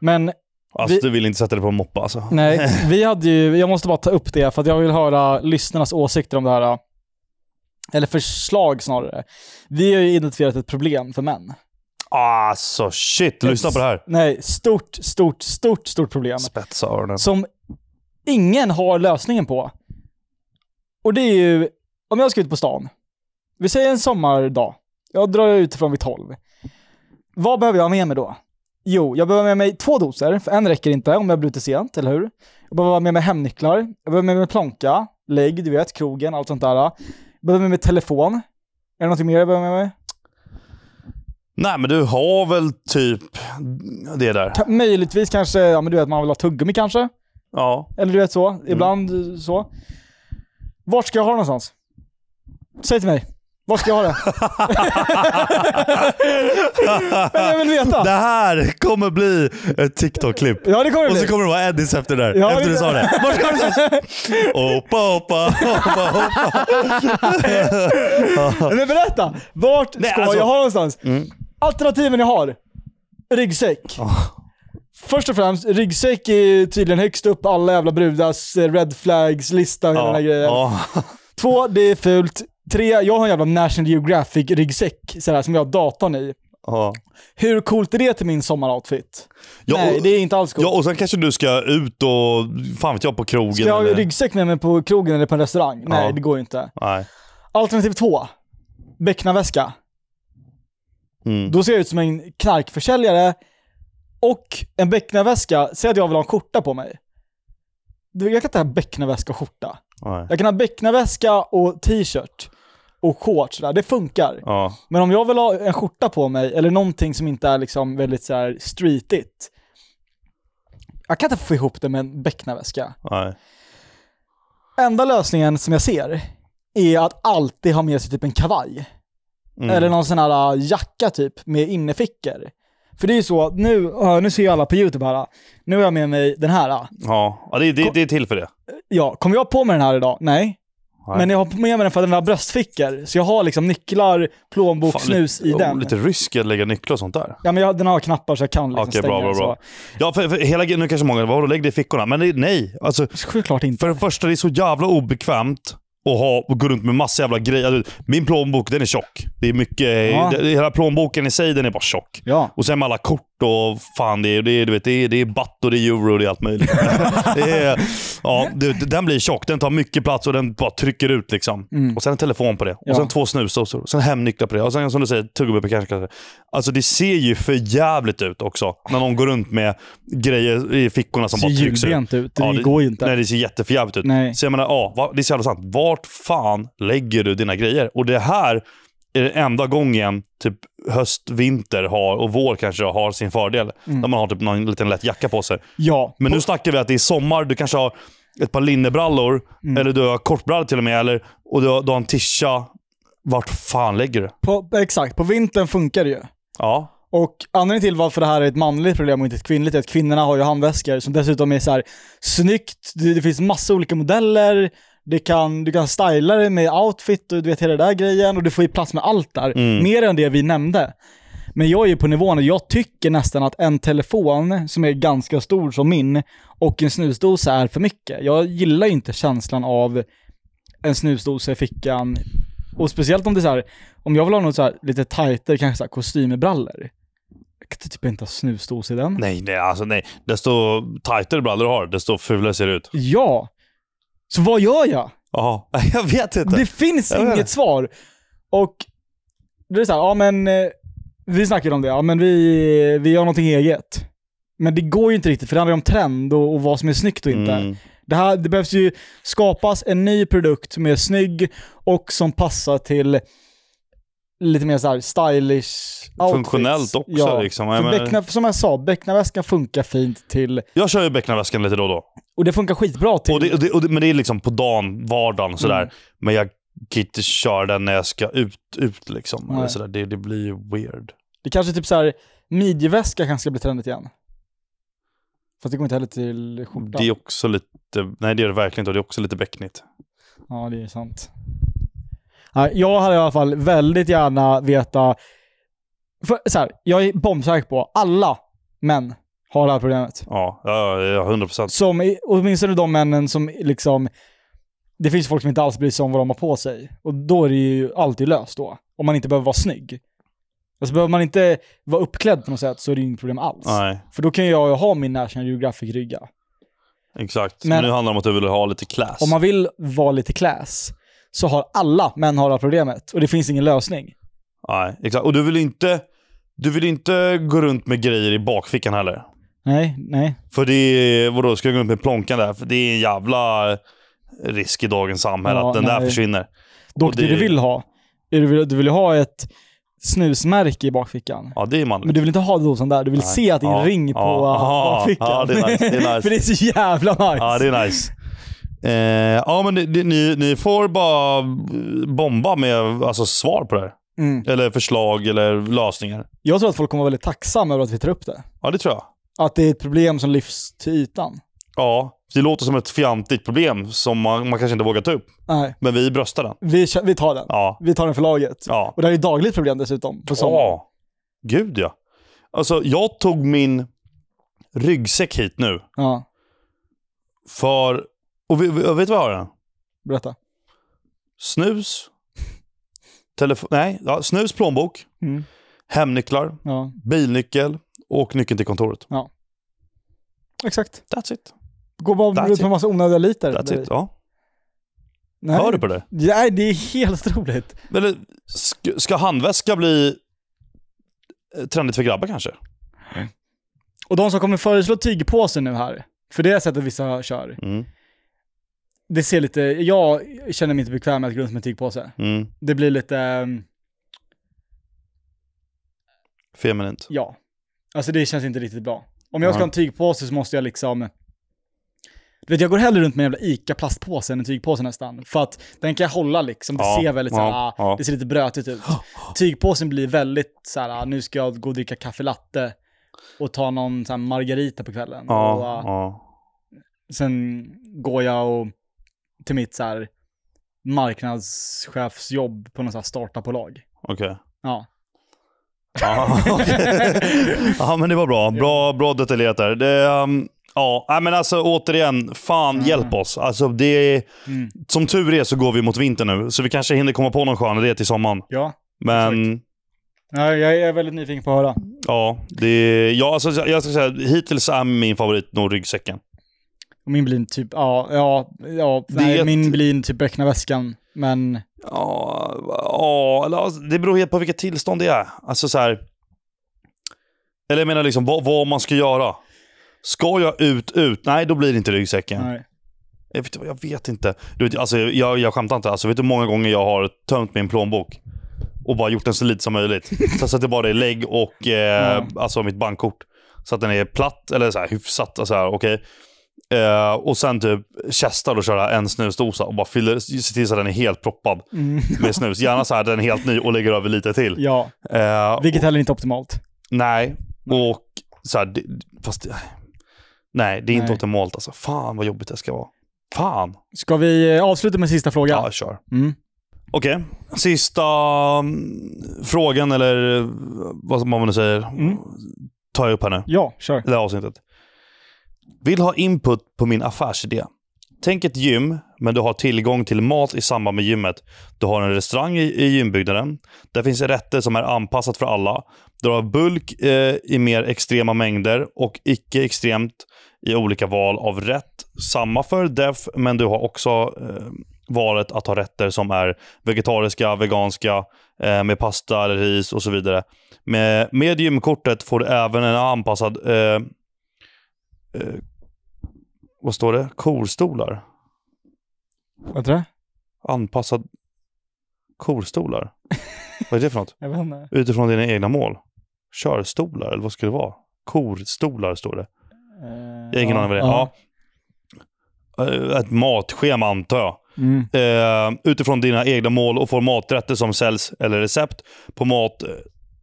[SPEAKER 2] Men
[SPEAKER 1] Alltså,
[SPEAKER 2] Vi-
[SPEAKER 1] du vill inte sätta dig på en moppe alltså?
[SPEAKER 2] Nej, vi hade ju, jag måste bara ta upp det för att jag vill höra lyssnarnas åsikter om det här. Eller förslag snarare. Vi har ju identifierat ett problem för män.
[SPEAKER 1] Alltså shit, lyssna på det här.
[SPEAKER 2] Nej, stort, stort, stort, stort problem.
[SPEAKER 1] Spetsa öronen.
[SPEAKER 2] Som ingen har lösningen på. Och det är ju, om jag ska ut på stan. Vi säger en sommardag. Jag drar ut från vid 12. Vad behöver jag ha med mig då? Jo, jag behöver ha med mig två doser, för en räcker inte om jag blir ute sent, eller hur? Jag behöver ha med mig hemnycklar, jag behöver ha med mig plånka, lägg, du vet, krogen, allt sånt där. Jag behöver ha med mig telefon. Är det någonting mer jag behöver ha med mig?
[SPEAKER 1] Nej, men du har väl typ det där?
[SPEAKER 2] Ka- möjligtvis kanske, ja men du vet, man vill ha tuggummi kanske?
[SPEAKER 1] Ja.
[SPEAKER 2] Eller du vet så.
[SPEAKER 1] Mm.
[SPEAKER 2] Ibland eh, så. Vart ska jag ha det någonstans? Säg till mig. Vart ska jag ha det? Men jag vill
[SPEAKER 1] Det
[SPEAKER 2] veta.
[SPEAKER 1] här kommer bli ett TikTok-klipp.
[SPEAKER 2] Ja, det kommer det
[SPEAKER 1] Och så
[SPEAKER 2] bli.
[SPEAKER 1] kommer det vara Eddies efter det där.
[SPEAKER 2] Ja,
[SPEAKER 1] efter du
[SPEAKER 2] det-
[SPEAKER 1] sa det. Var ska du någonstans? Hoppa, hoppa, hoppa, hoppa.
[SPEAKER 2] Men berätta. Vart
[SPEAKER 1] Nej,
[SPEAKER 2] ska
[SPEAKER 1] alltså-
[SPEAKER 2] jag ha det någonstans?
[SPEAKER 1] Mm. Ah.
[SPEAKER 2] Alternativen jag har. Ryggsäck. Först och främst, ryggsäck är tydligen högst upp på alla jävla brudars eh, red flags-lista och hela den
[SPEAKER 1] Ah,
[SPEAKER 2] här grejen.
[SPEAKER 1] ja.
[SPEAKER 2] Två, det är fult. Tre, jag har en jävla National Geographic-ryggsäck sådär, som jag har datorn i.
[SPEAKER 1] Ja.
[SPEAKER 2] Hur coolt är det till min sommaroutfit?
[SPEAKER 1] Ja,
[SPEAKER 2] Nej,
[SPEAKER 1] och,
[SPEAKER 2] det är inte alls coolt.
[SPEAKER 1] ja, och sen kanske du ska ut och, fan vet jag, på krogen
[SPEAKER 2] Ska jag ha
[SPEAKER 1] eller...
[SPEAKER 2] ryggsäck med mig på krogen eller på en restaurang? Nej,
[SPEAKER 1] Ja.
[SPEAKER 2] det går ju inte.
[SPEAKER 1] Nej.
[SPEAKER 2] Alternativ två. Becknarväska.
[SPEAKER 1] Mm.
[SPEAKER 2] Då ser jag ut som en knarkförsäljare och en becknarväska. Säg att jag vill ha en skjorta på mig. Du, Jag kan inte ha becknarväska och skjorta.
[SPEAKER 1] Nej.
[SPEAKER 2] Jag kan ha becknarväska och t-shirt och shorts. Där. Det funkar.
[SPEAKER 1] Ja.
[SPEAKER 2] Men om jag vill ha en skjorta på mig eller någonting som inte är liksom väldigt så här streetigt. Jag kan inte få ihop det med en becknarväska.
[SPEAKER 1] Nej.
[SPEAKER 2] Enda lösningen som jag ser är att alltid ha med sig typ en kavaj.
[SPEAKER 1] Mm.
[SPEAKER 2] Eller någon sån här äh, jacka typ med innefickor. För det är ju så, att nu, äh, nu ser ju alla på YouTube här. äh, Nu har jag med mig den här. äh.
[SPEAKER 1] Ja, ja det, det, det är till för det.
[SPEAKER 2] Ja, kom jag på mig den här idag? Nej.
[SPEAKER 1] Nej.
[SPEAKER 2] Men jag har med mig den för att den har bröstfickor. Så jag har liksom nycklar, plånbok,
[SPEAKER 1] Fan,
[SPEAKER 2] snus i
[SPEAKER 1] lite,
[SPEAKER 2] den.
[SPEAKER 1] Lite rysk att lägga nycklar och sånt där.
[SPEAKER 2] Ja, men jag, den har knappar så jag kan liksom
[SPEAKER 1] Okej,
[SPEAKER 2] stänga
[SPEAKER 1] bra, bra,
[SPEAKER 2] den, så.
[SPEAKER 1] bra. Ja, för, för hela grejen, nu kanske många, vadå lägg det i fickorna? Men det, nej, alltså
[SPEAKER 2] Självklart inte.
[SPEAKER 1] för det första det är så jävla obekvämt att ha, och gå runt med massa jävla grejer. Alltså, Min plånbok den är tjock. Det är mycket,
[SPEAKER 2] Ja.
[SPEAKER 1] det, hela plånboken i sig den är bara tjock.
[SPEAKER 2] Ja.
[SPEAKER 1] Och sen med alla kort och fan, det är, det är, du vet, det är, det är batt och det är euro och det är allt möjligt. det är, ja, du, vet, den blir tjock. Den tar mycket plats och den bara trycker ut. liksom.
[SPEAKER 2] Mm.
[SPEAKER 1] Och sen en telefon på det.
[SPEAKER 2] Ja.
[SPEAKER 1] Och sen två snusdosor. Sen hemnycklar på det. Och sen som du säger, tuggummi på kanske. Alltså det ser ju för jävligt ut också. När någon går runt med grejer i fickorna som
[SPEAKER 2] Ser
[SPEAKER 1] bara trycks ut.
[SPEAKER 2] ljudbent ut. Det,
[SPEAKER 1] Ja,
[SPEAKER 2] går ju inte.
[SPEAKER 1] Nej, det ser jätteförjävligt ut.
[SPEAKER 2] Nej.
[SPEAKER 1] Så jag menar, ja, va- det är så jävla sant. Vart fan lägger du dina grejer? Och det här är den enda gången typ höst, vinter har, och vår kanske har sin fördel.
[SPEAKER 2] Mm.
[SPEAKER 1] När man har typ någon liten lätt jacka på sig.
[SPEAKER 2] Ja.
[SPEAKER 1] Men nu snackar vi att det är sommar, du kanske har ett par linnebrallor,
[SPEAKER 2] Mm.
[SPEAKER 1] eller du har kortbrallor till och med, eller, och du har, du har en tisha. Vart fan lägger du?
[SPEAKER 2] På, exakt, på vintern funkar det ju.
[SPEAKER 1] Ja.
[SPEAKER 2] Och anledningen till varför det här är ett manligt problem och inte ett kvinnligt är att kvinnorna har ju handväskor som dessutom är så här snyggt, det, det finns massa olika modeller, det kan, du kan styla det med outfit och du vet hela den där grejen och du får ju plats med allt där.
[SPEAKER 1] Mm.
[SPEAKER 2] Mer än det vi nämnde. Men jag är ju på nivån och jag tycker nästan att en telefon som är ganska stor som min och en snusdosa är för mycket. Jag gillar ju inte känslan av en snusdosa i fickan. Och speciellt om det är så här, om jag vill ha något så här lite tajtare, kanske så här kostymbrallor. Jag kan typ inte ha snusdos i den.
[SPEAKER 1] Nej, nej, alltså nej. Desto tajtare brallor du har, desto fulare ser det ut.
[SPEAKER 2] Ja! Så vad gör jag?
[SPEAKER 1] Ja, jag vet inte.
[SPEAKER 2] Det finns
[SPEAKER 1] Jag vet
[SPEAKER 2] inget
[SPEAKER 1] inte.
[SPEAKER 2] svar. Och det är så här, ja men eh, vi snackade om det, ja men vi, vi gör någonting eget. Men det går ju inte riktigt, för det handlar ju om trend och, och vad som är snyggt och inte.
[SPEAKER 1] Mm.
[SPEAKER 2] Det, här, det behövs ju skapas en ny produkt som är snygg och som passar till lite mer så här stylish outfits.
[SPEAKER 1] Funktionellt också, liksom. Jag
[SPEAKER 2] För
[SPEAKER 1] menar-
[SPEAKER 2] Beckna, som jag sa, becknarväskan funkar fint till,
[SPEAKER 1] Jag kör ju becknarväskan lite då och då.
[SPEAKER 2] och det funkar skitbra till.
[SPEAKER 1] Och det, och det, och det, men det är liksom på dagen, vardagen sådär.
[SPEAKER 2] Mm.
[SPEAKER 1] Men jag kan inte köra den när jag ska ut, ut liksom. Eller
[SPEAKER 2] Nej.
[SPEAKER 1] sådär. Det, det blir ju weird.
[SPEAKER 2] Det kanske typ så här midjeväska kanske ska bli trendigt igen. Fast det går inte heller till skjorta.
[SPEAKER 1] Det är också lite, nej det är det verkligen inte. Och det är också lite becknigt.
[SPEAKER 2] Ja, det är sant. Nej, Jag hade i alla fall väldigt gärna veta... För, så här, jag är bombsäker på alla män har det här problemet.
[SPEAKER 1] Ja, ja, ja, 100 procent.
[SPEAKER 2] Som, i- åtminstone de männen som liksom... Det finns folk som inte alls bryr sig om vad de har på sig. Och då är det ju alltid löst då. Om man inte behöver vara snygg. Alltså behöver man inte vara uppklädd på något sätt så är det ju inget problem alls.
[SPEAKER 1] Nej,
[SPEAKER 2] För då kan jag ju ha min National Geographic-rygga.
[SPEAKER 1] exakt. Men,
[SPEAKER 2] Men-
[SPEAKER 1] nu handlar det om att du vill ha lite class.
[SPEAKER 2] Om man vill vara lite class så har alla män har det här problemet och det finns ingen lösning.
[SPEAKER 1] Nej, exakt. Och du vill inte, du vill inte gå runt med grejer i bakfickan heller.
[SPEAKER 2] Nej, nej.
[SPEAKER 1] För det är, vadå, ska jag gå runt med plånkan där? För det är en jävla risk i dagens samhälle
[SPEAKER 2] Ja,
[SPEAKER 1] att den där
[SPEAKER 2] nej.
[SPEAKER 1] försvinner.
[SPEAKER 2] Dock
[SPEAKER 1] Och
[SPEAKER 2] det,
[SPEAKER 1] det-
[SPEAKER 2] du vill ha, är du vill, du vill ha ett snusmärke i bakfickan.
[SPEAKER 1] Ja, det är
[SPEAKER 2] Men
[SPEAKER 1] manligt.
[SPEAKER 2] du vill inte ha dosan där, du vill
[SPEAKER 1] Nej.
[SPEAKER 2] se att det är en
[SPEAKER 1] Ja,
[SPEAKER 2] ring på
[SPEAKER 1] ja,
[SPEAKER 2] äh,
[SPEAKER 1] ja,
[SPEAKER 2] bakfickan.
[SPEAKER 1] ja, det är nice, det är nice.
[SPEAKER 2] För det är så jävla nice.
[SPEAKER 1] Ja, det är nice. Eh, ja, men ni- ni, ni, ni får bara bomba med alltså, svar på det här.
[SPEAKER 2] mm.
[SPEAKER 1] Eller förslag eller lösningar.
[SPEAKER 2] Jag tror att folk kommer vara väldigt tacksamma över att vi tar upp det.
[SPEAKER 1] Ja, det tror jag.
[SPEAKER 2] Att det är ett problem som lyfts till ytan.
[SPEAKER 1] Ja, det låter som ett fjantigt problem som man, man kanske inte vågar ta upp.
[SPEAKER 2] Nej,
[SPEAKER 1] Men vi bröstar den.
[SPEAKER 2] vi, kö- vi tar den.
[SPEAKER 1] Ja.
[SPEAKER 2] Vi tar den för laget.
[SPEAKER 1] ja.
[SPEAKER 2] Och det här är ett dagligt problem dessutom. På sommaren.
[SPEAKER 1] Ja. Gud ja. Alltså, jag tog min ryggsäck hit nu
[SPEAKER 2] Ja,
[SPEAKER 1] för... Och vi, vi, vet du vad jag har i den?
[SPEAKER 2] berätta.
[SPEAKER 1] Snus. Telefon... Nej, ja, snus, plånbok.
[SPEAKER 2] Mm.
[SPEAKER 1] Hemnycklar,
[SPEAKER 2] Ja,
[SPEAKER 1] bilnyckel och nyckeln till kontoret.
[SPEAKER 2] exakt.
[SPEAKER 1] That's it.
[SPEAKER 2] Går bara
[SPEAKER 1] That's
[SPEAKER 2] runt med en
[SPEAKER 1] it.
[SPEAKER 2] massa onödiga liter.
[SPEAKER 1] That's it. Ja.
[SPEAKER 2] Nej.
[SPEAKER 1] Hör du på det?
[SPEAKER 2] Nej, det är helt otroligt.
[SPEAKER 1] Eller, sk- ska handväska bli eh, trendigt för grabbar kanske?
[SPEAKER 2] Och de som kommer föreslå tygpåsen nu här, för det har jag sett att vissa kör.
[SPEAKER 1] Mm.
[SPEAKER 2] Det ser lite, jag känner mig inte bekväm med att gå runt med tygpåse.
[SPEAKER 1] Mm.
[SPEAKER 2] Det blir lite, ehm,
[SPEAKER 1] Feminint.
[SPEAKER 2] ja. Alltså det känns inte riktigt bra. Om jag ska
[SPEAKER 1] Ja.
[SPEAKER 2] ha en tygpåse så måste jag liksom, du vet jag går hellre runt med en jävla ICA-plastpåse än en tygpåse nästan. För att den kan jag hålla liksom, det
[SPEAKER 1] Ja,
[SPEAKER 2] ser väldigt
[SPEAKER 1] ja,
[SPEAKER 2] såhär, ah,
[SPEAKER 1] ja.
[SPEAKER 2] det ser lite brötigt ut. Tygpåsen blir väldigt såhär, ah, nu ska jag gå och dricka kaffe latte och ta någon såhär margarita på kvällen.
[SPEAKER 1] Ja,
[SPEAKER 2] Och, ah,
[SPEAKER 1] ja.
[SPEAKER 2] Sen går jag och, till mitt så här marknadschefsjobb på något så här startupbolag.
[SPEAKER 1] okej.
[SPEAKER 2] Ja.
[SPEAKER 1] Ja, okej. ja, men det var bra. Bra, bra detaljerat där. Det, ehm, ja, nej, men alltså återigen, fan hjälp oss. Alltså, det är,
[SPEAKER 2] Mm.
[SPEAKER 1] som tur är så går vi mot vintern nu, så vi kanske hinner komma på någon skön idé till sommaren.
[SPEAKER 2] Ja.
[SPEAKER 1] Men
[SPEAKER 2] ja. Jag är väldigt nyfiken på att höra.
[SPEAKER 1] ja, det, ja alltså, jag ska säga hittills är min favorit nog ryggsäcken.
[SPEAKER 2] Och min blir en typ, ja, ja, ja, nej,
[SPEAKER 1] Det-
[SPEAKER 2] min blir en typ öppna väskan. Men,
[SPEAKER 1] Ja, ja eller, alltså, det beror helt på vilket tillstånd det är. Alltså så här, Eller jag menar liksom vad, vad man ska göra. Ska jag ut, ut? Nej, då blir det inte ryggsäcken.
[SPEAKER 2] nej.
[SPEAKER 1] Jag vet, jag vet inte. Du vet, alltså, jag, jag skämtar inte. Alltså, vet du hur många gånger jag har tömt min plånbok och bara gjort den så liten som möjligt? så att det bara är lägg och eh,
[SPEAKER 2] Mm.
[SPEAKER 1] alltså mitt bankkort. Så att den är platt, eller så här, hyfsat. Alltså, här, okej. eh, och sen typ kästar och köra en snusdosa och bara fyller, se till så att den är helt proppad
[SPEAKER 2] Mm,
[SPEAKER 1] med snus. Gärna så här, den är helt ny och lägger över lite till.
[SPEAKER 2] ja,
[SPEAKER 1] Eh,
[SPEAKER 2] vilket heller inte är optimalt.
[SPEAKER 1] Nej. Och så här, det, fast... Nej, det är inte
[SPEAKER 2] Nej.
[SPEAKER 1] optimalt alltså. Fan vad jobbigt det ska vara. Fan.
[SPEAKER 2] Ska vi eh, avsluta med sista frågan?
[SPEAKER 1] ja kör.
[SPEAKER 2] Mm.
[SPEAKER 1] Okej, sista mm, frågan eller eh, vad man nu säger
[SPEAKER 2] Mm.
[SPEAKER 1] tar jag upp här nu.
[SPEAKER 2] Ja, kör.
[SPEAKER 1] Det här avsnittet. Vill ha input på min affärsidé. Tänk ett gym, men du har tillgång till mat i samband med gymmet. Du har en restaurang i, i gymbyggnaden. Där finns rätter som är anpassat för alla. Du har bulk eh, i mer extrema mängder och icke extremt i olika val av rätt. Samma för def, men du har också eh, valet att ha rätter som är vegetariska, veganska, eh, med pasta eller ris och så vidare. Med, med gymkortet får du även en anpassad... Eh, eh, vad står det? Korstolar?
[SPEAKER 2] Vad tror du?
[SPEAKER 1] Anpassad... Korstolar? vad är det för något?
[SPEAKER 2] Jag vet inte.
[SPEAKER 1] Utifrån dina egna mål? Körstolar, eller vad ska det vara? Korstolar står det. Jag har ingen aning vad det är. Ja. Eh, Ett matschema antar jag.
[SPEAKER 2] Mm.
[SPEAKER 1] eh, utifrån dina egna mål och får maträtter som säljs eller recept på mat eh,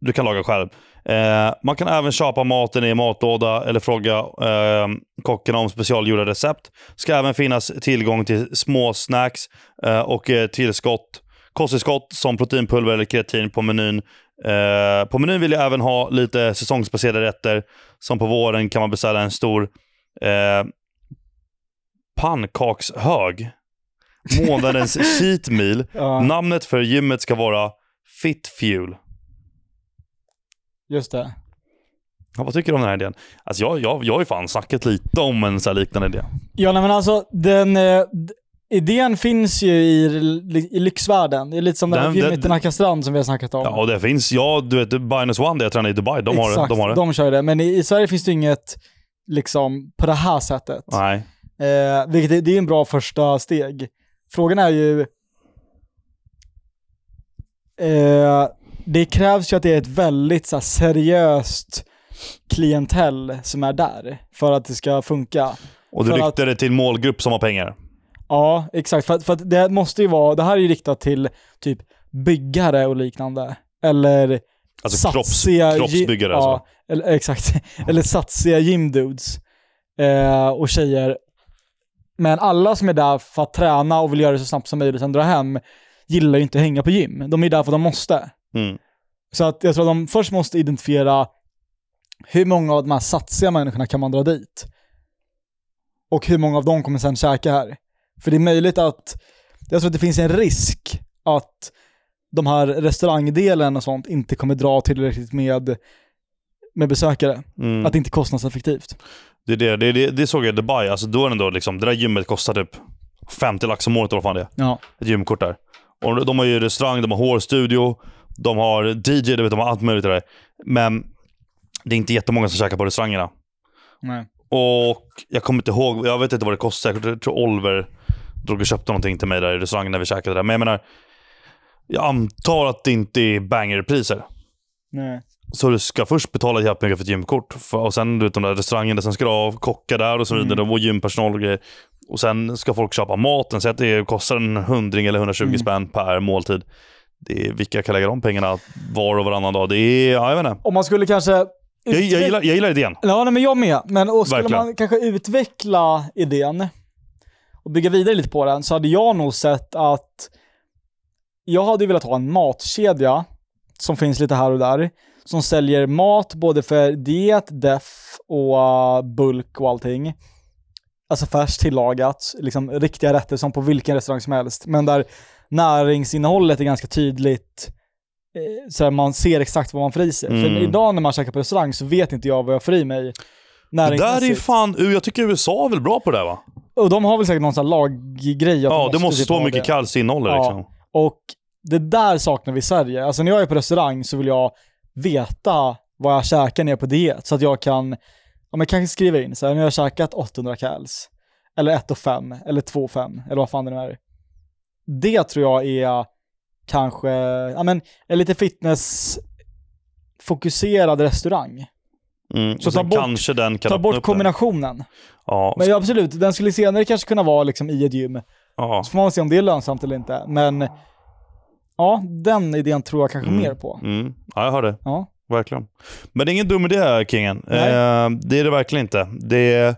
[SPEAKER 1] du kan laga själv. Eh, man kan även köpa maten i matlåda eller fråga eh, kockarna om specialgjorda recept. ska även finnas tillgång till små snacks eh, och eh, tillskott kosttillskott som proteinpulver eller kreatin på menyn. Eh, på menyn vill jag även ha lite säsongsbaserade rätter. Som på våren kan man beställa en stor eh, pannkakshög. Månadens cheat meal.
[SPEAKER 2] Ja,
[SPEAKER 1] Namnet för gymmet ska vara Fit Fuel.
[SPEAKER 2] just det.
[SPEAKER 1] Ja, vad tycker du om den här idén? Alltså jag, jag, jag har ju fan snackat lite om en så här liknande idé.
[SPEAKER 2] Ja, nej, men alltså den... Eh, d- idén finns ju i, li- i lyxvärlden. Det är lite som den,
[SPEAKER 1] Den-
[SPEAKER 2] här gymmet
[SPEAKER 1] den-
[SPEAKER 2] i Nackastrand som vi har snackat om.
[SPEAKER 1] Ja, och det finns. Ja, du vet, Binance One där jag tränade i Dubai, de har
[SPEAKER 2] Exakt,
[SPEAKER 1] det. De har det.
[SPEAKER 2] de kör ju det. Men i, i Sverige finns det ju inget liksom på det här sättet.
[SPEAKER 1] Nej.
[SPEAKER 2] Eh, vilket är, det är en bra första steg. Frågan är ju... Eh, det krävs ju att det är ett väldigt så här, seriöst klientell som är där för att det ska funka.
[SPEAKER 1] Och du
[SPEAKER 2] För att-
[SPEAKER 1] riktade det till målgrupp som har pengar.
[SPEAKER 2] Ja, exakt. För, att- för att det måste ju vara, det här är ju riktat till typ byggare och liknande. Eller
[SPEAKER 1] Alltså kropps,
[SPEAKER 2] satsiga
[SPEAKER 1] kroppsbyggare
[SPEAKER 2] gy-
[SPEAKER 1] alltså.
[SPEAKER 2] Ja, eller, exakt. Eller satsiga gymdudes eh, och tjejer. Men alla som är där för att träna och vill göra det så snabbt som möjligt och sen dra hem gillar ju inte att hänga på gym. De är där för att de måste.
[SPEAKER 1] Mm.
[SPEAKER 2] Så att jag tror att de först måste identifiera hur många av de här satsiga människorna kan man dra dit? Och hur många av dem kommer sen käka här? För det är möjligt att, jag tror att det finns en risk att de här restaurangdelen och sånt inte kommer dra tillräckligt med, med besökare.
[SPEAKER 1] Mm.
[SPEAKER 2] Att det inte är kostnadseffektivt.
[SPEAKER 1] Det, är det, det, är det, det såg jag i Dubai. Alltså, då är det ändå liksom, det där gymmet kostar typ 50 lax om året eller vad fan det är.
[SPEAKER 2] Ja.
[SPEAKER 1] Ett gymkort där. Och de har ju restaurang, de har hårstudio, de har DJ, du vet, de har allt möjligt där. Men det är inte jättemånga som käkar på restaurangerna.
[SPEAKER 2] Nej.
[SPEAKER 1] Och jag kommer inte ihåg, jag vet inte vad det kostar. Jag tror Oliver drog och köpte någonting till mig där i restaurangen när vi käkade där. Men jag menar, jag antar att det inte är bangerpriser.
[SPEAKER 2] Nej.
[SPEAKER 1] Så du ska först betala jävligt mycket för ett gymkort. För- Och sen du vet, de där restaurangerna, sen ska du ha kockar där och så vidare.
[SPEAKER 2] Mm.
[SPEAKER 1] Och gympersonal och grejer. Och sen ska folk köpa maten. Säg att det kostar en hundring eller 120
[SPEAKER 2] Mm.
[SPEAKER 1] spänn per måltid. Det är, vilka kan lägga de pengarna var och varannan dag? Det är, ja, jag vet inte.
[SPEAKER 2] Om man skulle kanske...
[SPEAKER 1] Jag, jag, gillar, jag gillar idén.
[SPEAKER 2] Ja, nej, men jag med. Men och skulle
[SPEAKER 1] Verkligen.
[SPEAKER 2] man kanske utveckla idén och bygga vidare lite på den så hade jag nog sett att jag hade ju velat ha en matkedja som finns lite här och där som säljer mat både för diet, def och uh, bulk och allting. Alltså färskt tillagat, liksom riktiga rätter som på vilken restaurang som helst. Men där näringsinnehållet är ganska tydligt. eh, Så här, man ser exakt vad man får i sig. För
[SPEAKER 1] Mm.
[SPEAKER 2] idag när man käkar på restaurang så vet inte jag vad jag får i mig
[SPEAKER 1] Det där är ju
[SPEAKER 2] näringsmässigt.
[SPEAKER 1] fan, jag tycker USA är väl bra på det där va?
[SPEAKER 2] Och de har väl säkert någon sån här laggrej. att de
[SPEAKER 1] Ja, det måste
[SPEAKER 2] typ
[SPEAKER 1] stå
[SPEAKER 2] ha
[SPEAKER 1] mycket
[SPEAKER 2] det.
[SPEAKER 1] kallt innehåll där,
[SPEAKER 2] Ja.
[SPEAKER 1] liksom.
[SPEAKER 2] Och det där saknar vi i Sverige. Alltså när jag är på restaurang så vill jag veta vad jag käkar när jag är på diet. Så att jag kan, ja men kanske skriva in så här, nu har jag käkat 800 kals. Eller 1 och 5 eller 2 och 5 eller vad fan det nu är. Det tror jag är kanske, ja men en lite fitnessfokuserad restaurang.
[SPEAKER 1] Mm.
[SPEAKER 2] Så
[SPEAKER 1] Så
[SPEAKER 2] ta bort-
[SPEAKER 1] kanske den kan
[SPEAKER 2] Ta
[SPEAKER 1] öppna
[SPEAKER 2] bort
[SPEAKER 1] upp det.
[SPEAKER 2] kombinationen.
[SPEAKER 1] Ja,
[SPEAKER 2] Men ja, absolut, den skulle senare kanske kunna vara liksom i ett gym.
[SPEAKER 1] ja.
[SPEAKER 2] Så får man se om det är lönsamt eller inte. Men ja, den idén tror jag kanske
[SPEAKER 1] Mm.
[SPEAKER 2] mer på.
[SPEAKER 1] Mm. ja, jag hör det.
[SPEAKER 2] Ja.
[SPEAKER 1] Verkligen. Men det är ingen dum idé här, Kingen. Eh,
[SPEAKER 2] Nej.
[SPEAKER 1] det är det verkligen inte. Det,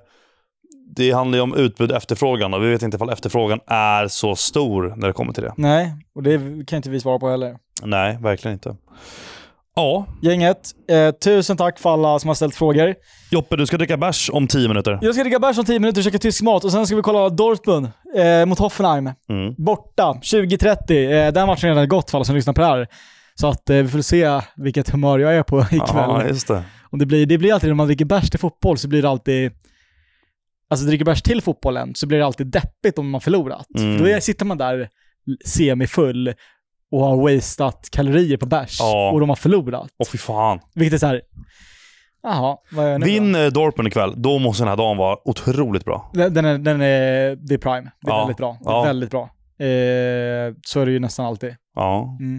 [SPEAKER 1] det handlar ju om utbud och efterfrågan och vi vet inte ifall efterfrågan är så stor när det kommer till det.
[SPEAKER 2] Nej, och det kan inte vi svara på heller.
[SPEAKER 1] Nej, verkligen inte. Ja,
[SPEAKER 2] Gänget, eh, tusen tack för alla som har ställt frågor.
[SPEAKER 1] Joppe, du ska dricka bärs om tio minuter.
[SPEAKER 2] Jag ska dricka bärs om 10 minuter och käka tysk mat och sen ska vi kolla Dortmund eh, mot Hoffenheim.
[SPEAKER 1] Mm.
[SPEAKER 2] Borta 20.30. Eh, den matchen är redan gått för alla som lyssnar på det här. Så att eh, vi får se vilket humör jag är på ikväll.
[SPEAKER 1] Ja, just det.
[SPEAKER 2] Om det, blir, det blir alltid när man dricker bärs till fotboll så blir det alltid Alltså dricker bärs till fotbollen så blir det alltid deppigt om man förlorat.
[SPEAKER 1] Mm.
[SPEAKER 2] För då är, sitter man där semifull och har wasteat kalorier på bärs
[SPEAKER 1] Ja.
[SPEAKER 2] och de har förlorat.
[SPEAKER 1] Åh, fy fan.
[SPEAKER 2] Vilket är så här. jaha, vad gör jag nu då?
[SPEAKER 1] Vinner Dortmund ikväll, då måste den här dagen vara otroligt bra.
[SPEAKER 2] Den, den, är, den är, det är prime. Det är
[SPEAKER 1] Ja.
[SPEAKER 2] väldigt bra. Det är
[SPEAKER 1] Ja.
[SPEAKER 2] väldigt bra. Eh, så är det ju nästan alltid.
[SPEAKER 1] Ja,
[SPEAKER 2] Mm.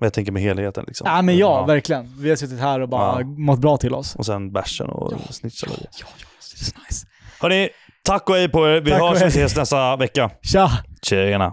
[SPEAKER 1] men jag tänker med helheten liksom.
[SPEAKER 2] Ja, men ja, verkligen. Vi har suttit här och bara
[SPEAKER 1] Ja.
[SPEAKER 2] mått bra till oss.
[SPEAKER 1] Och sen bärsen och snitchen.
[SPEAKER 2] Ja, ja, det är så nice.
[SPEAKER 1] Hörni, tack och hej på er. Vi
[SPEAKER 2] Tack och
[SPEAKER 1] hörs och
[SPEAKER 2] hej.
[SPEAKER 1] ses nästa vecka.
[SPEAKER 2] Tja!
[SPEAKER 1] Tjena.